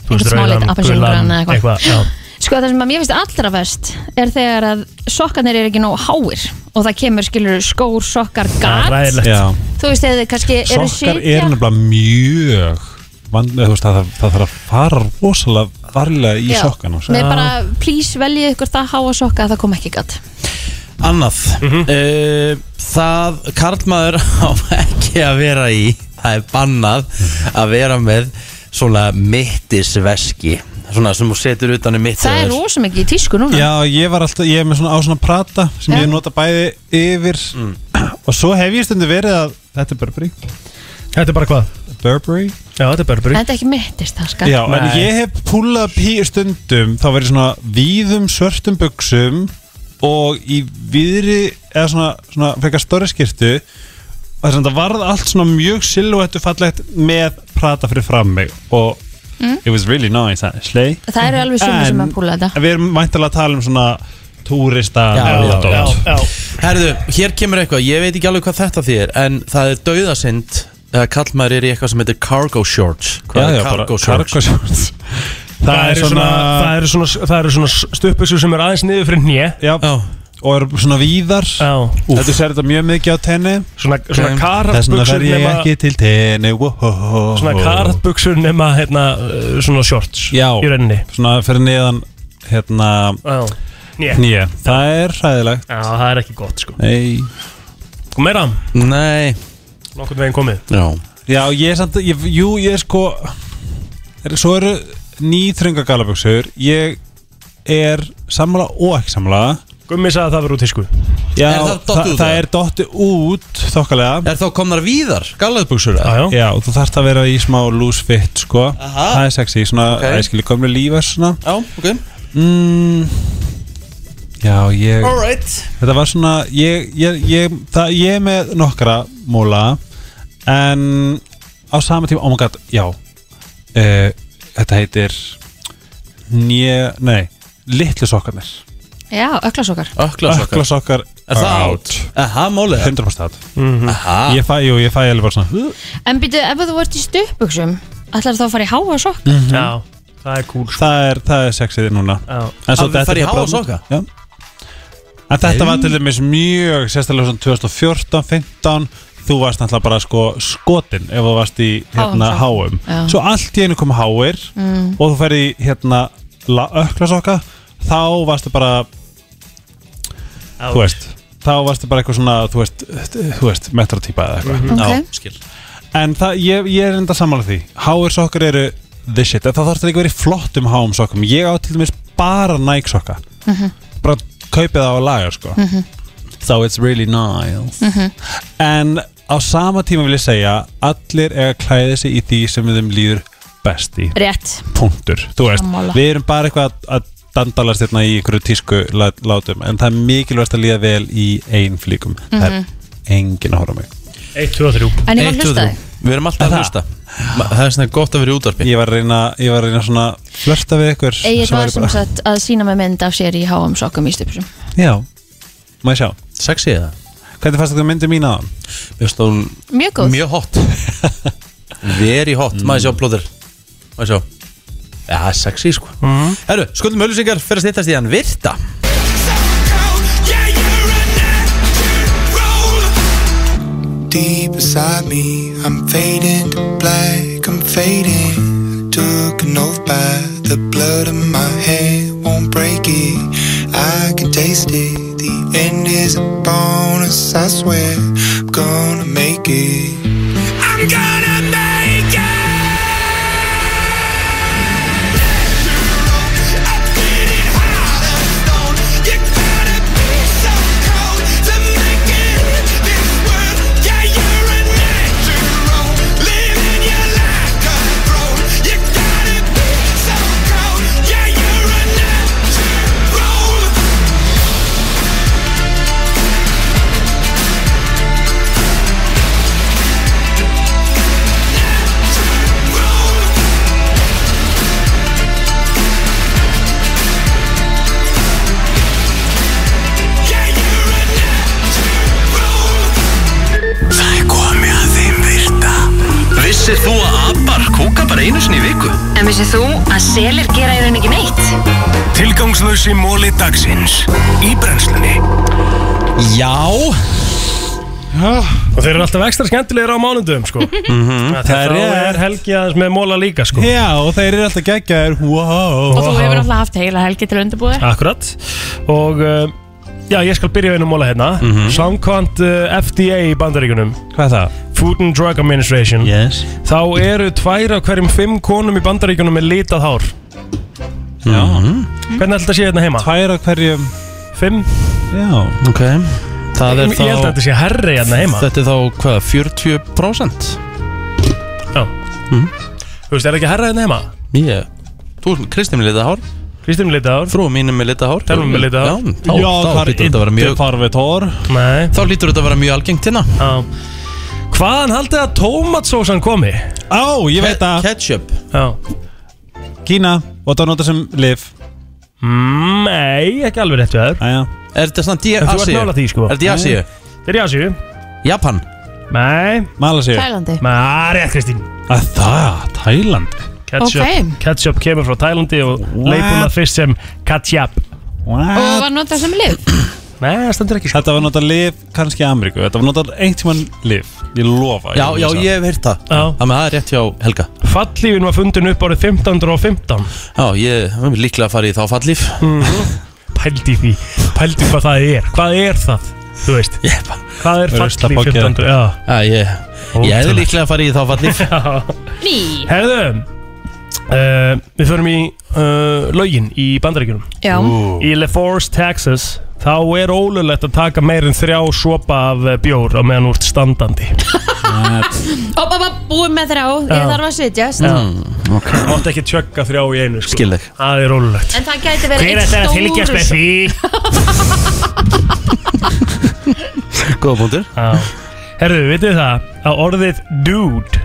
C: þú veist,
B: Einhvern smá lit,
C: rauðan,
B: appelsínu,
C: gulan,
B: grænan eða eitthvað.
C: já.
B: Sko það sem að mér finnst allra verst er þegar að sokkarnir eru ekki nóg háir og það kemur skilur skór, sokkar,
K: er
B: gat
K: ræðilegt. Já.
B: Þú veist eða þið kannski eru
K: Sokkar
B: sitja
K: er nefnilega mjög vand, eða, þú veist, það, það, það þarf að fara rosalega varlega í sko.
B: Já.
K: sokkana
B: Nei bara please veljið ykkur það háa sokka að það kom ekki gat
A: Annað
K: Mhm.
A: uh, Það, karlmaður á ekki að vera í Það er bannað
K: Mhm.
A: að vera með Svona mittisveski Svona sem þú setur utan um í mittis
B: Það er rosa mikið í tísku núna
K: Já, ég var alltaf, ég er með svona á svona prata sem
B: Já.
K: ég nota bæði yfir
C: Mm.
K: og svo hef ég stundu verið að þetta er Burberry
C: Þetta er bara hvað?
K: Burberry
C: Já, þetta er Burberry
B: Þetta er ekki mittist það sko. skar
K: Já, en ég hef púlað pí stundum þá verið svona víðum svörtum buksum og í víðri eða svona, svona frekar stóri skirtu og þess að það varð allt svona mjög silhouettu fallegt með prata fyrir fram mig og
B: Mm.
K: it was really nice actually
B: Það eru alveg sumir sem að púla þetta
K: En við erum mæntalega að tala um svona túrista
A: Ah. Já, já,
K: nerdadót.
A: já, Herðu, hér kemur eitthvað, ég veit ekki alveg hvað þetta þýðir En það er dauðasind Þegar kallmaður er í eitthvað sem heitir cargo shorts
K: Já,
A: Hvað
K: já,
A: er
K: bara
A: cargo shorts?
K: cargo shorts.
C: Það, eru svona, það eru svona, það eru svona stuppusur sem er aðeins niður fyrir hnje
K: Já, og eru svona víðar Þetta sér þetta mjög mikið á tenni
C: Svona, svona
K: Þess vegna
C: karatbuxur
K: fer ég
C: nema
K: ekki til tenni wow.
C: Svona karatbuxur nema hérna, uh, svona shorts
K: Já,
C: í rauninni
K: svona fyrir niðan hérna
C: Já. Hné.
K: Hné. Það er hræðilegt
C: Já, það er ekki gott sko
K: Nei
C: Og meira?
A: Nei
C: Nokkurn veginn komið
A: Já
K: Já, ég er samt, ég, jú, ég er sko er, Svo eru nýþrönga galabuxur Ég er sammála og ekki sammála
C: Gummi sagði að það verður út í sko
K: Já,
C: Er það dottið út,
K: það
C: eða?
K: er dotti út þokkalega
A: Er þá komnar víðar, gallaðbuxur?
K: Já, já og þú þarft að vera í smá loose fit sko Það er sexy, svona okay. æskili komlu lífar svona
A: Já, ok
K: mm, Já, ég
A: Alright.
K: Þetta var svona, ég, ég, ég, það, ég er með nokkra móla En á sama tíma, oh my god, já uh, Þetta heitir Njö, nei, litlu sokkarnir
B: Já, öklasokkar
A: Öklasokkar.
K: Öklasokkar
A: Er það
K: are
A: out? Aha, málið
K: 100% out Ég fæ, jú, ég fæ alveg bara svona
B: En býtu, ef þú vart í stupuksum ætlar þá að fara í háa sokk
K: Mhm.
C: Já Það er cool
N: Það er, það er sexið núna
C: Já.
N: En svo
C: Það
N: þetta
C: fer í
N: er
C: háa
N: bara-
C: sokka?
N: Já En þetta var
C: Nei.
N: til dæmis mjög sérstaklega svona 2014, 15 Þú varst náttúrulega bara sko skotin ef þú varst í hérna háum
C: Háum sokk. Já.
N: Svo allt í einu kom háir
C: Mm.
N: og þú ferði í hérna öklasokka þá varstu bara þú veist þá varstu bara eitthvað svona þú veist, þú veist metrotýpa eða eitthvað
A: Mhm. Já, Ok. skil.
N: en það, ég, ég er enda sammála því háir sokkar eru the shit en það þarf það ekki að vera í flottum háum sokkum ég á til dæmis bara Nike sokka
K: Mhm.
N: bara kaupið á að laga sko
K: Mhm.
N: so it's really nice
K: Mhm.
N: en á sama tíma vil ég segja allir eiga að klæða sig í því sem þeim líður best í
B: Rétt.
N: punktur, þú veist,
B: Sammála.
N: við erum bara eitthvað að- að dandalast hérna í einhverju tísku lát- látum, en það er mikilvægast að líða vel í ein flíkum, það er
B: Mhm.
N: engin að horfa á mig
C: 1, 2 og 3
B: En ég var að hlusta þig.
A: Við erum alltaf að hlusta Það er svona gott að vera í útvarpi
N: Ég var að reyna, ég var að reyna svona að flörta við ykkur
B: Egil
N: sem
B: var
N: væri
B: sem sagt að sína með mynd af sér í háum sokkum í stupsum
N: Já, má ég sjá
A: Sexy eða?
N: Hvernig fannst þetta myndi mín á hann?
A: Mér finnst hún
B: Mjög góð.
A: Mjög hot Very hot mm. Maður sjá blóður Maður sjá Já, það er sexy sko mm. Herru, skuldum öllusingar fyrir að stýttast í hann Virta
O: Deep inside me, I'm fading to black, I'm fading. Took an oath by the blood of my head, won't break it. I can taste it. The end is a bonus, I swear. I'm gonna make it. I'm gonna make it.
K: Það er komið að þeim virta
D: Vissir þú að abar kúka bara einu sinni í viku?
P: En vissið þú að selir gera í raun ekki neitt?
D: Tilgangslösi móli dagsins í brennslunni
A: Já
C: Og þeir eru alltaf ekstra skemmtilegir á mánundum sko
N: Mhm. Það
C: Það,
N: er
C: það
N: rétt.
C: er helgi aðeins með móla líka sko
N: Já, og þeir eru alltaf geggjaðir wow.
B: Og þú hefur alltaf haft heila helgi til undirbúði
C: Akkurat Og uh, já, ég skal byrja á einum móla hérna mm Samkvæmt uh, FDA í bandaríkunum
N: Mhm. Hvað er það?
C: Food and Drug Administration
N: yes.
C: Þá eru tvær af hverjum fimm konum í bandaríkunum með litað hár
N: Já
C: Hvernig ætla þetta sé hérna heima?
N: Mhm. Tvær af hverjum
C: Fimm
N: Já, ok
A: Það er
C: Ég- ég held að þetta sé hærri hérna heima.
A: Þetta er þá, hvað, 40%
C: Já Þú veist, er það ekki hærra hérna heima?
A: Ég Þú, Kristján með litahár
C: Kristján með litahár
A: Frú mínum með litahár
C: Telma með litað hár.
A: Já, þá,
C: Já,
A: þá
C: það er
A: hlýtur þetta að vera
C: inte
A: mjög
N: farfið tór
C: Nei
A: Þá lítur þetta að vera mjög algengt hérna
C: Já Hvaðan haldið að tómatsósan komi?
N: Á, ég veit að
A: Ketchup
C: Já
N: Kína, og það nota sem liv
C: Mm, Nei, ekki alveg rétt við þér
N: Æja
A: Er þetta svona
C: En Þú ert nála því
A: E?
C: sko
A: Er þetta í Asíu?
C: Þetta er í
A: E?
C: Asíu
A: Japan
C: Nei
N: Malasíu
B: Tælandi
C: Nei, rétt Kristín
N: Að það, Tælandi
C: Ketchup,
B: Ok.
C: ketchup kemur frá Tælandi og leipuna fyrst sem ketchup
B: Og var notað sem lif
C: Nei, það stendur ekki sko.
N: Þetta var notað liv, kannski í Ameríku Þetta var notað einhvern tímann liv Ég lofa
A: Já, já, ég hef heyrt það
C: Já.
A: Það með það er rétt hjá Helga
C: Fallífin var fundin upp árið 1515
A: Já, ég hef líklega að fara í þá fallíf
C: Pældi því, pældi hvað það er Hvað er það, þú veist
A: yeah.
C: Hvað er fallíf 1500 Já.
A: ég, ég hefði
C: Ótrúlegt.
A: líklega að fara í þá fallíf
B: Ný
C: Herðu uh, Við förum í uh, lögin í bandaríkjunum
B: Já. Ú.
C: Í LaForce, Texas Þá er ólulegt að taka meir en þrjá sopa af eh, bjór á meðan úr standandi
B: Opa, opa, búið með þrjá
C: Já.
B: Ég þarf að setjast
C: okay. Mátt ekki tjögga þrjá í einu sko.
A: Skil þig
C: Það er ólulegt
B: En það gæti verið einn stór-
A: Góða punktur
C: Herðu, vitið þið það að orðið dude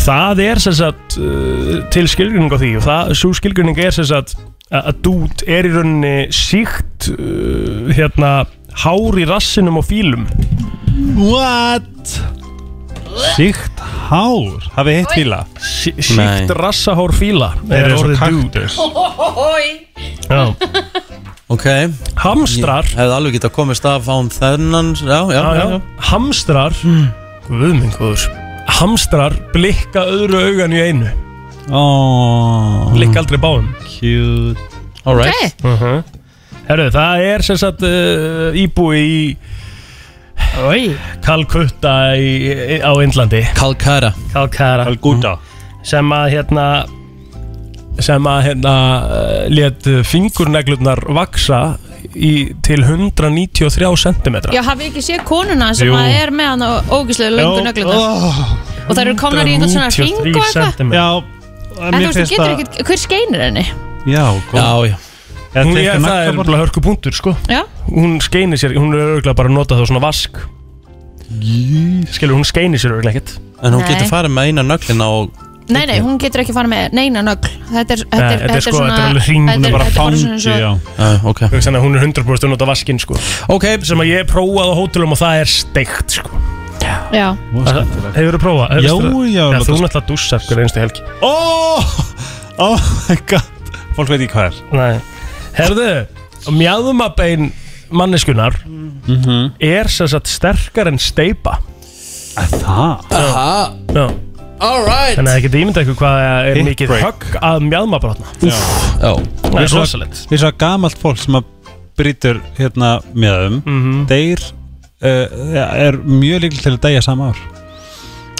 C: Það er sem sagt uh, til skilgrinning á því og það, svo skilgrinning er sem sagt að að dude er í rauninni síkt uh, hérna hár í rassinum og fílum
N: What?
C: Síkt hár Hafið hitt fíla?
D: Nei. síkt rassahár fíla
C: Eru
D: orðið
C: orðið
D: dudes. Já.
A: Ok Hamstrar Ég hefði alveg getað komist af án þennan Já, já,
D: Já, Mm. já. Hamstrar Guðmengur Hamstrar blikka öðru augan í einu
C: oh.
D: Blikka aldrei báum
C: Cute
D: Alright -huh. Herru, það er sem sagt uh, íbúi í Oi. Kalkutta í, í, á Indlandi
A: Kalkara
D: Kalkara
C: Kalkutta
D: Sem að hérna sem að hérna uh, let fingurneglurnar vaksa í, til 193 cm
B: Já, hafið þið ekki séð konuna sem
D: Jú.
B: að er með hann og ógislega
D: Já,
B: löngu nögluna
D: oh,
B: og það eru komnar í einhvern svona ring og eitthvað
C: Já,
B: En þú veist, þú getur ekkert, hver skeinir henni?
C: Já, góð
A: Já, já
D: Hún
C: tekur
D: ég, það er
C: naglabor-
D: bara hörku punktur sko
B: Já.
D: Hún skeinir sér, hún er örgulega bara að nota þá svona vask Skilur, hún skeinir sér örgulega ekkert
A: En hún
B: Nei.
A: getur farið með eina nöglina og
B: Nei, nei, hún getur ekki fara með neina nögl Þetta er, þetta er,
D: þetta er sko,
B: svona
D: þetta er alveg hring, hún er bara
B: þetta svona
D: fangi,
B: svo-
D: já.
A: uh, Ok
D: Þú veist, Þannig að hún er 100% að nota vaskinn sko
A: Ok
D: Sem að ég hef prófað á hótelum og það er steikt sko
B: Já,
D: Hefur þú prófað?
C: Já,
D: Hefurðu-
C: já,
D: Já,
C: alveg
D: þú
C: dús-
D: náttúrulega dúsar hver einstu helgi
C: Oh, oh my god Fólk veit ekki hvað er
D: Nei Herðu, mjadmabein manneskunar
C: Mhm.
D: er sem sagt sterkar en steipa
C: Það?
A: Aha
D: Já
A: Alright
D: Þannig að það getur ímyndað ykkur hvað er
C: Hip
D: mikið
C: break.
D: högg að mjadmabrotna
A: Já
D: Það er rosalegt
C: Við svo að gamalt fólk sem að brýtur hérna meðum mm
D: Mhm.
C: -hmm. Deyr uh, er mjög líkil til að deyja sama ár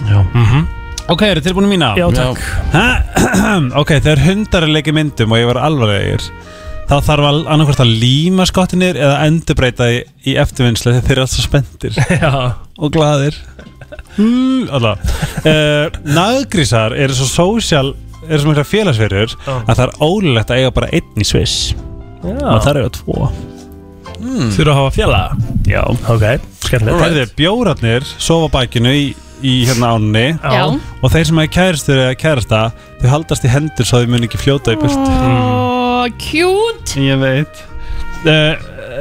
C: Já mm -hmm. Ok, eru tilbúinu mína?
D: Já, takk.
C: Ha, ok, þegar hundar er leikið myndum og ég var alvarlegir þá þarf að annarkvært að líma skottinir eða endurbreyta í, í eftirvinnslu þegar þeir eru alltaf spendir
D: Já.
C: og glaðir Mm, Alla uh, Naggrísar eru svo sósjál eru svo mjög félagsverður að það er ólulegt að eiga bara einn í Sviss og það eru tvo
D: mm. Þurfa að hafa fjallaða
C: Já,
D: ok, skemmtilegt
C: Herði, bjórarnir sofa á bakinu í, í hérna ánni
D: Já.
C: og þeir sem er kæristur eða kærasta þau haldast í hendur svo þau mun ekki fljóta í burt
B: Ó, cute
C: Mm. Ég veit uh,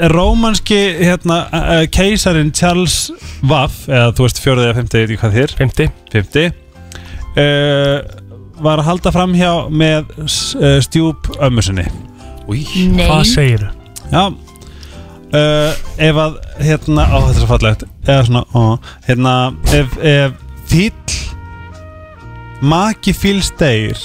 C: Rómanski hérna, uh, keisarin Charles Waff eða þú veist fjórðið eða fymti, ég veit ekki hvað þér
D: Fymti
C: Fymti Var að halda fram hjá með s- uh, stjúp ömmu sinni
A: Új,
B: Nei. hvað segirðu?
C: Já uh, Ef að, hérna, ó þetta er svo fallegt Eða svona, ó, hérna Ef, ef fíll Maki fíls deyr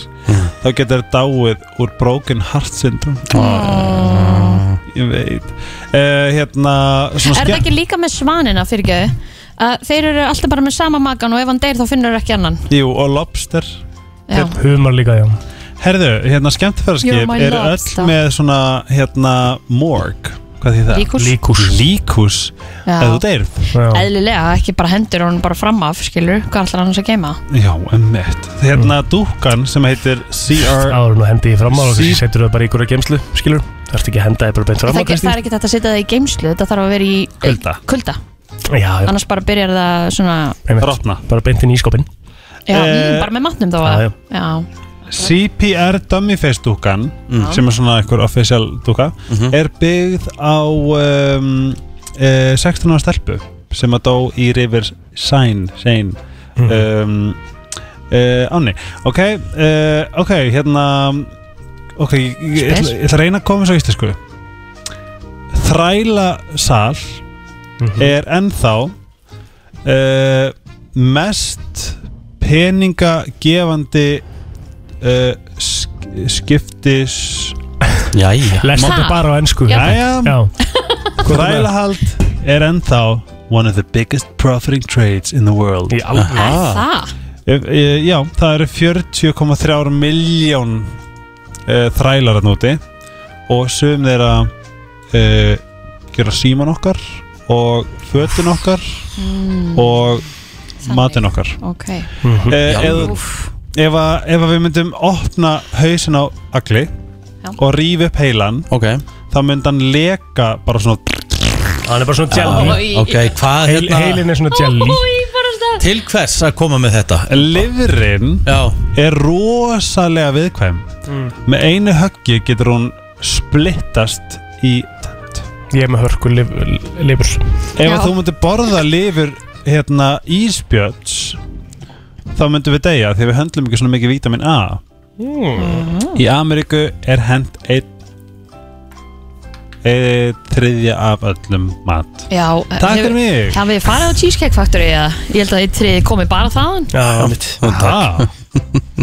C: Þá getur það dáið úr broken heart syndrome
D: Ah.
C: oh. Ég veit uh, Hérna
B: Er það
C: svona ske-
B: ekki líka með svanina, fyrirgjöðu? Að þeir eru alltaf bara með sama makan og ef hann deyr þá finnur þeir ekki annan
C: Jú, og lobster
B: Já.
D: Humar líka, já
C: Herðu, hérna
B: You're
C: skemmtifæraskip
B: my
C: er
B: lobster.
C: öll með svona, hérna, morg Hvað því það?
B: Líkús.
C: Líkus Líkus
B: Já.
C: Eða þú deyrð
B: Eðlilega, ekki bara hendur hann bara fram af, skilur Hvað ætlar hann að geima?
C: Já, emmitt Hérna dúkkan sem heitir CR
D: Áður nú hendi ég fram á og þessi setur það bara í ykkur að gemslu Skilur, það ert ekki að henda þið bara beint
B: Það,
D: fram á
B: það, það er ekki þetta að setja það í geimslu Þetta þarf að vera í
D: Kulda.
B: kulda.
D: Já, já
B: Annars bara byrjar það svona
D: Einmitt.
C: Rotna.
D: Bara beint inn í skopin
B: Já,
C: Eh,
B: mm, bara með matnum þá
C: já, já.
B: já.
C: CPR Dummy Face dúkkan
B: Mm.
C: sem er svona einhver official dúka er byggð á um, uh, 16 ára stelpu sem að dó í River Sign Sein
D: Mm.
C: um, uh, áni ok, uh, ok, hérna ok, ég, ég, ég, ætla- ég ætla að reyna að koma svo íslensku Þræla sal
D: Mhm.
C: er ennþá uh, mest peningagefandi uh, sk- skiptis
A: Jæja
D: Lestu þetta bara á ennsku
C: Jæja
D: Hvað er
C: Þrælahald er ennþá one of the biggest profiting trades in the world Í
D: alvöru? Er
C: Ah.
B: það?
C: Já, það eru 40,3 miljón uh, þrælar að núti og sum þeirra uh, gera síman okkar og fötin okkar
B: Mm.
C: og matinn okkar
B: Ok.
C: mm
B: Já.
C: ef, að, ef að við myndum opna hausin á agli
B: Já.
C: og rífi upp heilan okay. þá myndi hann leka bara svona
D: hann er bara svona jelly.
A: Ok, hvað
D: Heil-
C: hérna-
D: heilinn er svona jelly.
A: Til hvers að koma með þetta?
C: Livrin
A: Já.
C: er rosalega viðkvæm
D: Mm.
C: með einu höggi getur hún splittast í tæmt
D: Ég er með hörku lifur
C: ef að þú myndir borða lifur hérna íspjölds þá myndum við deyja því við höndlum ekki svona mikið vítamin A
D: Mm.
C: Í Ameríku er hend einn einn þriðja af öllum mat
B: Já, eh,
C: Takk fyrir mig.
B: Það við farið á Cheesecake Factory eða ég held að eitt trið komi bara þaðan
D: Já, mitt
C: Það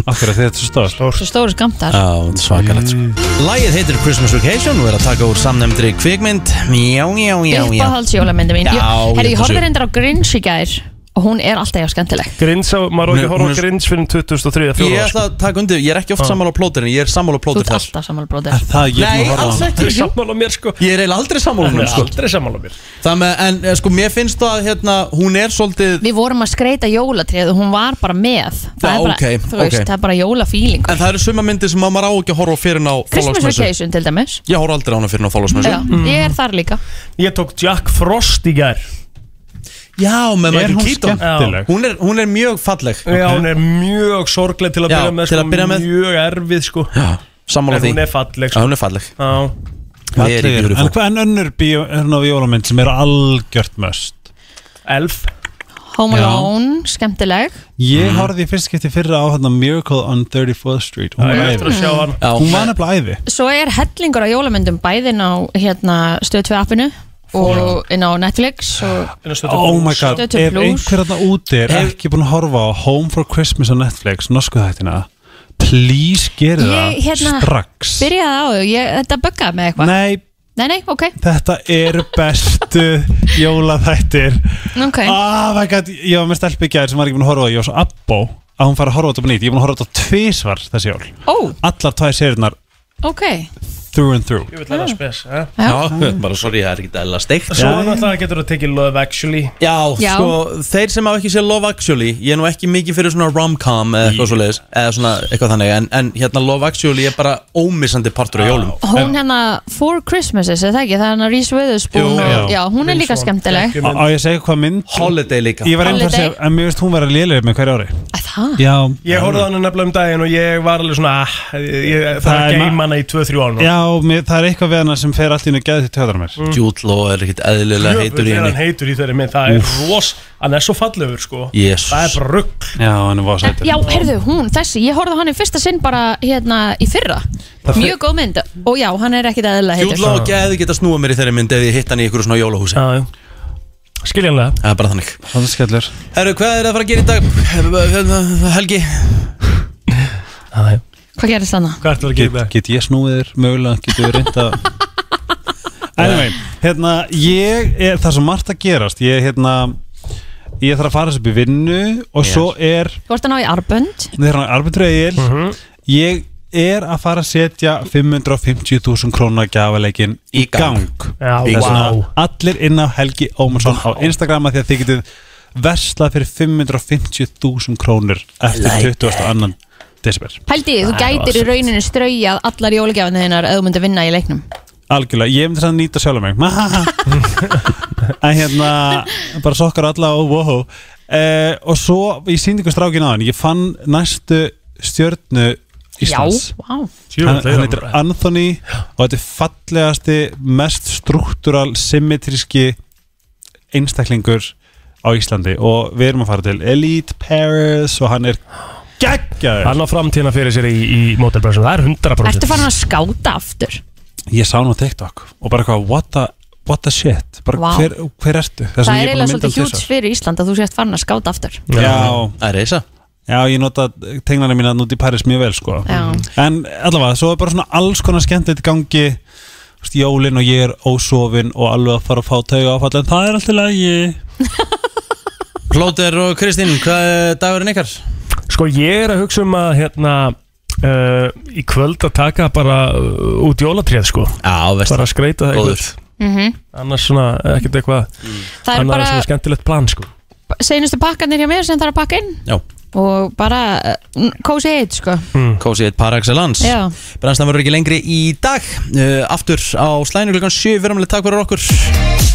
C: Akkur að þetta er svo stór
B: Svo stóru skamtar
A: Já, þetta er svakalegt sko Lægið heitir Christmas Vacation og er að taka úr samnefndri kvikmynd Já, já, já, já
B: Uppáhalds jólamyndi mín
A: Já,
B: Ég-
A: ég
B: Herri, ég
A: held að
B: horfði
A: sé.
B: reyndar á Grinch í gær og hún er alltaf jafn skemmtileg
D: Grins á, maður á ekki að horfa
A: Hún
D: á
A: er-
D: grins fyrir 2003
A: Ég ætla að taka undir, ég er ekki oft
D: Já.
A: sammála á plóterinu, ég er sammála á
B: Þú
A: plóter
B: ert
A: þar
B: alltaf sammálbróðir
A: Nei, alls ekki
D: Þú er sammála mér sko
A: Ég er eiginlega aldrei sammála
D: Hann
A: hún
D: er
A: sko.
D: aldrei sammála mér
A: Það með, en eh, sko, mér finnst það að hérna, hún er svolítið
B: Við vorum að skreita jólatrið og hún var bara með Það
A: Já,
B: er bara,
A: ok,
B: þú veist,
A: ok.
B: það er bara jólafíling
A: En það eru suma myndir sem að maður á ekki að horfa á fyrir á
B: Christmas
A: Þorláksmessu.
B: Vacation til dæmis
A: Ég horfa aldrei á hana fyrir á
B: Já,
A: fólksmessu
B: ég er þar líka
D: Ég tók Jack Frost í gær
A: Já, með Michael Keaton
D: skemmtileg?
A: Hún er, hún er mjög falleg
D: Já, hún er mjög sorgleg til að
A: Já,
D: byrja með
A: til
D: sko,
A: að byrja með.
D: Mjög erfið sko Já,
A: sammála því.
D: En hún er falleg
A: Já,
D: sko
A: hún er falleg
D: Já
A: Very
C: Allir,
A: beautiful.
C: en hvað en önnur bíó, hérna á jólamynd sem er algjört möst?
D: Elf
B: Home
C: Já.
B: Alone, skemmtileg
C: Ég
B: Mhm.
C: horfði í fyrst skipti fyrra á hérna Miracle on 34th Street Hún
D: Já, ég
C: var
D: er eftir að sjá hana.
C: æði Hún var nefnilega æði
B: Svo er hellingur á jólamyndum bæðin á hérna, stöð 2 appinu og inn á Netflix og
C: Oh my god,
B: Stöð
C: ef
B: 2 Plus.
C: einhver hérna úti er ekki búin að horfa á Home for Christmas á Netflix, norsku þættina Please geri það
B: Ég hérna
C: strax
B: byrjaði á þau, ég, þetta buggaði með eitthvað
C: Nei,
B: Nei, nei, ok,
C: þetta eru bestu jólaþættir
B: ok
A: Ah.
C: Oh my god, ég var með stelpi í gæðir sem var ekki búin að horfa á það, ég var svo abbó að hún fara að horfa á þetta upp nýtt, ég er búin að horfa á þetta tvísvar þessi jól
B: Ó,
C: Allar tvær sériunar
B: ok
C: through and through
D: Ég vil að það spes eh?
B: Já.
A: bara sorry, það er ekki eða steikt
D: Svo náttúrulega getur þú tekið Love Actually
A: Já,
B: Já.
A: sko, þeir sem hafa ekki séð Love Actually Ég er nú ekki mikið fyrir svona rom-com eða eitthvað svoleiðis eða svona eitthvað þannig en, en hérna Love Actually er bara ómissandi partur á jólum
B: Hún hérna Four Christmases, er það ekki? Það er hérna Reese Witherspoon
A: Jú,
B: og,
A: já.
B: Já, hún er líka skemmtileg
D: um
C: Á á ég að segja hvað mynd
A: Holiday líka
C: Ég var einhvern veginn að segja, en mér veist hún vera lélegir með hverju ári
B: Það?
C: Já
D: Ég horfði á hana nefnilega um daginn og ég var alveg svona ah, ég, ég, Það er
C: Það er
D: að
C: ma-
D: geima hana í 2-3 ára
C: Já, mér, það er eitthvað við hana sem fer allt í hennu gæði til tjóðar mér
A: Jude Law er ekkit eðlilega heitur í
D: Hann
A: henni
D: heitur í þeirri mynd, það er
A: Úff.
D: ros Hann er svo fallegur sko
A: Jesus.
D: Það er bara rugg
C: Já, hann var sættur
B: Já, heyrðu, hún, þessi, ég horfði á hann í fyrsta sinn bara hérna í fyrra
A: Það fer-
B: Mjög góð mynd og já, hann er ekkit eðla
A: Jude
B: heitur
A: Law geði geta snúa mér í þeirri mynd ef ég hitt hann í ykkur svona jólahúsi
D: Skiljanlega
A: Það er bara þannig
C: Það er skellur
A: Herru, hvað er að fara að gera í dag? Hérna, Helgi
B: Hvað gerist þannig?
D: Hvað ertu að
C: Get, get ég snúið þér, mögulega getur við reynda Anyway, hérna, ég er það er svo margt að gerast Ég, hérna, ég þarf að fara þessu upp í vinnu Og svo er,
B: Þú ert að ná í Arbund
C: það er hann arbeitröðil
D: Mhm.
C: Ég er að fara að setja 550.000 krónar gjafaleikin í gang,
D: Já,
C: Þess vegna
D: vá.
C: Allir inn á Helgi Ómarsson á Instagrama því að þið getið verslað fyrir 550.000 krónur eftir
A: Like
C: 22. desember
B: Pældi, þú gætir í rauninu strauja allar jólagjafinu þinnar ef þú myndir vinna í leiknum
C: Algjörlega, ég myndi sann nýta sjálf mig En hérna Bara sokkar alla og wow eh, Og svo, ég síndi ykkur strákin á hann Ég fann næstu stjörnu Íslands
B: Já, vá
C: Hann, hann heitir Anthony og þetta er fallegasti, mest struktúral, symmetríski einstaklingur á Íslandi og við erum að fara til Elite Paris og hann er geggjaður
D: Hann á framtíðina fyrir sér í, í mótelbransunum Það er 100%
B: Ertu farin að skáta aftur?
C: Ég sá hann á TikTok og bara eitthvað, what the, what the shit bara,
B: Vá.
C: hver, hver ertu?
B: Það, er
C: sem ég búin að
B: eiginlega
C: mynda
B: svolítið
C: hann tvisvar.
B: hjúts fyrir Ísland að þú sést farin að skáta aftur
C: Já
A: Það er reysa
C: Já, ég nota tenglana mína út í Paris mjög vel sko.
B: Já.
C: En allavega, svo er bara svona alls konar skemmtilegt í gangi Þú veist, Jólin og ég er ósofin og alveg að fara að fá tauga áfall En það er alltaf lægi
A: Plóter og Kristín, hvað er dagurinn ykkar?
D: Sko ég er að hugsa um að hérna uh, í kvöld að taka bara uh, út jólatrið sko
A: Já, veist
D: Bara að skreita það
A: Góður.
D: eitthvað Annars svona ekkert eitthvað
B: Það er
D: Annars
B: bara-
D: svona skemmtilegt plan sko
B: Seinustu pakkanir hjá mér sem þarf að pakka inn
A: Já
B: Og bara uh, kósi eitt sko
A: Kósið eitt par excellence
B: Já.
A: Brennstam verður ekki lengri í dag uh, Aftur á slæðinu klukkan 7 Verðumlega takk fyrir okkur